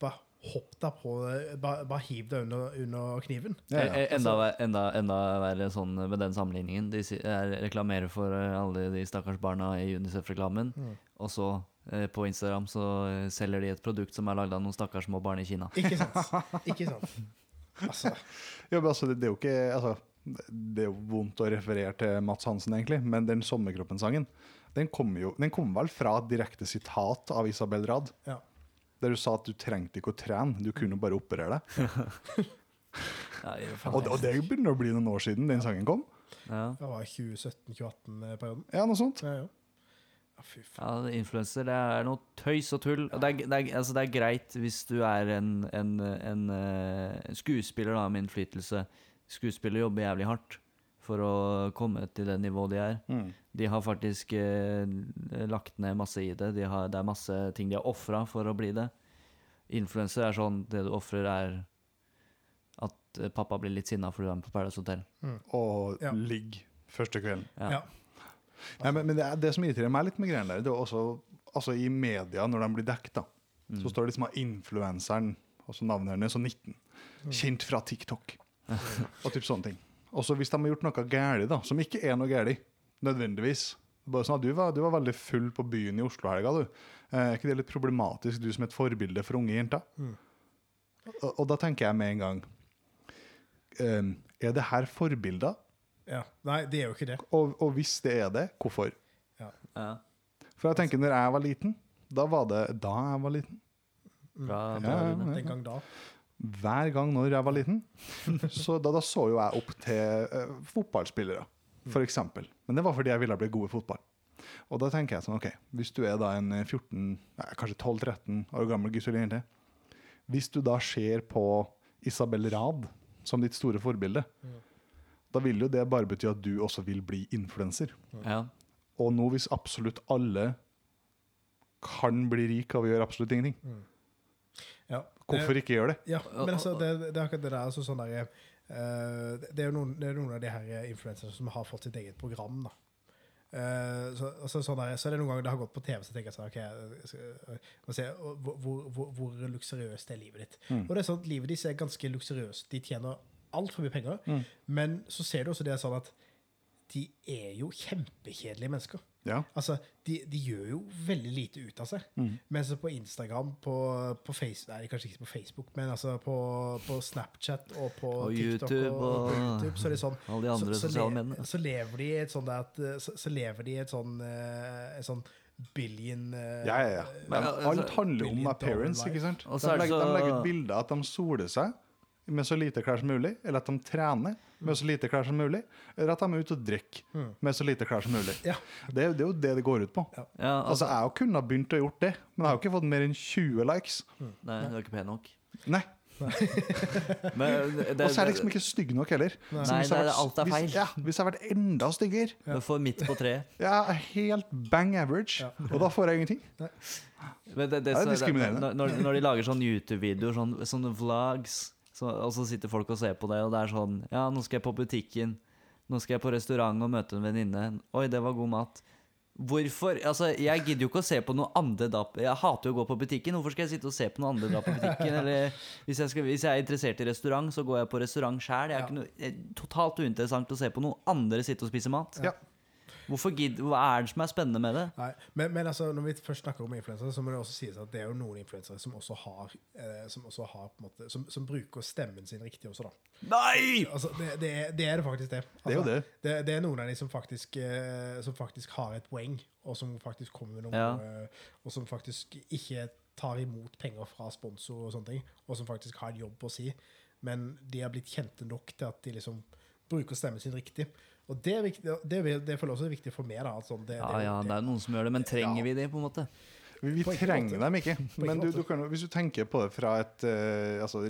[SPEAKER 3] bare hopp deg på det, bare, bare hiv deg under, under kniven.
[SPEAKER 1] Ja, ja. Altså-
[SPEAKER 2] Eh, eh, Enda, ver- enda, enda verre sånn med den sammenligningen. De si- er- reklamerer for eh, alle de stakkars barna i Unicef-reklamen,
[SPEAKER 1] Mm.
[SPEAKER 2] og så eh, på Instagram så eh, selger de et produkt som er lagd av noen stakkars små barn i Kina.
[SPEAKER 3] Ikke sant? Ikke sant? Altså,
[SPEAKER 1] Ja, men altså, det, det er jo ikke altså, Det er jo vondt å referere til Mats Hansen, egentlig, men den Sommerkroppen-sangen den kommer jo, den kommer vel fra et direkte sitat av Isabel Rad,
[SPEAKER 3] ja.
[SPEAKER 1] der du sa at du trengte ikke å trene, du kunne bare operere deg.
[SPEAKER 2] Ja,
[SPEAKER 1] Og,
[SPEAKER 2] i
[SPEAKER 1] det-
[SPEAKER 2] faen.
[SPEAKER 1] og det begynner å bli noen år siden den sangen kom.
[SPEAKER 2] ja.
[SPEAKER 3] Det var 2017-2018-perioden.
[SPEAKER 1] Ja, noe sånt.
[SPEAKER 3] Ja, ja. Ja, fy faen.
[SPEAKER 2] Ja, influenser, det er noe tøys og tull. Og det, er, det, er, altså, det er greit hvis du er en, en, en, eh, en skuespiller da, med innflytelse. Skuespillere jobber jævlig hardt for å komme til det nivået de er.
[SPEAKER 1] Mm.
[SPEAKER 2] De har faktisk eh, lagt ned masse i det. De har, det er masse ting de har ofra for å bli det. Influenser er sånn Det du ofrer, er at eh, pappa blir litt sinna fordi du er med på Paradise Hotel.
[SPEAKER 1] Og
[SPEAKER 3] Ja.
[SPEAKER 1] ligg første kvelden.
[SPEAKER 2] Ja.
[SPEAKER 3] Ja.
[SPEAKER 1] Nei, men, men det, er- det som irriterer meg litt med greiene der, det er også altså, i media, når de blir dekket, da,
[SPEAKER 2] Mm.
[SPEAKER 1] så står det liksom av influenseren, altså navnet hennes, og 19.
[SPEAKER 3] Mm.
[SPEAKER 1] Kjent fra TikTok. og typ sånne ting. Og så hvis de har gjort noe gærlig da, som ikke er noe gærlig, nødvendigvis. Bare sånn at du var, du var veldig full på byen i Oslo helga, du. Eh, Er ikke det litt problematisk, du som et forbilde for unge jenter?
[SPEAKER 3] Mm.
[SPEAKER 1] Og, og da tenker jeg med en gang, ehm, er det her forbilder?
[SPEAKER 3] Ja. Nei, det er jo ikke det.
[SPEAKER 1] Og, og hvis det er det, hvorfor?
[SPEAKER 3] Ja.
[SPEAKER 2] Ja.
[SPEAKER 1] For jeg tenker, når jeg var liten, da var det da jeg var liten.
[SPEAKER 2] Bra, bra,
[SPEAKER 1] Mm. Ja, ja,
[SPEAKER 2] Rune.
[SPEAKER 3] Den gang da.
[SPEAKER 1] Hver gang når jeg var liten, så da, da så jo jeg opp til eh, fotballspillere, for eksempel. Men det var fordi jeg ville bli god i fotball. Og da tenker jeg sånn, ok, hvis du er da en eh, 14, nei, kanskje 12-13 år gammel gutt eller jente, hvis du da ser på Isabel Rad som ditt store forbilde, da vil jo det bare bety at du også vil bli influenser.
[SPEAKER 2] Ja.
[SPEAKER 1] Og nå hvis absolutt alle kan bli rik av å gjøre absolutt ingenting,
[SPEAKER 3] Ja.
[SPEAKER 1] hvorfor ikke gjøre det?
[SPEAKER 3] Ja, men altså, det, det er akkurat det der. Altså, sånn der eh, det, er jo noen, det er noen av de her eh, influenserne som har fått sitt eget program. da. Eh, så, altså, sånn der, så er det noen ganger det har gått på TV, så tenker jeg sånn ok, jeg skal- eh, må se, hvor, hvor, hvor, hvor luksuriøst er livet ditt. Og det er sånn at livet deres er ganske luksuriøst. De tjener altfor mye penger. Men så ser du også det er sånn at de er jo kjempekjedelige mennesker.
[SPEAKER 1] Ja.
[SPEAKER 3] Altså, de, de gjør jo veldig lite ut av seg.
[SPEAKER 2] Mm.
[SPEAKER 3] Mens på Instagram, på, på Facebook Nei, kanskje ikke på Facebook, men altså på, på Snapchat og på
[SPEAKER 2] Og
[SPEAKER 3] TikTok
[SPEAKER 2] YouTube
[SPEAKER 3] og, og på
[SPEAKER 2] og-
[SPEAKER 3] YouTube, så er de sånn
[SPEAKER 2] alle de andre
[SPEAKER 3] så, så,
[SPEAKER 2] sosiale mediene.
[SPEAKER 3] så lever de i et sånt der at, eh, så, så lever de i et sånn eh, et sånn billion eh,
[SPEAKER 1] Ja, ja, ja.
[SPEAKER 2] Men,
[SPEAKER 1] Men,
[SPEAKER 2] altså,
[SPEAKER 1] alt handler om
[SPEAKER 3] million
[SPEAKER 1] appearance,
[SPEAKER 3] dollar
[SPEAKER 1] ikke sant?
[SPEAKER 2] Og
[SPEAKER 1] De
[SPEAKER 2] så er det
[SPEAKER 1] legger, de
[SPEAKER 2] så-
[SPEAKER 1] legger ut bilder at de soler seg med så lite klær som mulig, eller at de trener med så lite klær som mulig, eller at de er ute og drikker med så lite klær som mulig.
[SPEAKER 3] Ja.
[SPEAKER 1] Det, er jo- det er jo det det går ut på.
[SPEAKER 2] ja altså,
[SPEAKER 1] Altså, Jeg har jo kunnet ha begynt å gjort det, men jeg har jo ikke fått mer enn 20 likes.
[SPEAKER 2] nei, du er ikke pen nok.
[SPEAKER 1] Nei,
[SPEAKER 2] Men eh, det,
[SPEAKER 1] Og så er jeg liksom ikke stygg nok heller. Så hvis
[SPEAKER 2] Nei,
[SPEAKER 1] jeg har
[SPEAKER 2] nei,
[SPEAKER 1] vært-
[SPEAKER 2] alt er feil.
[SPEAKER 1] Hvis, ja, hvis jeg har vært enda styggere
[SPEAKER 2] Du får midt på treet.
[SPEAKER 1] Ja, jeg er helt bang average. Og da får jeg ingenting.
[SPEAKER 2] Men
[SPEAKER 1] Ja,
[SPEAKER 2] det, det,
[SPEAKER 1] det er
[SPEAKER 2] som-
[SPEAKER 1] diskriminerende.
[SPEAKER 2] Når, når- når de lager sånne YouTube-videoer, sånne, sånne vlogs, så, og så sitter folk og ser på det, og det er sånn Ja, nå skal jeg på butikken. Nå skal jeg på restaurant og møte en venninne. Oi, det var god mat. Hvorfor? Altså, Jeg gidder jo ikke å se på noe andedap. Jeg hater jo å gå på butikken. Hvorfor skal jeg sitte og se på noe andedap på butikken? Eller hvis jeg, skal, hvis jeg er interessert i restaurant, så går jeg på restaurant sjæl. Det er
[SPEAKER 3] Ja.
[SPEAKER 2] ikke noe- det er totalt uinteressant å se på noen andre sitte og spise mat.
[SPEAKER 1] Ja.
[SPEAKER 2] Hvorfor gidd, Hva er det som er spennende med det?
[SPEAKER 3] Nei, men, men altså, når vi først snakker om influensere, så må det også sies at det er jo noen influensere som også har, eh, som, også har på en måte, som, som bruker stemmen sin riktig også, da.
[SPEAKER 2] Nei!
[SPEAKER 3] Altså, det, det, er, det er det faktisk det. Altså,
[SPEAKER 1] Det er jo det.
[SPEAKER 3] det. Det er noen av de som faktisk, eh, som faktisk har et poeng, og som faktisk kommer med noe,
[SPEAKER 2] Ja.
[SPEAKER 3] eh, og som faktisk ikke tar imot penger fra sponsor og sånne ting, og som faktisk har en jobb å si. Men de har blitt kjente nok til at de liksom bruker stemmen sin riktig. Og det, er viktig, det, er- det føler jeg også er viktig for meg. da. at sånn, det,
[SPEAKER 2] Ja
[SPEAKER 3] det,
[SPEAKER 2] ja, det er noen som gjør det, men trenger vi det, på en måte?
[SPEAKER 1] Vi, vi
[SPEAKER 3] På ingen
[SPEAKER 1] trenger
[SPEAKER 3] måte.
[SPEAKER 1] dem ikke.
[SPEAKER 3] ingen
[SPEAKER 1] Men du,
[SPEAKER 3] måte.
[SPEAKER 1] du kan, jo- hvis du tenker på det fra et eh, altså,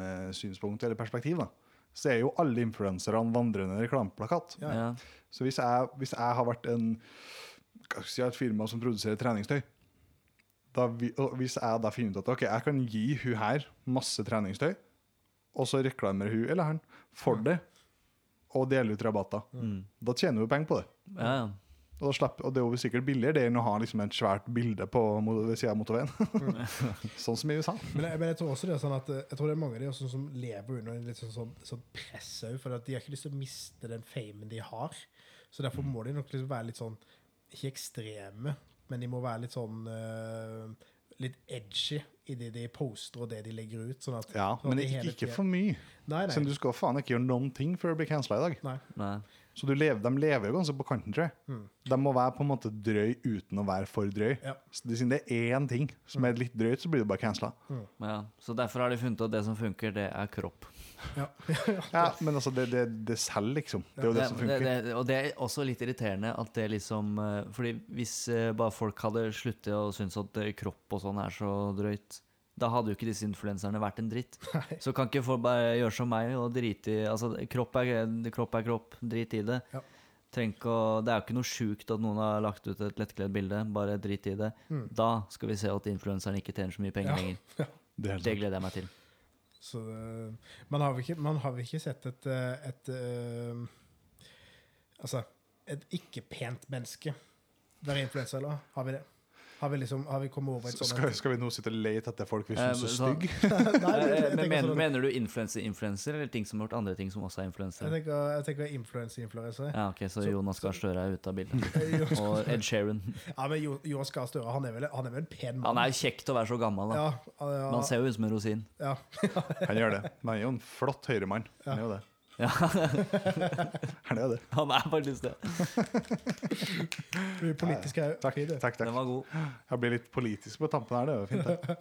[SPEAKER 1] reklamesynspunkt eller perspektiv, da, så er jo alle influensere en vandrende reklameplakat.
[SPEAKER 3] Ja.
[SPEAKER 2] Ja.
[SPEAKER 1] Så hvis jeg, hvis jeg har vært en hva skal jeg si, et firma som produserer treningstøy da vi, og Hvis jeg da finner ut at ok, jeg kan gi hun her masse treningstøy, og så reklamerer hun eller han for det, og deler ut rabatter,
[SPEAKER 3] Mm.
[SPEAKER 1] da tjener hun penger på det.
[SPEAKER 2] ja, ja.
[SPEAKER 1] Og, da slipper, og det er jo sikkert billigere det enn å ha liksom et svært bilde på mo- ved sida av motorveien. sånn som i USA.
[SPEAKER 3] Men jeg, men jeg tror også det er sånn at eh, Jeg tror det er mange av de også som lever under en litt sånn, sånn, sånn press òg, for at de har ikke lyst til å miste den famen de har. Så derfor må de nok liksom være litt sånn Ikke ekstreme, men de må være litt sånn eh, Litt edgy i det de poster og det de legger ut. Sånn at,
[SPEAKER 1] Ja,
[SPEAKER 3] sånn at
[SPEAKER 1] Men
[SPEAKER 3] de
[SPEAKER 1] ikke,
[SPEAKER 3] hele
[SPEAKER 1] ikke
[SPEAKER 3] tiden-
[SPEAKER 1] for mye.
[SPEAKER 3] Nei,
[SPEAKER 1] Siden
[SPEAKER 3] nei.
[SPEAKER 1] du skal faen ikke gjøre noen ting før du blir cancela i dag.
[SPEAKER 3] nei.
[SPEAKER 2] Nei.
[SPEAKER 1] Så du lever, de lever jo ganske på kanten, tror jeg. De må være på en måte drøy uten å være for drøy.
[SPEAKER 3] Ja.
[SPEAKER 1] Så det- Siden det er én ting som er litt drøyt, så blir det bare cancela.
[SPEAKER 2] Ja. Så derfor har de funnet ut at det som funker, det er kropp.
[SPEAKER 3] Ja.
[SPEAKER 1] Ja, men altså, det, det, det selger, liksom. Det er jo det som funker.
[SPEAKER 2] Det, det, og det er også litt irriterende at det liksom eh, Fordi hvis eh, bare folk hadde sluttet å synes at eh, kropp og sånn er så drøyt, da hadde jo ikke disse influenserne vært en dritt. Så kan ikke folk bare gjøre som meg og drite i Altså, kropp er kropp, er kropp drit i det.
[SPEAKER 3] Ja.
[SPEAKER 2] Tenk å, det er jo ikke noe sjukt at noen har lagt ut et lettkledd bilde, bare drit i det. Da skal vi se at influenseren ikke tjener så mye penger
[SPEAKER 3] Ja.
[SPEAKER 2] lenger.
[SPEAKER 1] Det er helt
[SPEAKER 2] Det
[SPEAKER 1] sant.
[SPEAKER 2] gleder jeg meg til.
[SPEAKER 3] Så eh, man har vel ikke, man har vel ikke sett et, eh, et eh, Altså, et ikke-pent menneske være influenser, eller? Har vi det? Har vi liksom, har vi kommet over et
[SPEAKER 1] Så
[SPEAKER 3] sånt
[SPEAKER 1] Skal, skal vi nå sitte og lete etter folk vi syns er
[SPEAKER 2] Eh, men sånn-
[SPEAKER 1] stygge?
[SPEAKER 3] Nei, jeg- jeg
[SPEAKER 2] Eh, Men
[SPEAKER 3] tenker
[SPEAKER 2] mener,
[SPEAKER 3] sånn-
[SPEAKER 2] mener du influenser-influenser, eller ting som har gjort andre ting som også er influensere?
[SPEAKER 3] Jeg tenker, jeg tenker influense-influencer.
[SPEAKER 2] Ja, ok, så,
[SPEAKER 3] Så-
[SPEAKER 2] Jonas Gahr Støre er ute av bildet.
[SPEAKER 3] Ja.
[SPEAKER 2] Og Ed Sheeran.
[SPEAKER 3] men Jo- Jonas Gahr Støre, han er vel han er vel en pen mann?
[SPEAKER 2] Han er jo kjekt å være så gammel, da.
[SPEAKER 3] ja, han- ja,
[SPEAKER 2] Men han ser jo ut som en rosin.
[SPEAKER 3] ja.
[SPEAKER 1] Han gjør det. Men han er jo en flott høyremann. Han er jo det.
[SPEAKER 2] Ja,
[SPEAKER 1] Han er jo det.
[SPEAKER 2] han er faktisk det.
[SPEAKER 3] Vi er politiske er jo
[SPEAKER 1] Takk,
[SPEAKER 3] fint, det.
[SPEAKER 1] takk,
[SPEAKER 2] Den
[SPEAKER 1] takk.
[SPEAKER 2] var god.
[SPEAKER 1] Jeg blir litt politisk på tampen her, det er jo fint. det.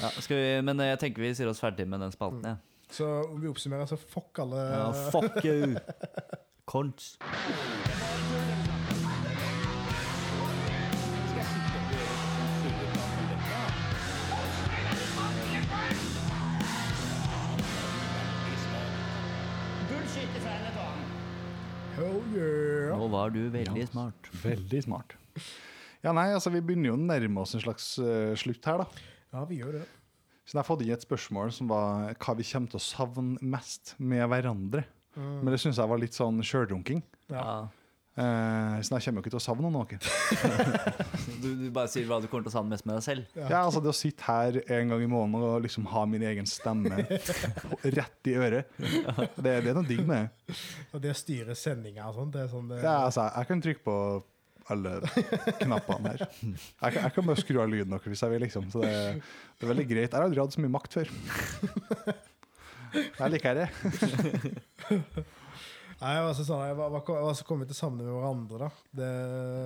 [SPEAKER 2] Ja, skal vi, men eh, jeg tenker vi sier oss ferdig med den spalten, jeg.
[SPEAKER 3] Så om vi oppsummerer, så fuck alle
[SPEAKER 2] Ja. fuck you! Cons.
[SPEAKER 3] Oh, yeah.
[SPEAKER 2] Nå var du veldig smart.
[SPEAKER 1] Veldig smart. Ja, nei, altså, vi begynner jo å nærme oss en slags eh, slutt her, da.
[SPEAKER 3] Ja, vi gjør det.
[SPEAKER 1] Så jeg har fått inn et spørsmål som var hva vi kommer til å savne mest med hverandre. Men det syns jeg var litt sånn sjølrunking.
[SPEAKER 2] Ja.
[SPEAKER 1] Eh, så jeg kommer jo ikke til å savne noen.
[SPEAKER 2] Du, du bare sier hva du kommer til å savne mest med deg selv.
[SPEAKER 1] Ja. altså Det å sitte her en gang i måneden og liksom ha min egen stemme på- rett i øret, det, det er noe digg med det.
[SPEAKER 3] Og det å styre sendinger og sånn, det er sånn det,
[SPEAKER 1] Ja, altså, jeg kan trykke på alle knappene her. Jeg kan, jeg kan bare skru av lyden deres hvis jeg vil. liksom Så det, det er veldig greit. Jeg har aldri hatt så mye makt før. Jeg liker det.
[SPEAKER 3] Nei, jeg var så sånn, jeg var, var, jeg var så kommet til å savne med hverandre, da. Det,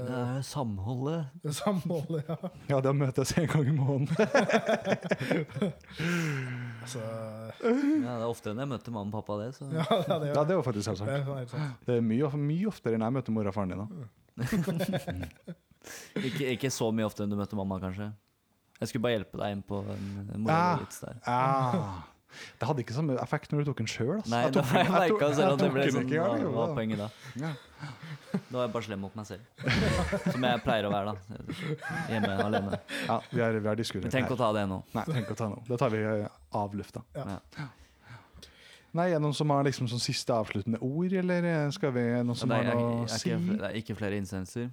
[SPEAKER 2] Det er samholdet.
[SPEAKER 3] det samholdet, ja.
[SPEAKER 1] Ja, da møtes en gang i måneden.
[SPEAKER 3] Altså,
[SPEAKER 2] Ja, det er oftere enn jeg møter mamma og pappa, det. Så.
[SPEAKER 3] ja, ja,
[SPEAKER 1] Ja,
[SPEAKER 3] det gjør det.
[SPEAKER 1] det var faktisk
[SPEAKER 3] Det
[SPEAKER 1] selvsagt.
[SPEAKER 3] er sånn helt sant.
[SPEAKER 1] Det er mye, of- mye oftere enn jeg møter mora og faren din. da.
[SPEAKER 2] Ikke, ikke så mye oftere enn du møter mamma, kanskje. Jeg skulle bare hjelpe deg inn på en, en
[SPEAKER 1] Ah.
[SPEAKER 2] moralvits der.
[SPEAKER 1] Ah, det hadde ikke samme effekt når du tok en sjøl.
[SPEAKER 2] Nei, jeg, jeg, jeg
[SPEAKER 1] tok-
[SPEAKER 2] merka selv at det
[SPEAKER 1] tok
[SPEAKER 2] ble
[SPEAKER 1] den
[SPEAKER 2] sånn.
[SPEAKER 1] ikke, ja,
[SPEAKER 2] hva-
[SPEAKER 1] jo,
[SPEAKER 2] Hva
[SPEAKER 1] da.
[SPEAKER 2] var poenget da?
[SPEAKER 1] Ja.
[SPEAKER 2] Da var jeg bare slem mot meg selv. Som jeg pleier å være, da. Hjemme alene.
[SPEAKER 1] Ja, vi har, vi har
[SPEAKER 2] Men
[SPEAKER 1] diskutert
[SPEAKER 2] tenk
[SPEAKER 1] det
[SPEAKER 2] å
[SPEAKER 1] her.
[SPEAKER 2] ta det nå.
[SPEAKER 1] Nei, tenk å ta noe. Det tar vi eh, av lufta.
[SPEAKER 2] Ja.
[SPEAKER 1] Nei, er det noen som har liksom sånn siste avsluttende ord, eller eh, skal vi er det noen som
[SPEAKER 2] Det
[SPEAKER 1] har
[SPEAKER 2] er,
[SPEAKER 1] noe å
[SPEAKER 2] er
[SPEAKER 1] si?
[SPEAKER 2] ikke, det er ikke flere innsendelser.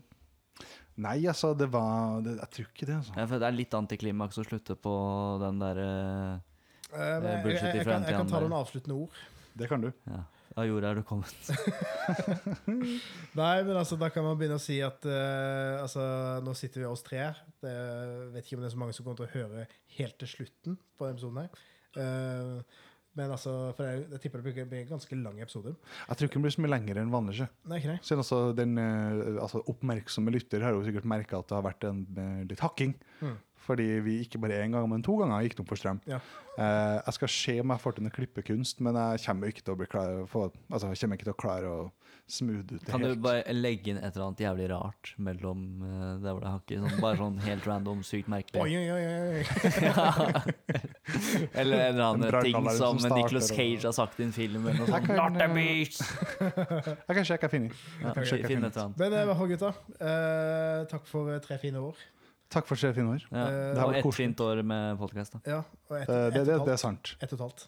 [SPEAKER 1] Nei, altså, det var det, Jeg tror ikke det, altså.
[SPEAKER 2] Ja, for det er litt antiklimaks å slutte på den derre
[SPEAKER 3] Eh, men jeg, jeg,
[SPEAKER 2] bullshit
[SPEAKER 3] jeg,
[SPEAKER 2] i
[SPEAKER 3] jeg, kan, jeg
[SPEAKER 2] fremtiden,
[SPEAKER 3] kan ta
[SPEAKER 2] det.
[SPEAKER 3] noen avsluttende ord.
[SPEAKER 1] Det kan du.
[SPEAKER 2] ja. Av jorda er du kommet.
[SPEAKER 3] Nei, men altså, da kan man begynne å si at eh, altså, nå sitter vi oss tre. Det, jeg vet ikke om det er så mange som kommer til å høre helt til slutten på denne episoden her. Eh, men altså, for jeg, jeg tipper det blir- blir en ganske lang episode.
[SPEAKER 1] Jeg tror ikke den blir så mye lenger enn vanlig. ikke?
[SPEAKER 3] Nei, ikke det?
[SPEAKER 1] Siden altså den eh, altså oppmerksomme lytter har jo sikkert merka at det har vært en, eh, litt hakking.
[SPEAKER 3] Mm.
[SPEAKER 1] Fordi vi ikke bare én gang, men to ganger gikk tom for strøm.
[SPEAKER 3] Ja.
[SPEAKER 1] Eh, jeg skal se om jeg får til noe klippekunst, men jeg kommer jo ikke til å bli klar, få, altså, jeg kommer ikke til å klare å smooth ut det
[SPEAKER 2] Kan du
[SPEAKER 1] helt.
[SPEAKER 2] bare legge inn et eller annet jævlig rart mellom eh, der hvor det hakker? Sånn, bare sånn helt random, sykt
[SPEAKER 3] Oi,
[SPEAKER 2] merkelig.
[SPEAKER 3] oi, oi, oi.
[SPEAKER 2] Ja. Eller en eller
[SPEAKER 1] En
[SPEAKER 2] annen ting
[SPEAKER 1] brannalarm som
[SPEAKER 2] som
[SPEAKER 1] starter,
[SPEAKER 2] Nicolas
[SPEAKER 1] og-
[SPEAKER 2] Cage har sagt i en film. Eller noe
[SPEAKER 1] Jeg
[SPEAKER 2] sånt.
[SPEAKER 1] kan, eh,
[SPEAKER 2] sånn, Not a beast!
[SPEAKER 1] Jeg kan sjekke jeg finner.
[SPEAKER 2] Ja,
[SPEAKER 1] Jeg sjekker
[SPEAKER 2] finn
[SPEAKER 1] finner.
[SPEAKER 2] et eller annet.
[SPEAKER 3] Men eh, i hvert fall, gutta. eh, takk for eh, tre fine år.
[SPEAKER 1] Takk for tre fine år.
[SPEAKER 2] Ja.
[SPEAKER 3] Eh,
[SPEAKER 1] det her
[SPEAKER 2] Og
[SPEAKER 1] var
[SPEAKER 2] ett
[SPEAKER 1] koselig.
[SPEAKER 2] fint år med podkast.
[SPEAKER 3] Ja, og ett
[SPEAKER 1] Eh, det,
[SPEAKER 3] et,
[SPEAKER 1] det,
[SPEAKER 3] og
[SPEAKER 1] det
[SPEAKER 3] et halvt.
[SPEAKER 1] er sant.
[SPEAKER 3] Ett og et halvt,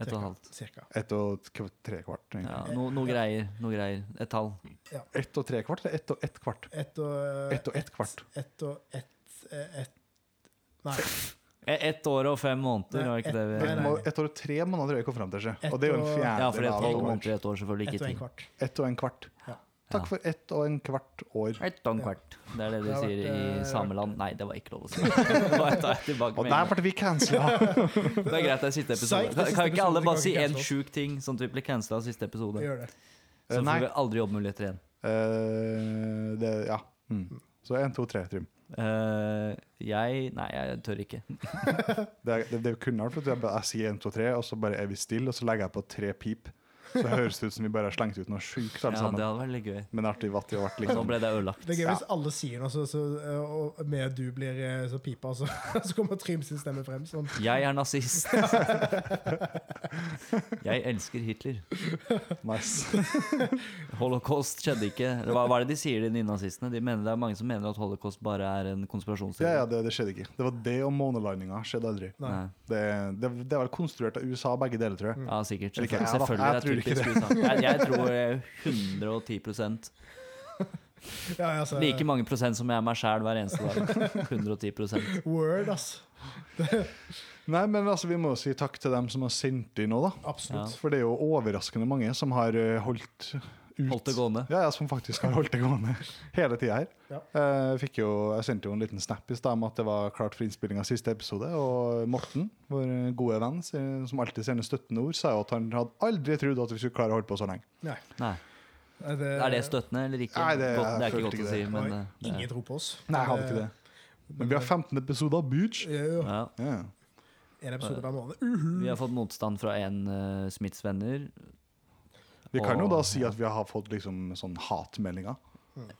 [SPEAKER 2] Ett og et halvt.
[SPEAKER 3] cirka.
[SPEAKER 1] Ett og t- tre kvart. egentlig.
[SPEAKER 2] Ja, no, noe greier. Noe greier. Et tall.
[SPEAKER 1] Ett og tre kvart eller ett og ett kvart?
[SPEAKER 3] Ett og eh,
[SPEAKER 1] Ett og ett kvart.
[SPEAKER 3] Ett og ett eh, ett- Nei.
[SPEAKER 2] E- Ett år og fem måneder,
[SPEAKER 3] Nei,
[SPEAKER 2] var ikke det vi
[SPEAKER 3] Nei,
[SPEAKER 1] Ett
[SPEAKER 3] nei.
[SPEAKER 1] må- ett år og tre måneder tror jeg kom fram til seg. Og det er jo en
[SPEAKER 3] Ett og-
[SPEAKER 2] Ja, for det
[SPEAKER 1] fjerdedel
[SPEAKER 2] er
[SPEAKER 1] av
[SPEAKER 2] tolv
[SPEAKER 1] alle år.
[SPEAKER 2] måneder i et år, selvfølgelig
[SPEAKER 3] Ett og
[SPEAKER 2] ikke
[SPEAKER 3] en
[SPEAKER 2] ti.
[SPEAKER 3] kvart.
[SPEAKER 1] Ett og en kvart.
[SPEAKER 3] Ja.
[SPEAKER 1] Takk for ett og en kvart år.
[SPEAKER 2] Ett og en kvart. Det er det de
[SPEAKER 3] Det har
[SPEAKER 2] sier i
[SPEAKER 3] vært, eh,
[SPEAKER 2] sameland. Nei, det var ikke lov å si. Bare ta et tilbake
[SPEAKER 1] Og
[SPEAKER 2] med en
[SPEAKER 1] der
[SPEAKER 2] gang.
[SPEAKER 1] ble vi cancela!
[SPEAKER 2] Det er greit, det er siste
[SPEAKER 3] Psych,
[SPEAKER 2] episode.
[SPEAKER 3] det er
[SPEAKER 2] Kan,
[SPEAKER 3] siste
[SPEAKER 2] kan ikke alle
[SPEAKER 3] episode,
[SPEAKER 2] bare
[SPEAKER 3] vi
[SPEAKER 2] si
[SPEAKER 3] kan
[SPEAKER 2] en
[SPEAKER 3] ikke
[SPEAKER 2] sjuk ting, sånn at vi blir cancela av siste episode?
[SPEAKER 3] Jeg gjør det.
[SPEAKER 2] Så
[SPEAKER 1] Nei.
[SPEAKER 2] får vi aldri jobbmuligheter igjen.
[SPEAKER 1] Eh, det, ja. Mm. Så én, to, tre, Trym.
[SPEAKER 2] Eh, jeg Nei, jeg tør ikke.
[SPEAKER 1] Det, er- det, det kunne vært fordi jeg, bare- jeg sier én, to, tre, og så bare er vi stille, og så legger jeg på tre pip. Så det høres det ut som vi bare har slengt ut noe sjukt
[SPEAKER 2] Ja,
[SPEAKER 1] alle
[SPEAKER 2] det
[SPEAKER 1] sammen.
[SPEAKER 2] hadde vært litt gøy.
[SPEAKER 1] Men artig vatt i vart,
[SPEAKER 2] Nå
[SPEAKER 1] liksom.
[SPEAKER 2] ble det ødelagt.
[SPEAKER 3] Det er gøy hvis alle sier noe, så, så, eh, og med at du blir eh, så pipa, så, så kommer Trym sin stemme frem. Sånn.
[SPEAKER 2] Jeg er nazist. Jeg elsker Hitler.
[SPEAKER 1] Nice.
[SPEAKER 2] Holocaust skjedde ikke. Hva, hva er det de sier, de nynazistene? De mener, det er mange som mener at holocaust bare er en konspirasjonsteori.
[SPEAKER 1] Ja, ja, det, det skjedde ikke. Det var det og månelandinga skjedde aldri.
[SPEAKER 3] Nei.
[SPEAKER 2] Nei.
[SPEAKER 1] Det, det, det er vel konstruert av USA, begge deler, tror jeg.
[SPEAKER 2] Ja, sikkert.
[SPEAKER 1] Eller ikke,
[SPEAKER 2] Selvfølgelig,
[SPEAKER 1] jeg, da.
[SPEAKER 2] selvfølgelig
[SPEAKER 1] Jeg tror
[SPEAKER 2] det er
[SPEAKER 1] ikke
[SPEAKER 2] typisk USA. Jeg, jeg tror eh, 110
[SPEAKER 3] Ja, altså,
[SPEAKER 2] Like mange prosent som jeg er meg sjæl hver eneste dag. 110
[SPEAKER 3] Word, ass.
[SPEAKER 1] Nei, men altså, vi må jo si takk til dem som har sendt inn nå, da.
[SPEAKER 3] Absolutt.
[SPEAKER 1] For det er jo overraskende mange som har eh, holdt ut.
[SPEAKER 2] Holdt det gående.
[SPEAKER 1] Ja, ja, som faktisk har holdt det gående hele tida her.
[SPEAKER 3] Ja.
[SPEAKER 1] Eh, fikk jo, jeg sendte jo en liten snap i stad om at det var klart for innspilling av siste episode. Og Morten, vår gode venn, s- som alltid sender støttende ord, sa jo at han hadde aldri trodd at vi skulle klare å holde på så lenge.
[SPEAKER 3] Nei. Eh,
[SPEAKER 2] Nei. Er det støttende eller ikke?
[SPEAKER 1] Nei, det-
[SPEAKER 2] godt,
[SPEAKER 1] jeg
[SPEAKER 2] det er ikke
[SPEAKER 1] følte
[SPEAKER 2] godt
[SPEAKER 1] ikke
[SPEAKER 2] å si,
[SPEAKER 1] det.
[SPEAKER 2] men
[SPEAKER 3] Nei,
[SPEAKER 2] eh, det
[SPEAKER 3] Ingen
[SPEAKER 2] er-
[SPEAKER 3] tror på oss. Eh,
[SPEAKER 1] Nei, jeg hadde ikke det. Men vi har 15 episoder, bitch!
[SPEAKER 3] Ja, ja.
[SPEAKER 2] ja.
[SPEAKER 1] Ja.
[SPEAKER 3] En episode hver måned. Uh,
[SPEAKER 2] Vi har fått motstand fra en uh, Smiths venner.
[SPEAKER 1] Vi kan jo
[SPEAKER 2] Og-
[SPEAKER 1] da si at vi har fått liksom sånn hatmeldinger.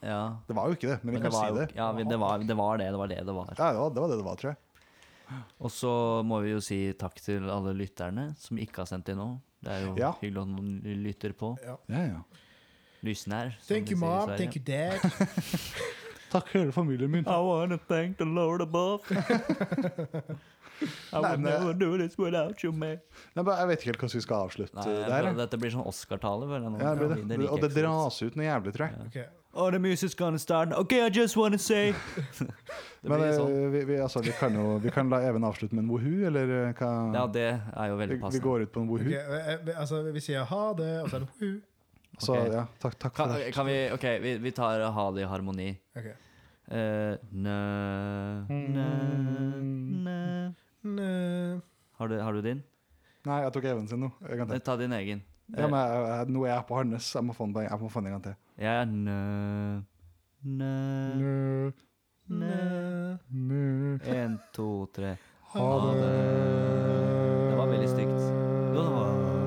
[SPEAKER 2] Ja.
[SPEAKER 1] Det var jo ikke det, men vi
[SPEAKER 2] Men det
[SPEAKER 1] kan
[SPEAKER 2] var,
[SPEAKER 1] si
[SPEAKER 2] jo-
[SPEAKER 1] det.
[SPEAKER 2] ja, vi- det, var, det var det det var. det det var.
[SPEAKER 1] Ja, det var, det var det det var, tror jeg.
[SPEAKER 2] Og så må vi jo si takk til alle lytterne som ikke har sendt inn nå. Det er jo
[SPEAKER 1] Ja.
[SPEAKER 2] hyggelig at noen lytter på.
[SPEAKER 1] Ja, ja.
[SPEAKER 2] Lysnær. som
[SPEAKER 3] Thank
[SPEAKER 2] de
[SPEAKER 3] you,
[SPEAKER 2] sier i
[SPEAKER 3] mom.
[SPEAKER 2] Sverige.
[SPEAKER 3] Thank you, dad.
[SPEAKER 1] Takk, hele familien min.
[SPEAKER 2] I wanna thank the Lord above. I
[SPEAKER 1] Nei,
[SPEAKER 2] would
[SPEAKER 1] men- eh,
[SPEAKER 2] never do this without you, man.
[SPEAKER 1] Nei, men jeg vet ikke helt hvordan vi skal avslutte
[SPEAKER 2] Nei,
[SPEAKER 1] det
[SPEAKER 2] jeg
[SPEAKER 1] her.
[SPEAKER 2] tror
[SPEAKER 1] jeg.
[SPEAKER 2] dette blir sånn Oscar-tale. føler jeg nå.
[SPEAKER 1] Ja, det blir det.
[SPEAKER 2] liker
[SPEAKER 1] Og det
[SPEAKER 2] jeg ikke så godt.
[SPEAKER 1] dras ut noe jævlig, tror jeg.
[SPEAKER 3] Ok.
[SPEAKER 2] Oh, the music's gonna start. Okay, I just wanna say Det
[SPEAKER 1] Men
[SPEAKER 2] blir
[SPEAKER 1] eh,
[SPEAKER 2] sånn.
[SPEAKER 1] vi, vi, altså, vi kan jo vi kan la Even avslutte med en wohu, eller eh, hva
[SPEAKER 2] Ja, det er jo
[SPEAKER 1] vi,
[SPEAKER 2] veldig
[SPEAKER 1] vi
[SPEAKER 2] passende.
[SPEAKER 1] går ut på en wohu.
[SPEAKER 3] Ok, eh, eh, Altså, vi sier ha det, og så er det hu.
[SPEAKER 1] Så
[SPEAKER 2] Ok.
[SPEAKER 1] ja, takk, takk
[SPEAKER 2] Kan,
[SPEAKER 1] for det.
[SPEAKER 2] kan vi OK, vi, vi tar ha det i harmoni.
[SPEAKER 3] Ok.
[SPEAKER 2] Eh, nø,
[SPEAKER 1] Mm.
[SPEAKER 2] nø, nø.
[SPEAKER 3] Nø.
[SPEAKER 2] Har, du, har du din?
[SPEAKER 1] Nei, jeg tok Even sin nå. En gang
[SPEAKER 2] Nei,
[SPEAKER 1] til.
[SPEAKER 2] Ta din egen.
[SPEAKER 1] Ja, men jeg, jeg, nå er jeg på hans. Jeg må få den på- jeg må få den en gang til.
[SPEAKER 2] Jeg er nø, nø, nø. En, to, tre. Ha det. Det var veldig stygt. Jo, det var